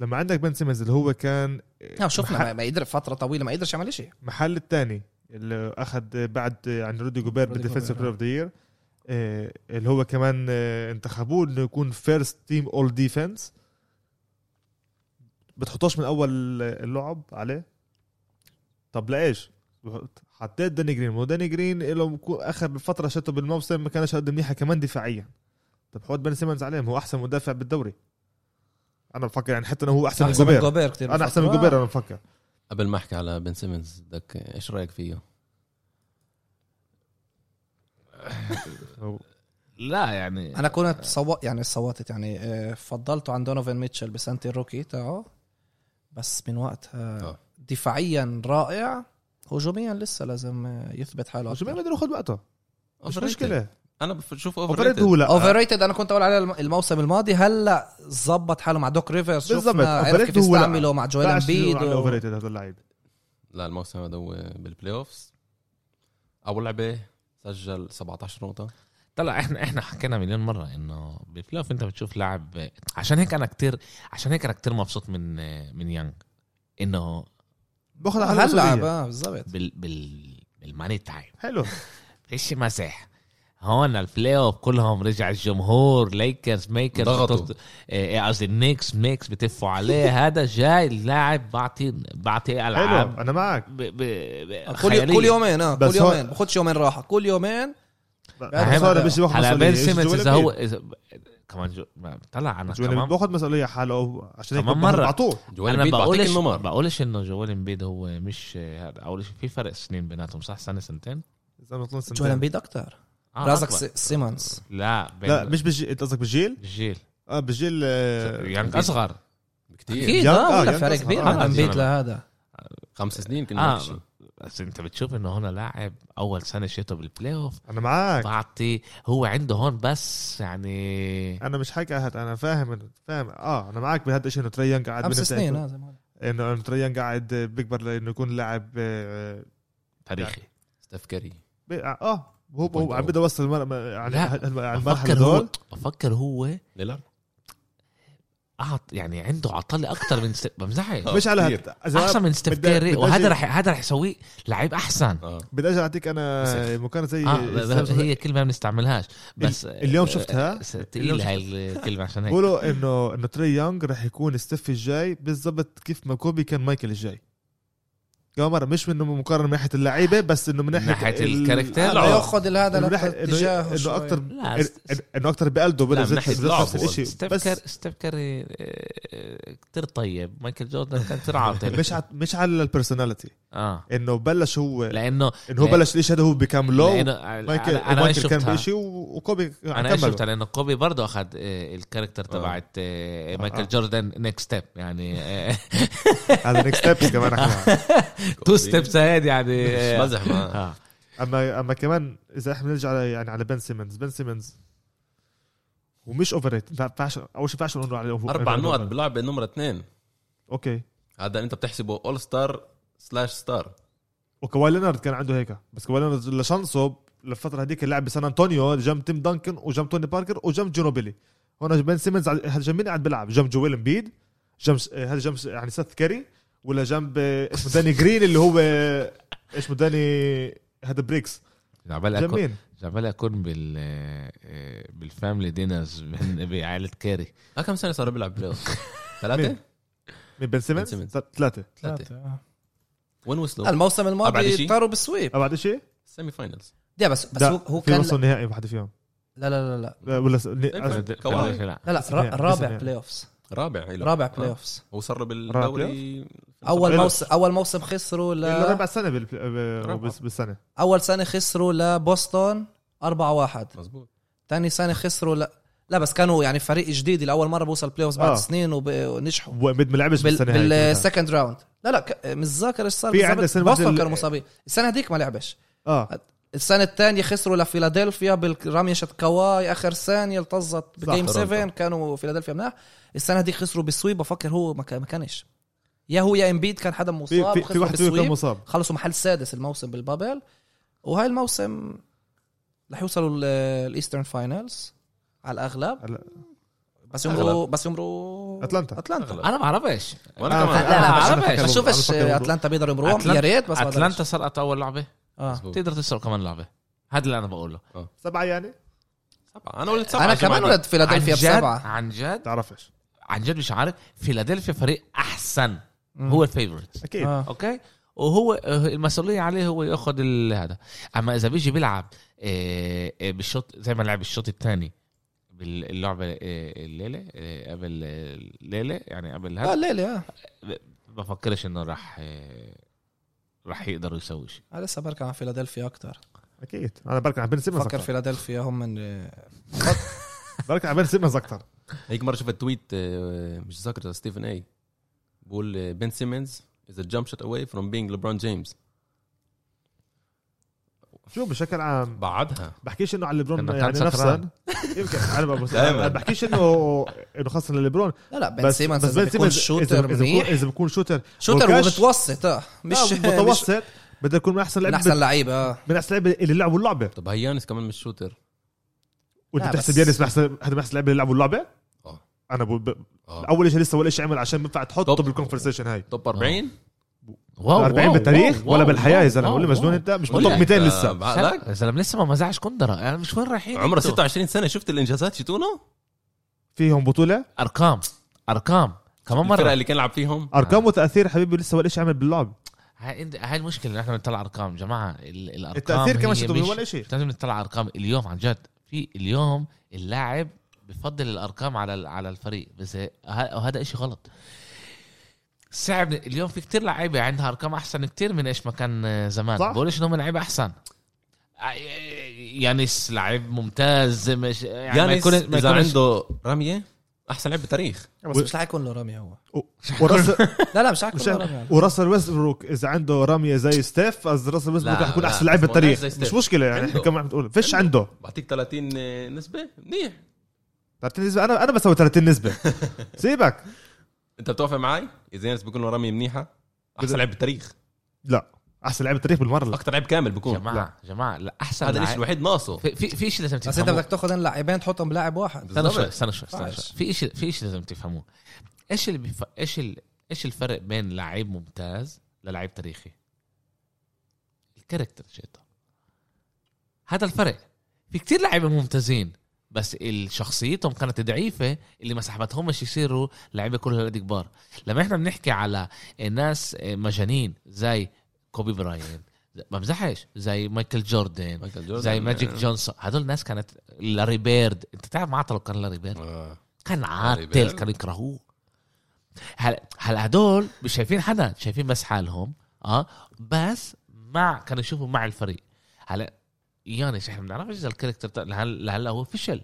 [SPEAKER 4] لما عندك بن سيمنز اللي هو كان
[SPEAKER 3] لا شفنا ما-
[SPEAKER 4] محل,
[SPEAKER 3] ما قدر فترة طويلة ما قدرش يعمل شيء
[SPEAKER 4] محل الثاني اللي اخذ بعد عن رودي جوبير
[SPEAKER 3] رودي
[SPEAKER 4] بالديفنس بلاير
[SPEAKER 3] جوبير،
[SPEAKER 4] اوف ذا يير آه، اللي هو كمان آه، انتخبوه انه يكون فيرست تيم اول ديفنس بتحطوش من اول اللعب عليه طب لايش؟ حطيت داني جرين وداني جرين له اخر فتره شاته بالموسم ما كانش قد منيحه كمان دفاعيا طب حط بن سيمنز عليه هو احسن مدافع بالدوري انا بفكر يعني حتى انه هو احسن من
[SPEAKER 3] احسن من
[SPEAKER 4] جوبير
[SPEAKER 3] جوبير كتير
[SPEAKER 4] انا احسن من
[SPEAKER 3] بفترة.
[SPEAKER 4] جوبير انا بفكر
[SPEAKER 2] قبل ما احكي على بن سيمنز بدك ايش رايك فيه؟
[SPEAKER 4] هو-
[SPEAKER 1] لا يعني
[SPEAKER 3] انا كنت صوت يعني صوتت يعني آه، فضلته عن دونوفن ميتشل بسنه الروكي تاعه بس من وقتها
[SPEAKER 2] آه.
[SPEAKER 3] دفاعيا رائع هجوميا لسه لازم آه، يثبت حاله
[SPEAKER 4] شو ما
[SPEAKER 3] أكتر.
[SPEAKER 4] بده ياخذ وقته مش
[SPEAKER 2] آه. Overrated.
[SPEAKER 4] مشكله
[SPEAKER 2] انا بشوف
[SPEAKER 4] اوفريتد
[SPEAKER 2] اوفر
[SPEAKER 4] هو لا
[SPEAKER 3] اوفر ريتد انا كنت اقول عليه الم- الموسم الماضي هلا ظبط حاله مع دوك ريفرز
[SPEAKER 4] بالظبط.
[SPEAKER 3] شفنا عرف
[SPEAKER 4] overrated
[SPEAKER 3] كيف
[SPEAKER 4] هو لا.
[SPEAKER 3] يستعمله مع جويل امبيد و-
[SPEAKER 4] اوفر ريتد هذا اللعيب
[SPEAKER 2] لا الموسم هذا هو بالبلاي اوفز اول لعبه سجل 17 نقطه
[SPEAKER 1] طلع احنا احنا حكينا مليون مره انه بالبلاي اوف انت بتشوف لاعب عشان هيك انا كتير عشان هيك انا كتير مبسوط من من يانج انه
[SPEAKER 4] باخذ على
[SPEAKER 3] هلا
[SPEAKER 4] هلا
[SPEAKER 3] بقى، بالظبط
[SPEAKER 1] بال بال بالماني تايم
[SPEAKER 4] حلو
[SPEAKER 1] فيش مسح هون البلاي اوف كلهم رجع الجمهور ليكرز ميكرز
[SPEAKER 2] ضغطوا.
[SPEAKER 1] بتوز- إيه، إيه، قصدي النيكس ميكس بتفوا عليه هذا جاي اللاعب بعطي بعطي
[SPEAKER 4] حلو
[SPEAKER 1] العاب
[SPEAKER 4] انا معك
[SPEAKER 1] ب... ب... ب...
[SPEAKER 3] كل كل يومين اه
[SPEAKER 4] بس
[SPEAKER 3] كل
[SPEAKER 4] هو-
[SPEAKER 3] يومين باخدش يومين راحه كل يومين
[SPEAKER 4] بس هو أنا بيجي باخذ
[SPEAKER 1] هلا بن
[SPEAKER 4] إيش
[SPEAKER 1] سيمنز
[SPEAKER 4] جويل
[SPEAKER 1] اذا هو
[SPEAKER 4] أمبيد؟
[SPEAKER 1] إذا... كمان جو... ما- طلع انا
[SPEAKER 4] جويل أمبيد
[SPEAKER 1] كمان
[SPEAKER 4] باخذ مسؤوليه حاله عشان هيك
[SPEAKER 1] كمان
[SPEAKER 4] مرة
[SPEAKER 1] مرة.
[SPEAKER 4] بعطوه
[SPEAKER 2] جوال
[SPEAKER 1] انا
[SPEAKER 2] أنا بعطيك
[SPEAKER 1] بقولش
[SPEAKER 2] النمر
[SPEAKER 1] بقولش انه جوال امبيد هو مش آه، هذا اول شيء في فرق سنين بيناتهم صح سنه سنتين
[SPEAKER 4] إذا أنا طلعت سنتين.
[SPEAKER 3] جويل امبيد اكتر
[SPEAKER 1] آه،
[SPEAKER 3] رازك
[SPEAKER 1] أكبر.
[SPEAKER 3] س- سيمونز
[SPEAKER 1] لا بين
[SPEAKER 4] لا مش بالجيل انت قصدك بالجيل؟
[SPEAKER 1] الجيل
[SPEAKER 4] اه بالجيل آه،
[SPEAKER 1] يعني اصغر
[SPEAKER 2] كثير
[SPEAKER 3] اكيد
[SPEAKER 4] يانج-
[SPEAKER 3] اه
[SPEAKER 4] آه،
[SPEAKER 3] ولا
[SPEAKER 4] يانج
[SPEAKER 3] فرق
[SPEAKER 4] أصغر.
[SPEAKER 3] كبير
[SPEAKER 4] آه،
[SPEAKER 3] عن
[SPEAKER 1] يانج
[SPEAKER 3] امبيد
[SPEAKER 1] أصغر.
[SPEAKER 3] لهذا
[SPEAKER 2] خمس سنين كنا
[SPEAKER 1] آه.
[SPEAKER 2] نفس الشيء.
[SPEAKER 1] بس انت بتشوف انه هون لاعب اول سنه شيته بالبلاي اوف
[SPEAKER 4] انا
[SPEAKER 1] طيب.
[SPEAKER 4] معك
[SPEAKER 1] بعطي هو عنده هون بس يعني
[SPEAKER 4] انا مش حكي هاد انا فاهم إنه- فاهم اه انا معك بهذا الشيء انه تري يانج قاعد
[SPEAKER 3] خمس
[SPEAKER 4] بنفس-
[SPEAKER 1] آه.
[SPEAKER 3] سنين هذا ما-
[SPEAKER 4] انه إنه تري يانج قاعد بيكبر لانه يكون لاعب آه،
[SPEAKER 1] تاريخي
[SPEAKER 4] يعني
[SPEAKER 2] ستيف كاري
[SPEAKER 4] بي- اه هو هو عم بده يوصل المر- يعني على
[SPEAKER 1] طيب. لا.
[SPEAKER 4] على المرحله
[SPEAKER 1] بفكر هو
[SPEAKER 4] هدول
[SPEAKER 1] بفكر هو
[SPEAKER 2] ليلارد
[SPEAKER 1] أعط يعني عنده عطله اكثر من ست بمزحش
[SPEAKER 2] آه.
[SPEAKER 4] مش على
[SPEAKER 2] كتير.
[SPEAKER 4] هاد إذا
[SPEAKER 1] احسن من ستيف
[SPEAKER 4] بدي-
[SPEAKER 1] كيري
[SPEAKER 4] بدي
[SPEAKER 1] وهذا
[SPEAKER 4] أجي-
[SPEAKER 1] رح هذا رح يسويه لعيب احسن
[SPEAKER 2] اه
[SPEAKER 4] بدي ارجع اعطيك انا
[SPEAKER 2] مسخ.
[SPEAKER 4] مكان زي
[SPEAKER 1] اه ب- هي كلمه ما بنستعملهاش بس
[SPEAKER 4] إيه،
[SPEAKER 1] إيه،
[SPEAKER 4] اليوم شفتها
[SPEAKER 1] بس تقيل هاي الكلمه عشان هيك
[SPEAKER 4] بقولوا انه انه تري يونغ رح يكون ستيف الجاي بالضبط كيف ما كوبي كان مايكل الجاي يا مرة مش انه مقارنه من ناحيه اللعيبه بس انه من ناحيه
[SPEAKER 1] من ناحية
[SPEAKER 4] ال-
[SPEAKER 1] الكاركتر؟
[SPEAKER 4] آه،
[SPEAKER 1] لا.
[SPEAKER 3] لا
[SPEAKER 4] لا.
[SPEAKER 3] ياخذ هذا
[SPEAKER 4] إنه
[SPEAKER 3] لا
[SPEAKER 4] رح- إنه
[SPEAKER 3] اتجاهه
[SPEAKER 4] انه
[SPEAKER 3] شوي.
[SPEAKER 4] اكثر
[SPEAKER 1] لا
[SPEAKER 4] إنه- انه اكثر بقلده
[SPEAKER 1] لا
[SPEAKER 4] بلا
[SPEAKER 1] من ناحيه
[SPEAKER 4] زيت-
[SPEAKER 1] لعبه
[SPEAKER 4] نفس الشيء
[SPEAKER 1] ستيف كير
[SPEAKER 4] بس
[SPEAKER 1] ستيف كيري كثير طيب مايكل جوردن كان كثير عاطل
[SPEAKER 4] مش ع- مش على البيرسوناليتي
[SPEAKER 1] اه
[SPEAKER 4] انه بلش هو
[SPEAKER 1] لانه
[SPEAKER 4] انه هو
[SPEAKER 1] لا-
[SPEAKER 4] بلش الشيء هذا هو بكام لو
[SPEAKER 1] لانه
[SPEAKER 4] مايكل
[SPEAKER 1] انا انا
[SPEAKER 4] مايكل كان
[SPEAKER 1] شفتها
[SPEAKER 4] بشيء و- وكوبي
[SPEAKER 1] انا ايش
[SPEAKER 4] كمله.
[SPEAKER 1] شفتها لانه كوبي برضه اخذ آه، الكاركتر تبعت آه،
[SPEAKER 4] آه.
[SPEAKER 1] مايكل جوردن نيكست ستيب يعني
[SPEAKER 4] هذا نيكست ستيبس كمان احنا
[SPEAKER 1] تو ستيبس هاد يعني
[SPEAKER 2] مش
[SPEAKER 1] آه،
[SPEAKER 2] مزح معاه
[SPEAKER 1] آه.
[SPEAKER 4] اما اما كمان اذا احنا بنرجع على- يعني على بن سيمنز بن سيمنز ومش اوفر ريت ما بينفعش اول شيء ما بينفعش نقول عليه هو-
[SPEAKER 2] اربع
[SPEAKER 4] إنه
[SPEAKER 2] نقط
[SPEAKER 4] overrated.
[SPEAKER 2] بلعبه نمرة اثنين
[SPEAKER 4] اوكي
[SPEAKER 2] هذا انت بتحسبه اول ستار سلاش ستار
[SPEAKER 4] وكواي لينارد كان عنده هيك بس كواي لينارد لشانسه للفتره هذيك لعب بسان انطونيو جنب تيم دانكن وجنب توني باركر وجنب جينوبيلي هون بن سيمنز على- هل جنب مين قاعد بيلعب جنب جويل امبيد جنب هل جنب يعني سيث كاري ولا جنب آه، اسمه داني جرين اللي هو آه، اسمه داني هذا بريكس
[SPEAKER 1] عبالي
[SPEAKER 4] جنب
[SPEAKER 1] اكون
[SPEAKER 4] مين؟
[SPEAKER 1] عبالي اكون بال آه، بالفاملي دينرز من- بعائله كاري
[SPEAKER 2] ها آه، كم سنه صار بيلعب بلاي اوف ثلاثه
[SPEAKER 4] مين؟ مين بن سيمنز؟
[SPEAKER 2] سيمنز.
[SPEAKER 4] ثلاثه
[SPEAKER 2] ثلاثه
[SPEAKER 3] آه.
[SPEAKER 2] وين وصلوا؟
[SPEAKER 3] الموسم
[SPEAKER 2] أبعد
[SPEAKER 3] الماضي
[SPEAKER 2] شيء؟
[SPEAKER 3] طاروا بالسويب
[SPEAKER 4] أه بعد شيء؟
[SPEAKER 2] السيمي فاينلز
[SPEAKER 3] ده بس بس
[SPEAKER 4] لا،
[SPEAKER 3] هو هو
[SPEAKER 4] في
[SPEAKER 3] كان
[SPEAKER 4] وصل نهائي بحد فيهم
[SPEAKER 3] لا لا لا لا
[SPEAKER 4] لا، ولا س...
[SPEAKER 2] طيب.
[SPEAKER 4] ن...
[SPEAKER 2] كواي.
[SPEAKER 1] لا
[SPEAKER 3] لا لا
[SPEAKER 4] بس
[SPEAKER 3] را-
[SPEAKER 4] نهائي، بس
[SPEAKER 3] رابع
[SPEAKER 4] نهائي.
[SPEAKER 3] بلاي اوفس
[SPEAKER 2] رابع إله.
[SPEAKER 3] رابع
[SPEAKER 2] آه.
[SPEAKER 3] بلاي اوفس
[SPEAKER 2] هو صار له
[SPEAKER 4] رابع
[SPEAKER 2] بالدوري
[SPEAKER 3] اول
[SPEAKER 4] بلاي
[SPEAKER 3] موسم اول موسم خسروا
[SPEAKER 4] الا
[SPEAKER 3] ل
[SPEAKER 4] ربع سنه بال... ب-
[SPEAKER 2] رابع.
[SPEAKER 4] بس- بالسنه
[SPEAKER 3] اول سنه خسروا لبوسطن 4-1 4 1
[SPEAKER 2] مزبوط
[SPEAKER 3] تاني سنه خسروا لا لا بس كانوا يعني فريق جديد لاول مره بوصل بلاي اوف بعد
[SPEAKER 4] آه.
[SPEAKER 3] سنين وب- ونجحوا
[SPEAKER 4] وبد ما لعبش
[SPEAKER 3] بال...
[SPEAKER 4] بالسنه هاي كلها.
[SPEAKER 3] بالسكند راوند لا لا ك- مش ذاكر ايش صار
[SPEAKER 4] في
[SPEAKER 3] بالضبط.
[SPEAKER 4] عندنا سنة
[SPEAKER 3] بوسطن
[SPEAKER 4] مثل-
[SPEAKER 3] كانوا مصابين السنه هذيك ما لعبش
[SPEAKER 4] اه
[SPEAKER 3] السنه الثانيه خسروا لفيلادلفيا بالرميه شت كواي اخر ثانيه التظت بجيم
[SPEAKER 2] تورونتو.
[SPEAKER 3] 7 كانوا فيلادلفيا مناح السنه هذيك خسروا بالسويب بفكر هو ما كان- ما كانش يا هو يا امبيد كان حدا
[SPEAKER 4] في
[SPEAKER 3] مصاب
[SPEAKER 4] في, في
[SPEAKER 3] خسروا
[SPEAKER 4] واحد فيهم كان
[SPEAKER 3] بالسويب
[SPEAKER 4] مصاب
[SPEAKER 3] خلصوا محل سادس الموسم بالبابل وهاي الموسم رح يوصلوا ال- الايسترن فاينلز على الاغلب
[SPEAKER 4] هلا-
[SPEAKER 3] بس يمروا بس يمروا
[SPEAKER 4] أتلانتا.
[SPEAKER 3] اتلانتا
[SPEAKER 1] انا ما بعرفش
[SPEAKER 2] وانا
[SPEAKER 4] آه،
[SPEAKER 2] كمان
[SPEAKER 3] لا لا
[SPEAKER 1] أنا عارف
[SPEAKER 3] بس أنا
[SPEAKER 1] إيش.
[SPEAKER 3] بس شوف
[SPEAKER 4] أنا
[SPEAKER 3] ايش
[SPEAKER 4] بفكر
[SPEAKER 3] اتلانتا بيقدروا يمروهم
[SPEAKER 1] أتلانتا-
[SPEAKER 3] يا ريت بس ما
[SPEAKER 1] اتلانتا
[SPEAKER 3] قدرش.
[SPEAKER 1] سرقت اول لعبه
[SPEAKER 3] آه.
[SPEAKER 2] مزبوط.
[SPEAKER 1] تقدر تسرق كمان لعبه هذا اللي انا بقوله
[SPEAKER 4] سبعه يعني
[SPEAKER 2] سبعه انا قلت سبعه
[SPEAKER 3] انا
[SPEAKER 2] يا جماعة.
[SPEAKER 3] كمان ولد فيلادلفيا
[SPEAKER 1] عن جد-
[SPEAKER 3] بسبعه
[SPEAKER 1] عن جد
[SPEAKER 4] تعرفش
[SPEAKER 1] عن جد مش عارف فيلادلفيا فريق احسن
[SPEAKER 3] مم.
[SPEAKER 1] هو الفيفورت
[SPEAKER 4] اكيد
[SPEAKER 3] آه.
[SPEAKER 1] اوكي وهو المسؤوليه عليه هو ياخذ ال- هذا اما اذا بيجي بيلعب آه، آه، بالشوط زي ما لعب الشوط الثاني باللعبه آه، الليله آه، قبل آه، الليله يعني قبل
[SPEAKER 3] اه
[SPEAKER 1] هذا
[SPEAKER 3] ليلي اه
[SPEAKER 1] بفكرش انه راح آه، راح يقدروا يسووا شيء
[SPEAKER 3] أنا لسه بركع على فيلادلفيا اكثر
[SPEAKER 4] اكيد انا بركع على بن سيمنز
[SPEAKER 3] بفكر
[SPEAKER 4] اكثر
[SPEAKER 3] فيلادلفيا هم من
[SPEAKER 4] بركع على بن سيمنز اكثر
[SPEAKER 2] هيك مره شفت تويت آه، مش ذاكر ستيفن اي بقول آه، بن سيمنز از جامب شوت اواي فروم بينج ليبرون جيمس
[SPEAKER 4] شو بشكل عام
[SPEAKER 2] بعدها
[SPEAKER 4] بحكيش انه على ليبرون
[SPEAKER 1] إنه كان
[SPEAKER 4] يعني
[SPEAKER 1] سكران.
[SPEAKER 4] نفسا يمكن انا ما بس-
[SPEAKER 2] دايماً.
[SPEAKER 4] أنا بحكيش انه انه خاصه لليبرون
[SPEAKER 3] لا لا بن
[SPEAKER 4] بس
[SPEAKER 3] سيمنز
[SPEAKER 4] بس
[SPEAKER 3] إذا
[SPEAKER 4] بن
[SPEAKER 3] بيكون
[SPEAKER 4] سيمنز إذا-
[SPEAKER 3] شوتر
[SPEAKER 4] إذا بكون-
[SPEAKER 3] منيح
[SPEAKER 4] اذا بكون شوتر
[SPEAKER 3] شوتر
[SPEAKER 4] بولكاش-
[SPEAKER 3] ومتوسط اه مش
[SPEAKER 4] مش
[SPEAKER 3] مش
[SPEAKER 4] متوسط بده يكون من احسن
[SPEAKER 3] من
[SPEAKER 4] لعيبه
[SPEAKER 3] احسن لعيبه اه
[SPEAKER 4] من احسن لعيبه اللي لعبوا اللعبه
[SPEAKER 2] طب هيانس كمان مش شوتر
[SPEAKER 4] وانت
[SPEAKER 3] لا،
[SPEAKER 4] بتحسب
[SPEAKER 3] بس-
[SPEAKER 4] يانس من احسن هذا من احسن لعيبه اللي لعبوا اللعبه؟
[SPEAKER 2] آه.
[SPEAKER 4] انا بقول ب...
[SPEAKER 1] آه.
[SPEAKER 2] اه
[SPEAKER 4] اول شيء لسه ولا شيء عمل عشان بينفع تحطه
[SPEAKER 2] طب.
[SPEAKER 4] بالكونفرسيشن هاي
[SPEAKER 2] توب 40
[SPEAKER 1] آه، واو
[SPEAKER 4] 40
[SPEAKER 1] واو،
[SPEAKER 4] بالتاريخ
[SPEAKER 1] واو،
[SPEAKER 4] ولا
[SPEAKER 1] واو،
[SPEAKER 4] بالحياه يا زلمه
[SPEAKER 1] واو،
[SPEAKER 4] ولا
[SPEAKER 1] واو.
[SPEAKER 4] مجنون انت مش
[SPEAKER 2] ولا
[SPEAKER 4] بالتوب
[SPEAKER 2] أنت
[SPEAKER 4] 200
[SPEAKER 1] آه.
[SPEAKER 4] لسه
[SPEAKER 2] بعقلك
[SPEAKER 1] يا زلمه لسه ما مزعش كندره انا مش وين رايحين
[SPEAKER 2] آه، عمره
[SPEAKER 1] انتوا؟
[SPEAKER 2] 26 سنه شفت الانجازات شو تونا
[SPEAKER 4] فيهم بطوله
[SPEAKER 1] ارقام ارقام كمان
[SPEAKER 2] المره
[SPEAKER 1] مره
[SPEAKER 2] اللي كان لعب فيهم
[SPEAKER 1] آه،
[SPEAKER 4] ارقام وتاثير حبيبي لسه ولا شيء عمل باللعب
[SPEAKER 1] هاي انت- هاي المشكله إن احنا بنطلع ارقام جماعه ال- الارقام
[SPEAKER 4] التاثير
[SPEAKER 1] هي
[SPEAKER 4] كمان شيء
[SPEAKER 1] مش-
[SPEAKER 4] ولا شيء
[SPEAKER 1] مش لازم نطلع ارقام اليوم عن جد في اليوم اللاعب بفضل الارقام على ال- على الفريق بس ه- وهذا إشي غلط صعب اليوم في كتير لعيبه عندها ارقام احسن كتير من ايش ما كان زمان
[SPEAKER 4] صح.
[SPEAKER 1] بقولش انهم لعيبه احسن ع- آه، يانس لعيب ممتاز مش يعني ما
[SPEAKER 2] يانس
[SPEAKER 1] يكون ما
[SPEAKER 2] اذا
[SPEAKER 1] يكونش-
[SPEAKER 2] عنده آه، رميه احسن لاعب بالتاريخ
[SPEAKER 3] بس مش رح يكون له رمي هو
[SPEAKER 4] وراسل
[SPEAKER 3] لا لا مش رح يكون
[SPEAKER 4] مش
[SPEAKER 3] له رمي
[SPEAKER 4] وراسل ويستبروك اذا عنده راميه زي ستيف قصدي راسل ويستبروك
[SPEAKER 2] لا،
[SPEAKER 4] رح يكون
[SPEAKER 2] لا،
[SPEAKER 4] احسن لعيب بالتاريخ
[SPEAKER 2] زي ستيف.
[SPEAKER 4] مش مشكله يعني احنا
[SPEAKER 2] عنده.
[SPEAKER 4] كمان عم بتقول فيش عنده
[SPEAKER 2] بعطيك 30 نسبه منيح
[SPEAKER 4] 30 نسبه انا انا بسوي 30 نسبه سيبك
[SPEAKER 2] انت بتوافق معي اذا يانس بيكون له رميه منيحه احسن
[SPEAKER 4] بدأ-
[SPEAKER 2] لعب بالتاريخ
[SPEAKER 4] لا احسن لعيب بالتاريخ بالمره لا.
[SPEAKER 2] اكثر لعب كامل بيكون
[SPEAKER 1] جماعه جماعه لا احسن
[SPEAKER 2] هذا الشيء
[SPEAKER 1] لعيب
[SPEAKER 2] الوحيد ناقصه
[SPEAKER 1] في في- في شيء لازم
[SPEAKER 3] بس انت
[SPEAKER 1] تفهموه
[SPEAKER 3] بدك تاخذ لاعبين تحطهم بلاعب واحد
[SPEAKER 1] استنى
[SPEAKER 2] بالضبط.
[SPEAKER 1] شوي استنى شوي استنى
[SPEAKER 3] فعش.
[SPEAKER 1] شوي في شيء في شيء لازم تفهموه ايش اللي بيف... ايش ال... ايش الفرق بين لعيب ممتاز للعيب تاريخي الكاركتر شيطان هذا الفرق في كتير لعيبه ممتازين بس ال- شخصيتهم كانت ضعيفه اللي ما سحبتهمش يصيروا لعيبه كل هالقد كبار لما احنا بنحكي على ناس مجانين زي كوبي براين ما بمزحش زي مايكل جوردن
[SPEAKER 2] مايكل جوردن.
[SPEAKER 1] زي ماجيك جونسون هدول ناس كانت لاري بيرد انت تعرف معاه لو كان لاري بيرد
[SPEAKER 2] آه.
[SPEAKER 1] كان عاطل
[SPEAKER 2] بيرد.
[SPEAKER 1] كانوا يكرهوه هلا هلا هدول مش شايفين حدا شايفين بس حالهم اه بس مع كانوا يشوفوا مع الفريق هلا يانس احنا ما بنعرفش اذا الكاركتر تاع- لهل- لهلا هو فشل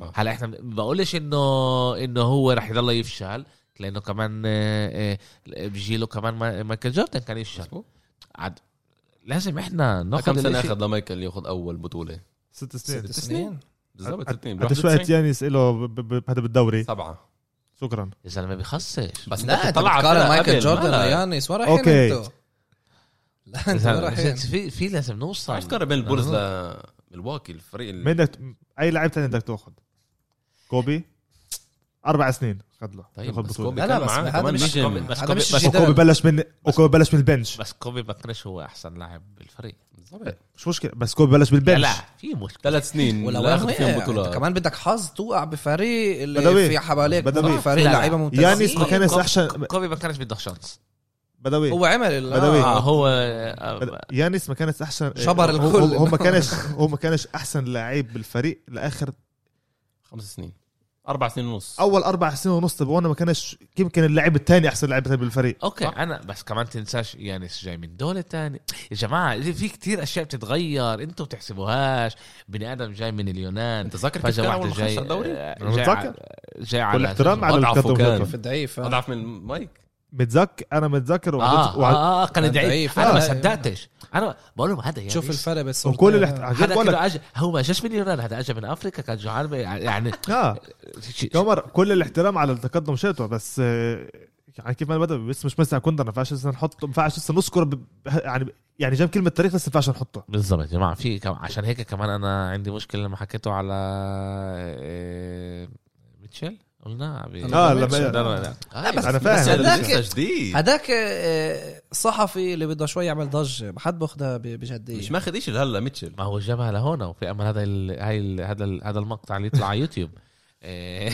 [SPEAKER 2] آه.
[SPEAKER 1] هلا احنا ما بقولش انه انه هو رح يضل يفشل لانه كمان آه، آه، بجيله كمان ما- مايكل جوردن كان يفشل
[SPEAKER 2] مظبوط.
[SPEAKER 1] عاد لازم احنا ناخذ
[SPEAKER 2] كم سنه
[SPEAKER 1] الإشي-
[SPEAKER 2] اخذ لمايكل ياخذ اول بطوله
[SPEAKER 4] ست سنين
[SPEAKER 3] ست سنين
[SPEAKER 2] بالضبط الاثنين
[SPEAKER 4] قديش وقت يانس له هذا بالدوري
[SPEAKER 2] سبعه
[SPEAKER 4] شكرا
[SPEAKER 1] يا زلمه بيخسش
[SPEAKER 2] بس
[SPEAKER 3] لا انت
[SPEAKER 2] بتطلع على
[SPEAKER 3] بتقارن
[SPEAKER 2] الفرق
[SPEAKER 3] مايكل
[SPEAKER 2] قبل.
[SPEAKER 3] جوردن
[SPEAKER 2] لا، لا.
[SPEAKER 3] ويانس وين رايحين
[SPEAKER 4] أوكي.
[SPEAKER 3] انتوا؟ لا انتوا وين
[SPEAKER 1] زلمة،
[SPEAKER 3] رايحين؟
[SPEAKER 1] بس في في لازم نوصل
[SPEAKER 3] طيب.
[SPEAKER 2] عم تقارن بين البولز لملواكي الفريق
[SPEAKER 4] مين
[SPEAKER 2] ال-
[SPEAKER 4] بدك اي لاعب تاني بدك تاخذ كوبي اربع سنين اخذ له
[SPEAKER 2] طيب،
[SPEAKER 4] ياخذ
[SPEAKER 2] بس
[SPEAKER 4] بطولة.
[SPEAKER 2] كوبي
[SPEAKER 3] لا لا
[SPEAKER 2] كان
[SPEAKER 3] بس
[SPEAKER 2] معاه
[SPEAKER 3] هذا
[SPEAKER 2] كمان
[SPEAKER 3] مش
[SPEAKER 2] ليجن.
[SPEAKER 1] بس
[SPEAKER 3] هذا
[SPEAKER 1] كوبي-
[SPEAKER 3] مش
[SPEAKER 1] بس
[SPEAKER 4] وكوبي
[SPEAKER 3] الجدال
[SPEAKER 4] بلش من وكوبي بلش من البنش
[SPEAKER 1] بس كوبي بكرش هو احسن لاعب بالفريق
[SPEAKER 2] بالضبط
[SPEAKER 4] مش مشكله بس كوبي بلش بالبنش
[SPEAKER 1] لا في مشكله
[SPEAKER 2] ثلاث سنين
[SPEAKER 3] ولا
[SPEAKER 2] ولا اخذ
[SPEAKER 3] وين
[SPEAKER 2] فيهم
[SPEAKER 3] وقع؟ انت
[SPEAKER 2] بطولات
[SPEAKER 3] كمان بدك حظ توقع بفريق اللي
[SPEAKER 4] بدوي.
[SPEAKER 3] في حواليك
[SPEAKER 4] بدوي.
[SPEAKER 3] فريق
[SPEAKER 1] لا، لا.
[SPEAKER 3] لعيبه ممتازين
[SPEAKER 4] يانس ما كانش
[SPEAKER 1] كوبي-
[SPEAKER 4] احسن
[SPEAKER 1] كوبي بكرش بده شانس
[SPEAKER 4] بدوي
[SPEAKER 3] هو عمل ال-
[SPEAKER 4] بدوي.
[SPEAKER 1] آه
[SPEAKER 3] آه.
[SPEAKER 1] هو آه،
[SPEAKER 4] بد- يانس ما كانش احسن
[SPEAKER 3] شبر
[SPEAKER 4] هو-
[SPEAKER 3] الكل.
[SPEAKER 4] هو ما كانش هو ما كانش احسن لعيب بالفريق لاخر
[SPEAKER 2] خمس سنين اربع سنين ونص
[SPEAKER 4] اول اربع سنين ونص تبعونا ما كانش يمكن اللاعب الثاني احسن لاعب تاني بالفريق
[SPEAKER 1] اوكي انا بس كمان تنساش يانس جاي من دولة تانية يا جماعة في كتير اشياء بتتغير انتوا بتحسبوهاش بني ادم جاي من اليونان
[SPEAKER 2] انت فاكر كيف
[SPEAKER 1] فجأة
[SPEAKER 2] كان
[SPEAKER 1] واحدة
[SPEAKER 2] اول ما
[SPEAKER 1] جاي
[SPEAKER 2] خلص الدوري؟
[SPEAKER 1] آه، جاي
[SPEAKER 4] متذكر
[SPEAKER 1] على- جاي على
[SPEAKER 4] كل احترام على
[SPEAKER 2] أضعفه
[SPEAKER 4] الكتب
[SPEAKER 2] كان.
[SPEAKER 4] وكتب.
[SPEAKER 3] في الضعيف آه.
[SPEAKER 2] اضعف من مايك
[SPEAKER 4] متذكر انا متذكر
[SPEAKER 1] اه
[SPEAKER 4] وعدت- وعدت-
[SPEAKER 1] اه, آه كان
[SPEAKER 3] كان
[SPEAKER 1] ضعيف
[SPEAKER 3] ضعيف.
[SPEAKER 1] انا
[SPEAKER 3] آه،
[SPEAKER 1] ما
[SPEAKER 3] آه.
[SPEAKER 1] صدقتش انا بقول لهم هذا يعني
[SPEAKER 3] شوف الفرق بس
[SPEAKER 4] وكل الاحت- عن جد
[SPEAKER 1] هذا
[SPEAKER 4] بقول لك
[SPEAKER 1] كده أجا هو ما جاش من اليونان هذا اجى من افريقيا كان جوعان يعني
[SPEAKER 4] اه
[SPEAKER 1] ش-
[SPEAKER 4] يا عمر كل الاحترام على التقدم شاتو بس آه، يعني كيف ما بدا بس مش مسح كوندر ما ينفعش لسه نحط ما ينفعش لسه نذكر ب- يعني يعني جاب كلمه تاريخ بس ما ينفعش نحطه
[SPEAKER 1] بالظبط يا جماعه في كم... عشان هيك كمان انا عندي مشكله لما حكيته على إيه... ميتشل قلنا ب...
[SPEAKER 3] آه، لما-
[SPEAKER 1] آه،
[SPEAKER 3] بس-
[SPEAKER 4] انا
[SPEAKER 2] أيوة. بس
[SPEAKER 4] فاهم
[SPEAKER 2] هذا
[SPEAKER 3] هذاك-
[SPEAKER 2] لسه جديد
[SPEAKER 3] هذاك آه، صحفي اللي بده شوي يعمل ضجه ما حد باخذها بجديه
[SPEAKER 2] مش ماخذ شيء لهلا ميتشل
[SPEAKER 1] ما هو جابها لهون وفي امل هذا ال... هاي ال... هذا ال... هذا المقطع اللي يطلع على يوتيوب إيه،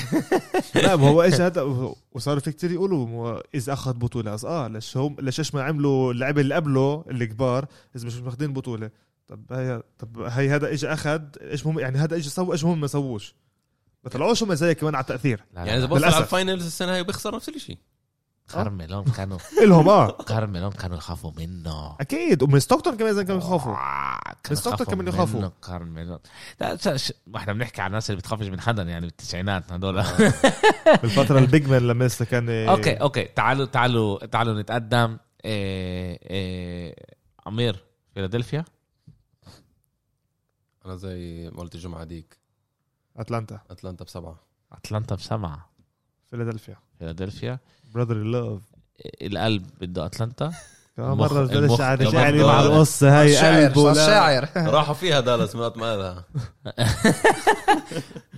[SPEAKER 4] لا ما هو ايش هذا وصار في كتير يقولوا ما- اذا اخذ بطوله أز اه ليش هم ليش ايش ما عملوا اللعيبه اللي قبله الكبار اذا مش ماخذين بطوله طب هي طب هي هذا اجى اخذ ايش هم يعني هذا اجى سوى ايش هم ما سووش ما طلعوش هم زي كمان على التاثير
[SPEAKER 1] لا، لا،
[SPEAKER 2] يعني اذا
[SPEAKER 1] لا.
[SPEAKER 2] بوصل على
[SPEAKER 4] للأسف.
[SPEAKER 2] الفاينلز السنه هاي بيخسر نفس الشيء
[SPEAKER 1] كارميلون كانوا
[SPEAKER 4] الهم اه
[SPEAKER 1] كارميلون كانوا يخافوا منه آه،
[SPEAKER 4] اكيد ومن ستوكتون كمان زي كانوا يخافوا
[SPEAKER 1] كانوا
[SPEAKER 4] بس أكتر كمان
[SPEAKER 1] منه،
[SPEAKER 4] يخافوا.
[SPEAKER 1] كارميلون لا س- ش- ما احنا بنحكي عن الناس اللي بتخافش من حدا يعني بالتسعينات هذول
[SPEAKER 4] بالفتره البيج مان لما لسه كان
[SPEAKER 1] اوكي اوكي تعالوا تعالوا تعالوا نتقدم إيه، إيه، امير فيلادلفيا
[SPEAKER 2] انا زي ما قلت الجمعه ديك
[SPEAKER 4] اتلانتا
[SPEAKER 2] اتلانتا بسبعه
[SPEAKER 1] اتلانتا بسبعه
[SPEAKER 4] فيلادلفيا
[SPEAKER 1] فيلادلفيا
[SPEAKER 4] براذر لاف
[SPEAKER 1] إيه، القلب بده اتلانتا المخ-
[SPEAKER 4] مرة
[SPEAKER 1] المخ-
[SPEAKER 4] بدل شعري
[SPEAKER 1] المخ-
[SPEAKER 4] شعري مع
[SPEAKER 2] المخ-
[SPEAKER 4] القصة هاي
[SPEAKER 3] شاعر
[SPEAKER 4] قلبه لا.
[SPEAKER 3] شاعر
[SPEAKER 2] راحوا فيها دالاس ما مالها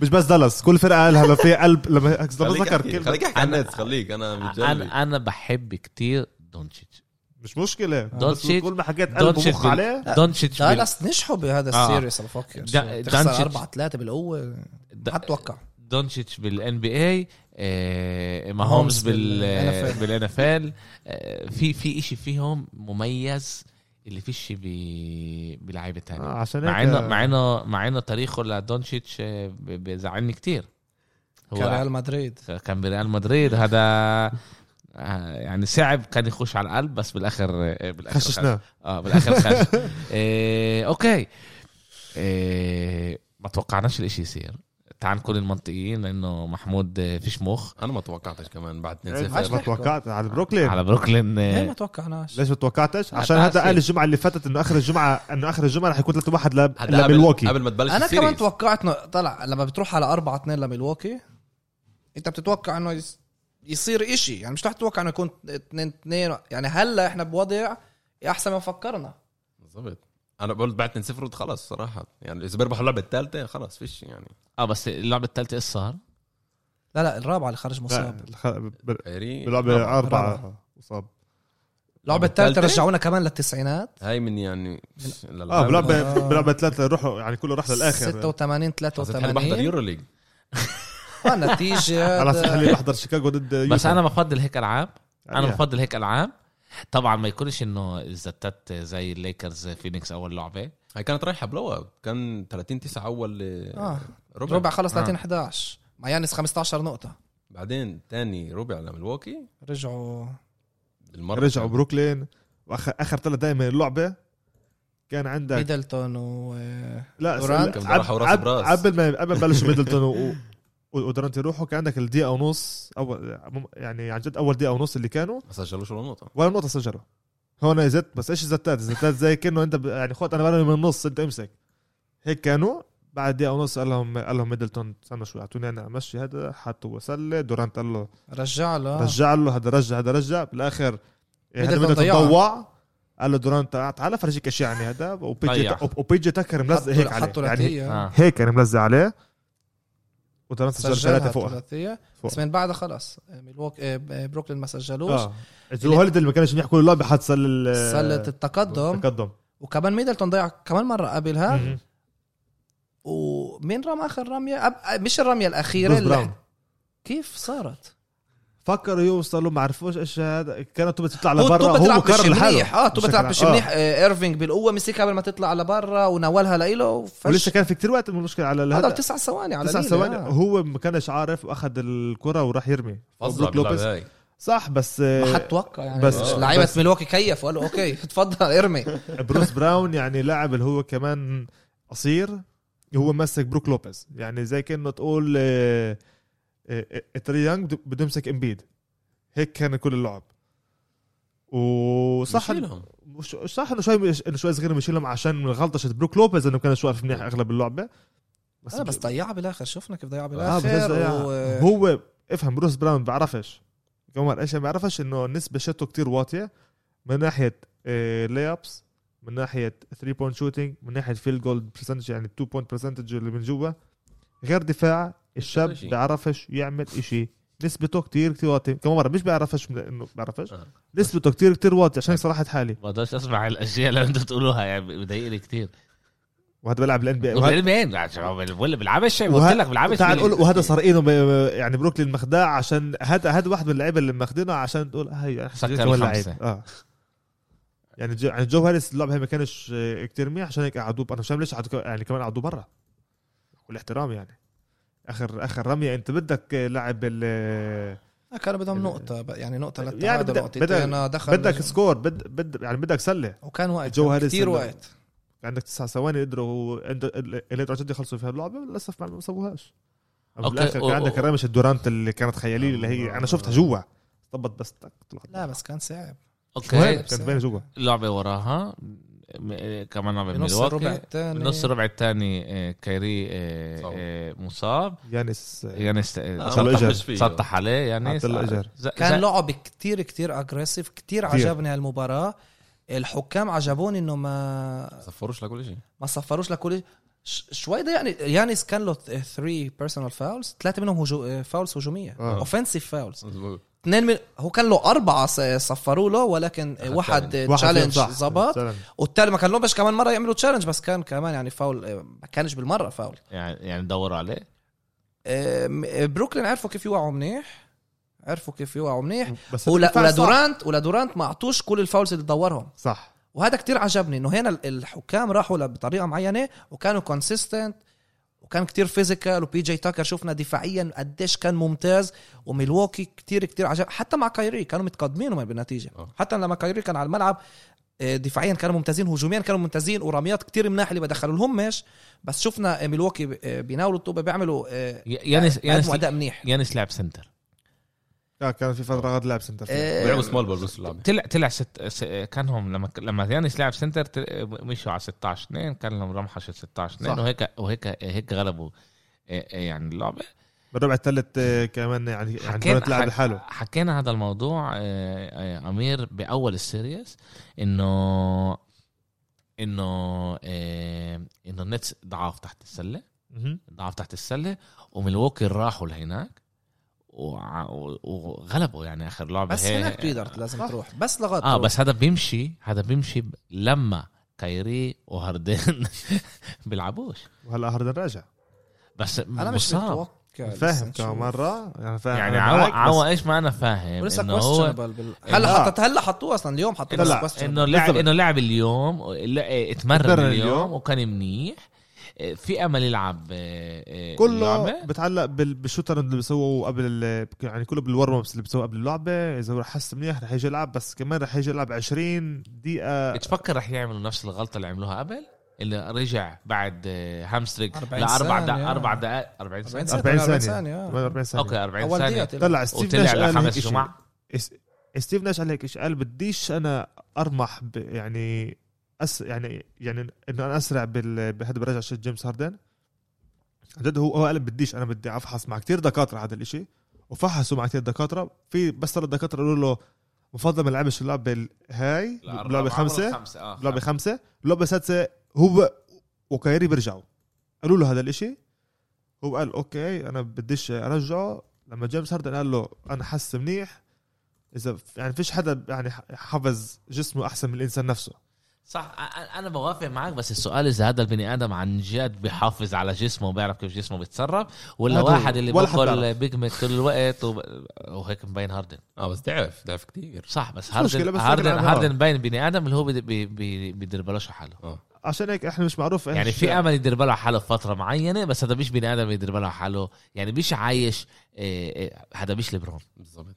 [SPEAKER 4] مش بس دالاس كل فرقة قالها لو في قلب لما لما اتذكر
[SPEAKER 2] خليك
[SPEAKER 4] كلمة
[SPEAKER 2] خليك احكي عن النت خليك انا متجنن
[SPEAKER 1] انا انا بحب كتير دونتشيتش
[SPEAKER 4] مش مشكلة بس
[SPEAKER 1] دونتشيتش-
[SPEAKER 4] كل ما حكيت قلب
[SPEAKER 1] دونتشيتش
[SPEAKER 4] ومخ
[SPEAKER 1] بال-
[SPEAKER 4] عليه
[SPEAKER 1] دونتشيتش بال-
[SPEAKER 3] دالاس نجحوا بهذا
[SPEAKER 1] آه.
[SPEAKER 3] السيريس على فكر
[SPEAKER 1] دا- دانشيتش.
[SPEAKER 3] تخسر 4 3 بالقوه
[SPEAKER 1] د-
[SPEAKER 3] حتوقع
[SPEAKER 1] دونتشيتش بالان بي اي آه، ماهومز
[SPEAKER 3] ماهومز
[SPEAKER 1] بال
[SPEAKER 3] بال-
[SPEAKER 1] بالان اف ال في في شيء فيهم مميز اللي فيش ب بلعيبه
[SPEAKER 4] آه،
[SPEAKER 1] ثانيه
[SPEAKER 4] عشان
[SPEAKER 1] مع انه
[SPEAKER 4] هيك
[SPEAKER 1] مع انه مع انه تاريخه لدونتشيتش آه، ب- بزعلني كتير
[SPEAKER 3] كان
[SPEAKER 1] هو
[SPEAKER 3] ريال مدريد
[SPEAKER 1] كان بريال مدريد هذا آه، يعني صعب كان يخش على القلب بس بالاخر آه، بالاخر خش.
[SPEAKER 4] خششناه
[SPEAKER 1] اه بالاخر خش إيه اوكي إيه ما توقعناش الاشي يصير تعال نكون المنطقيين لانه محمود آه، فيش مخ
[SPEAKER 2] انا ما توقعتش كمان بعد 2
[SPEAKER 4] ليش
[SPEAKER 2] 0
[SPEAKER 4] ما
[SPEAKER 3] عشان-
[SPEAKER 4] توقعت على بروكلين
[SPEAKER 1] على بروكلين آه،
[SPEAKER 3] ليه ما توقعناش
[SPEAKER 4] ليش ما توقعتش؟
[SPEAKER 1] لا،
[SPEAKER 4] عشان
[SPEAKER 1] تعال
[SPEAKER 4] هذا قال
[SPEAKER 1] فيه.
[SPEAKER 4] الجمعة اللي فاتت انه اخر الجمعة انه اخر الجمعة رح يكون 3 1 لملواكي
[SPEAKER 2] قبل ما تبلش
[SPEAKER 3] انا كمان
[SPEAKER 2] السيريز.
[SPEAKER 3] توقعت انه طلع لما بتروح على 4 2 لميلواكي انت بتتوقع انه يص- يصير إشي يعني مش رح تتوقع انه يكون 2 2 يعني هلا احنا بوضع احسن ما فكرنا
[SPEAKER 2] بالضبط انا قلت بعد 2 0 خلص صراحه يعني اذا بيربحوا اللعبه الثالثه خلص فيش يعني
[SPEAKER 1] اه بس اللعبه الثالثه ايش صار؟
[SPEAKER 3] لا لا الرابعه اللي خرج مصاب
[SPEAKER 2] كايري
[SPEAKER 4] بلعبة
[SPEAKER 3] رابعة.
[SPEAKER 4] أربعة مصاب
[SPEAKER 3] اللعبه الثالثه
[SPEAKER 2] التالتة؟
[SPEAKER 3] رجعونا كمان للتسعينات
[SPEAKER 2] هاي من يعني لا لا
[SPEAKER 4] اه بلعبة
[SPEAKER 3] آه.
[SPEAKER 4] بلعبة ثلاثة روحوا يعني كله راح للآخر
[SPEAKER 3] 86
[SPEAKER 2] حسيت حالي بحضر
[SPEAKER 3] 83
[SPEAKER 2] يورو ليج
[SPEAKER 3] آه، نتيجه
[SPEAKER 4] على
[SPEAKER 3] هذا-
[SPEAKER 4] صح اللي بحضر شيكاغو ضد
[SPEAKER 1] بس
[SPEAKER 4] يوتا.
[SPEAKER 1] انا بفضل هيك العاب انا
[SPEAKER 4] يعني
[SPEAKER 1] بفضل هيك العاب طبعا ما يكونش انه زتت زي الليكرز فينيكس اول لعبه
[SPEAKER 2] هي كانت رايحه بلو اب كان 30 9 اول
[SPEAKER 3] آه.
[SPEAKER 2] ربع,
[SPEAKER 3] ربع خلص
[SPEAKER 1] آه.
[SPEAKER 3] 30 11 مع يانس 15 نقطه
[SPEAKER 2] بعدين تاني ربع لملواكي
[SPEAKER 3] رجعوا
[SPEAKER 2] بالمره
[SPEAKER 4] رجعوا بروكلين واخر اخر ثلاث دقائق من اللعبه كان عندك
[SPEAKER 3] ميدلتون و
[SPEAKER 4] لا
[SPEAKER 3] دورانت.
[SPEAKER 4] قبل
[SPEAKER 2] كان راحوا راس براس.
[SPEAKER 4] قبل ما قبل ما بلشوا ميدلتون و- و- ودورانت يروحوا كان عندك الدقيقه ونص اول يعني عن جد اول دقيقه ونص اللي كانوا
[SPEAKER 2] ما سجلوش ولا نقطه
[SPEAKER 4] ولا نقطه سجلوا هون زت بس ايش زتات زتات زي كانه انت ب- يعني خد انا بلعب من النص انت امسك هيك كانوا بعد دقيقه ونص قال لهم قال لهم ميدلتون استنوا شوي اعطوني انا امشي هذا حطوا وسله دورانت قال له
[SPEAKER 3] رجع له
[SPEAKER 4] رجع له هذا رجع هذا رجع بالاخر هذا
[SPEAKER 3] ميدلتون
[SPEAKER 4] بدأ
[SPEAKER 3] ضيعها.
[SPEAKER 4] تطوع قال له دوران تعال تعال افرجيك اشياء يعني هذا وبيجي
[SPEAKER 1] ضيع.
[SPEAKER 4] وبيجي تكر ملزق
[SPEAKER 3] حطوا
[SPEAKER 4] هيك عليه
[SPEAKER 3] حطوا
[SPEAKER 4] يعني
[SPEAKER 3] ثلاثيه
[SPEAKER 1] آه.
[SPEAKER 4] هيك يعني ملزق عليه ودوران سجل
[SPEAKER 3] سجلها
[SPEAKER 4] ثلاثه فوق آه.
[SPEAKER 3] ثلاثية
[SPEAKER 4] فوق.
[SPEAKER 3] بس من بعدها خلص ميلوك آه، ب- بروكلين ما سجلوش
[SPEAKER 4] اه هو هوليدي اللي ما كانش منيح كل اللعبه حط سل ال-
[SPEAKER 3] سلة يعني التقدم
[SPEAKER 4] آه. التقدم
[SPEAKER 3] وكمان ميدلتون ضيع كمان مرة قبلها
[SPEAKER 4] مم.
[SPEAKER 3] ومين رمى آخر رمية أب... مش الرمية آه، الأخيرة
[SPEAKER 4] بروس براون
[SPEAKER 3] كيف صارت
[SPEAKER 4] فكروا يوصلوا ما عرفوش ايش هذا كانوا توبة تطلع
[SPEAKER 3] هو
[SPEAKER 4] لبرا
[SPEAKER 3] توبة
[SPEAKER 4] هو
[SPEAKER 3] تلعب
[SPEAKER 4] كرر
[SPEAKER 3] مش
[SPEAKER 4] لحاله
[SPEAKER 3] منيح اه توبة
[SPEAKER 4] بشكل
[SPEAKER 3] تلعب
[SPEAKER 4] عام.
[SPEAKER 3] مش
[SPEAKER 4] آه.
[SPEAKER 3] منيح آه، ايرفينج بالقوة مسكها قبل ما تطلع لبرا وناولها لإله
[SPEAKER 4] ولسه
[SPEAKER 3] فش
[SPEAKER 4] كان في كتير وقت من المشكله على
[SPEAKER 3] هذا
[SPEAKER 4] هذا
[SPEAKER 3] تسع ثواني على
[SPEAKER 4] تسع
[SPEAKER 3] الليلة،
[SPEAKER 4] ثواني
[SPEAKER 3] آه.
[SPEAKER 4] هو ما كانش عارف واخذ الكره وراح يرمي
[SPEAKER 2] فظع
[SPEAKER 4] بلوك لوبيز.
[SPEAKER 2] باللعبة هاي
[SPEAKER 4] صح بس
[SPEAKER 3] ما
[SPEAKER 4] آه،
[SPEAKER 3] حد توقع يعني
[SPEAKER 4] بس-
[SPEAKER 3] بس
[SPEAKER 2] آه.
[SPEAKER 3] لعيبه
[SPEAKER 4] بس-
[SPEAKER 3] ميلواكي كيف وقالوا اوكي تفضل ارمي
[SPEAKER 4] بروس براون يعني لاعب اللي هو كمان قصير هو مسك بروك لوبيز يعني زي كانه تقول آه، آه، آه، تري يانج بده- بده يمسك امبيد هيك كان كل اللعب وصح
[SPEAKER 2] يشيلهم.
[SPEAKER 4] مش صح انه شوي انه شوي صغير بيشيلهم عشان من غلطه بروك لوبيز انه كان شوي منيح اغلب اللعبه
[SPEAKER 3] بس, آه، بس ضيعها بالاخر شفنا كيف ضيعها
[SPEAKER 4] آه بس
[SPEAKER 3] بالاخر
[SPEAKER 4] ضيع.
[SPEAKER 3] و...
[SPEAKER 4] هو افهم بروس براون بعرفش قمر ايش ما بعرفش انه نسبه شوته كتير واطيه من ناحيه لي ابس من ناحيه 3 بوينت شوتينج من ناحيه فيل جولد برسنتج يعني 2 بوينت برسنتج اللي من جوا غير دفاع الشاب
[SPEAKER 2] شيء.
[SPEAKER 4] بعرفش يعمل إشي نسبته كتير كتير واطيه كمان مره مش بعرفش من- انه بعرفش
[SPEAKER 2] آه.
[SPEAKER 4] نسبته كتير كتير واطيه عشان صراحه حالي
[SPEAKER 1] بقدرش اسمع الاشياء اللي انتم بتقولوها يعني بضايقني كتير
[SPEAKER 4] وهذا بلعب الان بي اي
[SPEAKER 1] وبعدين عشان هو بقول- بالعبش
[SPEAKER 4] وه-
[SPEAKER 1] قلت لك بالعبش
[SPEAKER 4] تعال نقول وهذا سرقينه ب- يعني بروكلين مخداع عشان هذا هذا واحد من اللعيبه اللي مخدينه عشان تقول هي
[SPEAKER 1] سكر الخمسة.
[SPEAKER 4] اه يعني جو يعني جو هاريس اللعبه هي ما كانش آه، كتير منيح عشان هيك قعدوه انا مش فاهم ليش قعدوه ك- يعني كمان قعدوه برا والاحترام يعني اخر اخر رميه انت بدك آه، لاعب ال-
[SPEAKER 3] آه، كان بدهم نقطة بقى، يعني نقطة
[SPEAKER 4] يعني
[SPEAKER 3] للتعادل
[SPEAKER 4] بدك-
[SPEAKER 3] نقطتين أنا دخل
[SPEAKER 4] بدك سكور بد بد يعني بدك سله
[SPEAKER 3] وكان وقت
[SPEAKER 4] جو
[SPEAKER 3] كان
[SPEAKER 4] هاريس
[SPEAKER 3] كتير
[SPEAKER 4] إنه-
[SPEAKER 3] وقت
[SPEAKER 4] عندك تسع ثواني قدروا قدروا جد يخلصوا فيها اللعبه للاسف ما ما سووهاش أما
[SPEAKER 1] أوكي،
[SPEAKER 4] بالاخر
[SPEAKER 1] أو-
[SPEAKER 4] كان عندك
[SPEAKER 1] أو-
[SPEAKER 4] رامش الدورانت اللي كانت خياليه اللي هي انا شفتها جوا طبت بس تك طلعت
[SPEAKER 3] لا بس كان صعب
[SPEAKER 4] مهم،
[SPEAKER 1] اوكي
[SPEAKER 4] كانت باينه جوا
[SPEAKER 1] لعبه وراها م- إيه، كمان لعبه
[SPEAKER 3] بنص الربع
[SPEAKER 1] ميلواكي
[SPEAKER 3] الثاني
[SPEAKER 1] نص الربع الثاني آه، كايري آه،
[SPEAKER 2] مصاب.
[SPEAKER 1] آه، مصاب
[SPEAKER 4] يانس
[SPEAKER 3] إيه.
[SPEAKER 1] يعني
[SPEAKER 4] عطله إجر.
[SPEAKER 1] سطح عليه يعني
[SPEAKER 4] عطله إجر.
[SPEAKER 3] كان لعب كتير كتير أجريسيف كتير
[SPEAKER 4] كتير.
[SPEAKER 3] عجبني هالمباراة الحكام عجبوني إنه ما
[SPEAKER 2] صفروش لكل شيء
[SPEAKER 3] ما صفروش لكل ش- شوي ده يعني يانيس كان له 3 بيرسونال فاولز ثلاثة منهم هجو... فاولز هجومية
[SPEAKER 4] آه.
[SPEAKER 3] اوفنسيف فاولز اثنين من هو كان له أربعة ص- صفروا له ولكن
[SPEAKER 2] أخذ
[SPEAKER 3] واحد تشالنج زبط والتالي ما كان لهمش كمان مرة يعملوا تشالنج بس كان كمان يعني فاول آه، ما كانش بالمرة فاول
[SPEAKER 1] يعني يعني دوروا عليه
[SPEAKER 3] آه، م- آه، بروكلين عرفوا كيف يوقعوا منيح عرفوا كيف يوقعوا منيح
[SPEAKER 4] بس
[SPEAKER 3] ولا
[SPEAKER 4] الدفاع
[SPEAKER 3] ولا
[SPEAKER 4] صح.
[SPEAKER 3] دورانت ولا دورانت ما اعطوش كل الفاولز اللي دورهم
[SPEAKER 4] صح
[SPEAKER 3] وهذا كتير عجبني انه هنا ال- الحكام راحوا ل- بطريقه معينه وكانوا كونسيستنت وكان كتير فيزيكال وبي جي تاكر شفنا دفاعيا قديش كان ممتاز وميلواكي كتير كتير عجب حتى مع كايري كانوا متقدمين هم بالنتيجه
[SPEAKER 2] آه.
[SPEAKER 3] حتى لما كايري كان على الملعب آه، دفاعيا كانوا ممتازين هجوميا كانوا ممتازين ورميات كتير مناح اللي ما دخلوا لهم مش بس شفنا آه، ميلواكي ب- آه، بيناولوا الطوبه بيعملوا آه،
[SPEAKER 1] ي- يانس يانس
[SPEAKER 3] بيقدموا اداء منيح
[SPEAKER 1] يانس لعب سنتر
[SPEAKER 4] آه، كان في فتره غاد لعب سنتر
[SPEAKER 1] إيه.
[SPEAKER 4] فيلد.
[SPEAKER 3] آه،
[SPEAKER 2] بيلعبوا سمول بول بس اللعبه
[SPEAKER 1] طلع طلع ست س- كان هم لما لما يانس لعب سنتر تل- مشوا على 16 2 كان لهم رمحه 16 2
[SPEAKER 4] صح.
[SPEAKER 1] وهيك وهيك هيك غلبوا آه، آه، يعني اللعبه
[SPEAKER 4] بالربع الثالث آه، كمان يعني يعني
[SPEAKER 1] حكينا-
[SPEAKER 4] دورانت لعب
[SPEAKER 1] حك-
[SPEAKER 4] لحاله
[SPEAKER 1] حكينا هذا الموضوع آه، آه، امير باول السيريس انه انه آه، انه النتس ضعاف تحت السله
[SPEAKER 4] مهم.
[SPEAKER 1] ضعف تحت السله وملواكي راحوا لهناك وع- و- وغلبوا يعني اخر لعبه
[SPEAKER 3] بس
[SPEAKER 1] هي-
[SPEAKER 3] هناك ريدرت لازم
[SPEAKER 4] صح.
[SPEAKER 3] تروح بس لغايه
[SPEAKER 1] اه
[SPEAKER 3] تروح.
[SPEAKER 1] بس هذا بيمشي هذا بيمشي ب- لما كايري وهاردين بيلعبوش
[SPEAKER 4] وهلا هاردن راجع
[SPEAKER 1] بس
[SPEAKER 3] انا مش
[SPEAKER 1] مصاب
[SPEAKER 3] متوقع
[SPEAKER 4] فاهم
[SPEAKER 3] لسه
[SPEAKER 4] كمان
[SPEAKER 3] نشوف.
[SPEAKER 4] مره يعني فاهم
[SPEAKER 1] يعني
[SPEAKER 4] أنا
[SPEAKER 1] عوا
[SPEAKER 4] معك، بس
[SPEAKER 1] عوا ايش ما انا فاهم
[SPEAKER 3] ولسه
[SPEAKER 1] انه هو
[SPEAKER 3] questionable بال... هلا
[SPEAKER 4] آه.
[SPEAKER 3] حطت هلا حطوه اصلا اليوم حطوه
[SPEAKER 4] لا،
[SPEAKER 3] بس questionable.
[SPEAKER 1] انه لعب
[SPEAKER 4] بالضبط.
[SPEAKER 1] انه لعب اليوم لا، إيه، اتمرن
[SPEAKER 4] اتمرن
[SPEAKER 1] اليوم
[SPEAKER 4] اليوم.
[SPEAKER 1] وكان منيح إيه، في امل يلعب إيه، إيه،
[SPEAKER 4] كله
[SPEAKER 1] اللعبة.
[SPEAKER 4] بتعلق بال- بالشوتر اللي بيسووا قبل ال- يعني كله بالورم ابس اللي بيسووا قبل اللعبه اذا هو رح حس منيح رح يجي يلعب بس كمان رح يجي يلعب 20
[SPEAKER 1] آه.
[SPEAKER 4] دقيقه
[SPEAKER 1] بتفكر رح يعملوا نفس الغلطه اللي عملوها قبل اللي رجع بعد إيه، هامستريك
[SPEAKER 3] 40
[SPEAKER 1] لاربع
[SPEAKER 3] ثانية.
[SPEAKER 1] دقائق اربع دقائق 40 ثانيه
[SPEAKER 4] 40
[SPEAKER 3] 48
[SPEAKER 4] ثانيه
[SPEAKER 3] آه.
[SPEAKER 4] 48 ثانيه
[SPEAKER 1] اوكي 40
[SPEAKER 3] اول
[SPEAKER 1] ثانيه
[SPEAKER 3] دقيقه طلع
[SPEAKER 4] طلع ستيف
[SPEAKER 1] وطلع
[SPEAKER 4] ناش قال
[SPEAKER 1] لخمس
[SPEAKER 4] هيك إشي.
[SPEAKER 1] جمع
[SPEAKER 4] إس- ستيف ناش قال هيك إشي، قال بديش انا ارمح ب يعني أس يعني يعني انه انا اسرع بال بهذا برجع شت جيمس هاردن عن جد هو هو قال بديش انا بدي افحص مع كتير دكاتره هذا الاشي وفحصوا مع كتير دكاتره في بس ثلاث دكاتره قالوا له بفضل ما لعبش اللعبه ال- هاي اللعبه خمسه
[SPEAKER 1] آه،
[SPEAKER 4] لعبه خمسه لعبه سادسه هو وكايري بيرجعوا قالوا له هذا الاشي هو قال اوكي انا بديش ارجعه لما جيمس هاردن قال له انا حس منيح اذا يعني فيش حدا يعني حفظ جسمه احسن من الانسان نفسه
[SPEAKER 1] صح أ- أ- انا بوافق معك بس السؤال اذا هذا البني ادم عن جد بيحافظ على جسمه وبيعرف كيف جسمه بيتصرف ولا
[SPEAKER 4] هذا هو.
[SPEAKER 1] واحد اللي
[SPEAKER 4] ولا حد
[SPEAKER 1] باكل
[SPEAKER 4] بيعرف.
[SPEAKER 1] بيج ماك طول الوقت وب- وهيك مبين هاردن
[SPEAKER 2] اه بس ضعف ضعف كتير
[SPEAKER 1] صح بس
[SPEAKER 4] مش مشكلة،
[SPEAKER 1] هاردن
[SPEAKER 4] بس
[SPEAKER 1] هاردن
[SPEAKER 4] لكن عن
[SPEAKER 1] هاردن مبين بني ادم اللي هو بد- بي- بي- بيدير بلاش حاله
[SPEAKER 2] اه
[SPEAKER 4] عشان هيك احنا مش معروف إيش-
[SPEAKER 1] يعني في امل يدير باله على حاله فتره معينه بس هذا مش بني ادم يدير باله على حاله يعني مش عايش آه، آه، هذا مش ليبرون
[SPEAKER 2] بالضبط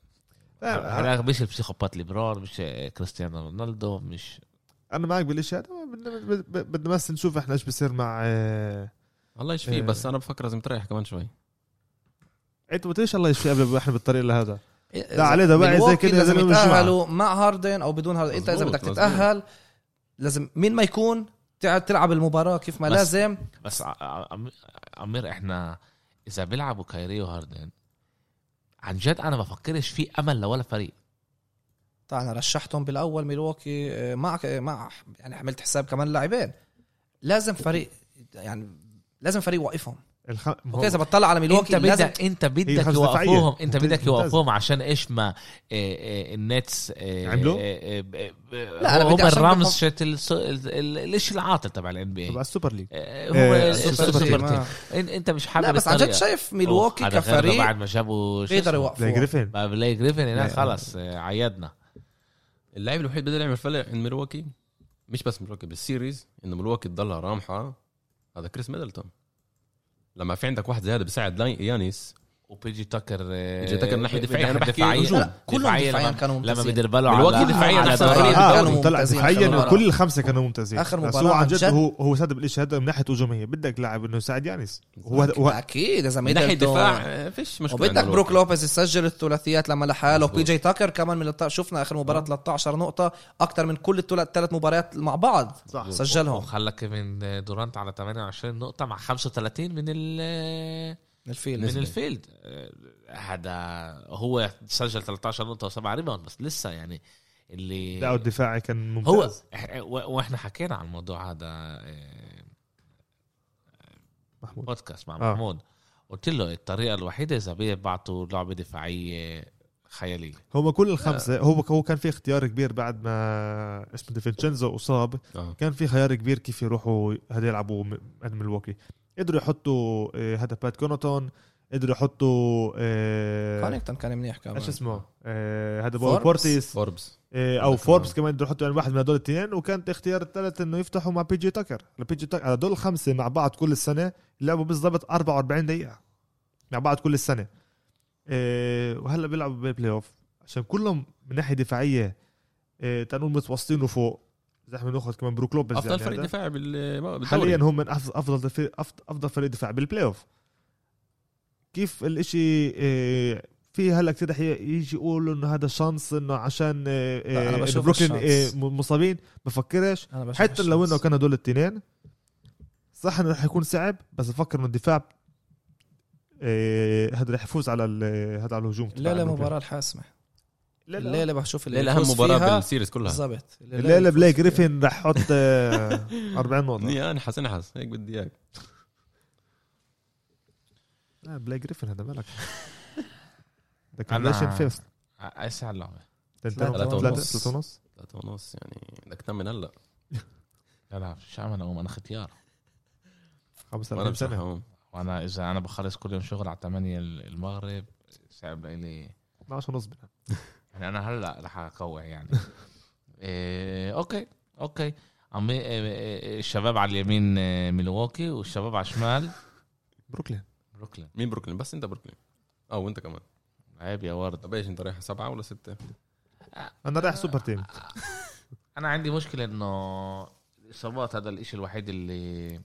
[SPEAKER 4] لا،
[SPEAKER 1] هذا مش البسيخوبات ليبرون مش آه، كريستيانو رونالدو مش
[SPEAKER 4] انا معك بالشيء هذا بدنا بد- بد- بدنا بس نشوف احنا ايش بصير مع آه،
[SPEAKER 2] الله يشفيه بس انا بفكر لازم تريح كمان شوي
[SPEAKER 4] انت ما قلتليش الله يشفي قبل ما احنا بالطريق لهذا
[SPEAKER 3] لا
[SPEAKER 4] لا عليه دواعي زي كده
[SPEAKER 3] لازم
[SPEAKER 4] زي يوم الجمعة.
[SPEAKER 3] يتاهلوا مع هاردن او بدون هاردن انت اذا
[SPEAKER 2] مظبوط،
[SPEAKER 3] بدك
[SPEAKER 2] مظبوط.
[SPEAKER 3] تتاهل لازم مين ما يكون تقعد تلعب المباراه كيف ما
[SPEAKER 1] بس-
[SPEAKER 3] لازم
[SPEAKER 1] بس ع- ع- عم- عمير احنا اذا بيلعبوا كايري وهاردن عن جد انا ما بفكرش في امل لولا فريق
[SPEAKER 3] طبعا طيب، أنا رشحتهم بالاول ميلواكي آه، مع آه، مع يعني عملت حساب كمان لاعبين لازم فريق يعني لازم فريق يوقفهم
[SPEAKER 4] الخ... ما هو-
[SPEAKER 3] اوكي اذا بتطلع على
[SPEAKER 1] انت
[SPEAKER 3] ميلواكي لازم
[SPEAKER 1] بدك انت
[SPEAKER 4] هي
[SPEAKER 1] بدك
[SPEAKER 4] خمسة
[SPEAKER 1] يوقفوهم
[SPEAKER 4] دفاعية.
[SPEAKER 1] انت
[SPEAKER 4] ممتاز،
[SPEAKER 1] بدك
[SPEAKER 4] ممتاز.
[SPEAKER 1] يوقفوهم عشان ايش ما إيه، إيه، النتس إيه،
[SPEAKER 4] عملوا؟
[SPEAKER 1] إيه، إيه، إيه، إيه،
[SPEAKER 3] لا، أنا
[SPEAKER 1] هو
[SPEAKER 3] بدي عشان
[SPEAKER 1] الرمز
[SPEAKER 3] بحط-
[SPEAKER 1] شت الس- ال- ال- الاشي العاطل تبع الان بي
[SPEAKER 4] تبع السوبر ليج
[SPEAKER 1] آه، هو
[SPEAKER 4] إيه،
[SPEAKER 1] السوبر
[SPEAKER 4] السوبر
[SPEAKER 1] تيم.
[SPEAKER 4] تيم.
[SPEAKER 3] آه.
[SPEAKER 1] إن- انت مش حابب
[SPEAKER 3] لا بس عن جد شايف ميلواكي كفريق
[SPEAKER 1] بعد ما جابوا شو
[SPEAKER 3] بيقدروا
[SPEAKER 1] اسمه؟
[SPEAKER 4] زي
[SPEAKER 3] يوقفوا
[SPEAKER 4] جريفن
[SPEAKER 1] ما بلاي جريفن هناك
[SPEAKER 4] لا.
[SPEAKER 1] خلص آه، عيدنا
[SPEAKER 2] اللاعب الوحيد بده يعمل فرق عند ميلواكي مش بس ميلواكي بالسيريز انه ميلواكي تضلها رامحه هذا كريس ميدلتون لما في عندك واحد زي هذا بيساعد لاين- يانيس
[SPEAKER 1] وبيجي آه، تكر
[SPEAKER 2] بيجي تكر ناحية دفاعية. أنا بحكي هجوم.
[SPEAKER 3] لا، كلهم دفاعيا كانوا
[SPEAKER 1] لما
[SPEAKER 3] ممتازين.
[SPEAKER 1] بدير باله
[SPEAKER 2] بالوقت
[SPEAKER 1] على
[SPEAKER 2] دفاعياً
[SPEAKER 1] على
[SPEAKER 2] أحسن
[SPEAKER 1] دوران.
[SPEAKER 2] فريق
[SPEAKER 3] آه،
[SPEAKER 4] اه
[SPEAKER 3] كانوا
[SPEAKER 4] طلع
[SPEAKER 3] ممتازين آخر
[SPEAKER 4] دفاعيا
[SPEAKER 3] مباراة.
[SPEAKER 4] كل الخمسه كانوا ممتازين
[SPEAKER 3] آخر
[SPEAKER 4] بس
[SPEAKER 3] مباراة
[SPEAKER 4] هو عن
[SPEAKER 3] عن
[SPEAKER 4] جد
[SPEAKER 3] جد.
[SPEAKER 4] هو هو سدد الاشي هذا من ناحيه هجوميه بدك لاعب انه يساعد يانس هو هذا- هو
[SPEAKER 3] اكيد اذا
[SPEAKER 2] من ناحيه
[SPEAKER 3] ميدلتون
[SPEAKER 2] دفاع آه، فيش مشكله عند
[SPEAKER 3] وبدك
[SPEAKER 2] ميلواكي.
[SPEAKER 3] بروك لوبيز يسجل الثلاثيات لما لحاله
[SPEAKER 2] مظبوط.
[SPEAKER 3] بي جي تاكر كمان من الت- شفنا اخر مباراه 13 نقطه اكثر من كل الثلاث مباريات مع بعض
[SPEAKER 4] صح.
[SPEAKER 3] سجلهم
[SPEAKER 1] وخلى كيفن دورانت على 28 نقطة مع 35 من ال
[SPEAKER 3] من الفيل
[SPEAKER 1] من
[SPEAKER 2] نسبة.
[SPEAKER 1] الفيلد آه، هذا هو سجل 13 نقطة و7 ريباوند بس لسه يعني اللي
[SPEAKER 4] لا الدفاعي كان
[SPEAKER 1] هو
[SPEAKER 4] ممتاز
[SPEAKER 1] إح- و- واحنا حكينا عن الموضوع هذا آه،
[SPEAKER 4] محمود.
[SPEAKER 1] بودكاست مع
[SPEAKER 4] آه.
[SPEAKER 1] محمود قلت له الطريقة الوحيدة إذا بيبعتوا لعبة دفاعية خيالية
[SPEAKER 4] هم كل
[SPEAKER 3] آه.
[SPEAKER 4] الخمسه هو هو كان في اختيار كبير بعد ما اسمه ديفينشينزو اصاب
[SPEAKER 2] آه.
[SPEAKER 4] كان في خيار كبير كيف يروحوا هذا يلعبوا م- عند ملواكي قدروا يحطوا آه، هذا بات كونوتون قدروا يحطوا آه،
[SPEAKER 3] كونيكتون كان منيح كمان
[SPEAKER 4] ايش اسمه آه، هذا
[SPEAKER 3] فوربس.
[SPEAKER 4] بول بورتيس
[SPEAKER 2] فوربس
[SPEAKER 4] آه، او فوربس كمان بده يحطوا يعني واحد من هدول الاثنين وكانت اختيار الثالث انه يفتحوا مع بي جي تاكر بي جي تاكر هدول الخمسه مع بعض كل السنه لعبوا بالضبط 44 دقيقه مع بعض كل السنه آه، وهلا بيلعبوا بالبلاي اوف عشان كلهم من ناحيه دفاعيه آه، تنقول متوسطين وفوق اذا احنا بناخذ كمان بروك لوبيز
[SPEAKER 2] افضل
[SPEAKER 4] يعني
[SPEAKER 2] فريق
[SPEAKER 4] هذا.
[SPEAKER 2] دفاعي بال- بالدوري
[SPEAKER 4] حاليا هم من أف- افضل دفاع أف- افضل فريق دفاع بالبلاي اوف كيف الاشي إيه، في هلا كثير رح يجي يقولوا انه هذا شانس انه عشان إيه،
[SPEAKER 3] لا، أنا
[SPEAKER 4] إيه،
[SPEAKER 3] بشوف
[SPEAKER 4] بروكلين
[SPEAKER 3] الشانس.
[SPEAKER 4] إيه، م- مصابين بفكرش
[SPEAKER 3] أنا بشوف
[SPEAKER 4] حتى لو
[SPEAKER 3] الشمس.
[SPEAKER 4] انه كان هدول الاثنين صح انه رح يكون صعب بس بفكر انه الدفاع إيه، هذا رح يفوز على ال- هذا على الهجوم تبع
[SPEAKER 3] الليله
[SPEAKER 4] بروكلين.
[SPEAKER 3] مباراه الحاسمه
[SPEAKER 4] لا، لا.
[SPEAKER 3] الليله بشوف اللي
[SPEAKER 2] الليله اهم
[SPEAKER 3] يفوز
[SPEAKER 2] مباراه
[SPEAKER 3] فيها
[SPEAKER 2] بالسيريز كلها
[SPEAKER 3] بالضبط
[SPEAKER 4] الليله
[SPEAKER 3] اللي
[SPEAKER 4] بلاي
[SPEAKER 3] يفوز فيها.
[SPEAKER 4] جريفن رح يحط آه، 40 نقطه
[SPEAKER 2] يا انحس انحس هيك بدي اياك
[SPEAKER 4] لا، بلاي جريفن هذا مالك ده
[SPEAKER 1] أنا-
[SPEAKER 4] كان ليشن فيست
[SPEAKER 1] اسعى اللعبة
[SPEAKER 4] تنتهي
[SPEAKER 3] ثلاثة
[SPEAKER 4] ثلاثة
[SPEAKER 2] ونص.
[SPEAKER 4] ثلاثة ونص
[SPEAKER 2] ثلاثة ونص يعني بدك تنام هلا
[SPEAKER 1] لا لا شو عم انا اقوم انا ختيار
[SPEAKER 4] خمسة
[SPEAKER 2] وانا
[SPEAKER 4] وأربعين
[SPEAKER 2] بصراحه
[SPEAKER 4] سنة
[SPEAKER 2] هون
[SPEAKER 1] وانا اذا انا بخلص كل يوم شغل على 8 المغرب صعب لي
[SPEAKER 4] 12 ونص بنام
[SPEAKER 1] يعني انا هلا رح اقوع يعني إيه اوكي اوكي عم إيه، إيه، الشباب على اليمين إيه، ميلواكي والشباب على الشمال
[SPEAKER 4] بروكلين
[SPEAKER 1] بروكلين
[SPEAKER 2] مين بروكلين بس انت بروكلين اه وانت كمان
[SPEAKER 1] عيب يا ورد
[SPEAKER 2] طب ايش انت رايح سبعه ولا سته؟
[SPEAKER 4] أنا رايح سوبر تيم
[SPEAKER 1] انا عندي مشكله انه الاصابات هذا الاشي الوحيد اللي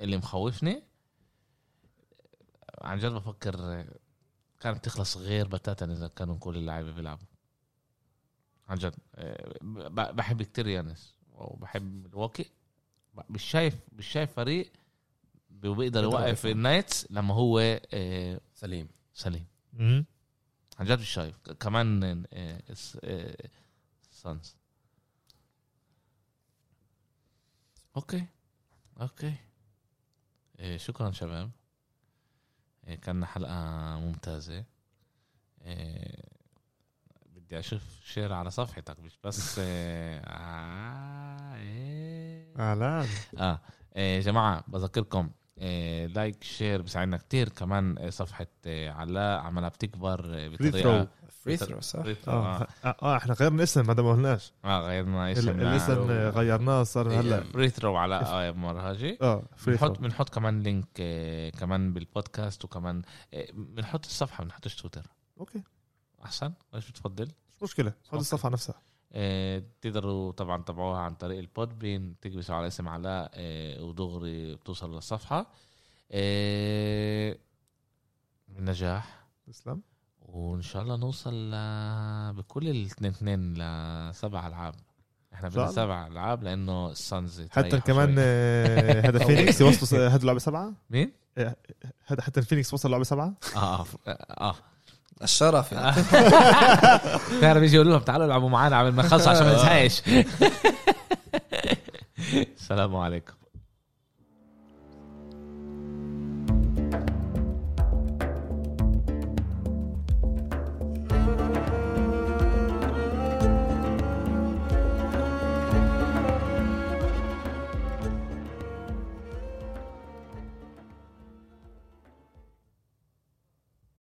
[SPEAKER 1] اللي مخوفني عن جد بفكر كانت تخلص غير بتاتا اذا كانوا كل اللاعبين بيلعبوا عن جد ب- بحب كتير يانس وبحب ملواكي مش شايف مش شايف فريق بيقدر يوقف النايتس لما هو آه،
[SPEAKER 2] سليم
[SPEAKER 1] سليم عن جد مش شايف كمان آه، الس- آه، سانز اوكي اوكي آه، شكرا شباب آه، كان حلقة ممتازة آه، بدي اشوف شير على صفحتك مش بس آه، آه، إيه.
[SPEAKER 4] اهلا
[SPEAKER 1] اه يا جماعه بذكركم آه، لايك شير بيساعدنا كتير كمان آه، صفحه آه، علاء عملها بتكبر آه،
[SPEAKER 4] فري
[SPEAKER 1] بطريقه
[SPEAKER 4] ثرو
[SPEAKER 3] فري ثرو صح
[SPEAKER 1] free throw،
[SPEAKER 4] اه
[SPEAKER 1] اه
[SPEAKER 4] اه احنا غيرنا اسم ما دمرناش
[SPEAKER 1] اه غيرنا اسم
[SPEAKER 4] الاسم
[SPEAKER 1] أيوه.
[SPEAKER 4] غيرناه صار
[SPEAKER 2] إيه،
[SPEAKER 4] هلا
[SPEAKER 1] فري ثرو علاء آه، مرهجي
[SPEAKER 4] اه فري ثرو
[SPEAKER 1] إيه. بنحط بنحط كمان لينك آه، كمان بالبودكاست وكمان آه، بنحط الصفحه بنحطش تويتر
[SPEAKER 4] اوكي
[SPEAKER 1] احسن ايش بتفضل
[SPEAKER 4] مش مشكله حط
[SPEAKER 1] أوكي.
[SPEAKER 4] الصفحه نفسها
[SPEAKER 1] آه، بتقدروا طبعا تتابعوها عن طريق البودبين تكبسوا على اسم علاء آه، ودغري بتوصل للصفحه آه، بالنجاح أيوة،
[SPEAKER 4] تسلم
[SPEAKER 1] وان شاء الله نوصل ل- بكل الاثنين اثنين لسبع العاب احنا
[SPEAKER 4] إن شاء
[SPEAKER 1] بدنا
[SPEAKER 4] الله.
[SPEAKER 1] سبع العاب لانه السانز
[SPEAKER 4] حتى
[SPEAKER 1] تريحوا
[SPEAKER 4] كمان
[SPEAKER 1] شوي.
[SPEAKER 4] آه، هذا فينيكس وصل هذا لعبه سبعه
[SPEAKER 1] مين؟
[SPEAKER 4] هذا حتى فينيكس وصل لعبه سبعه
[SPEAKER 1] اه ف- اه
[SPEAKER 3] الشرف يعني
[SPEAKER 1] بتعرف يجي يقول لهم تعالوا العبوا معنا عمل ما خلصوا عشان ما نزهقش السلام عليكم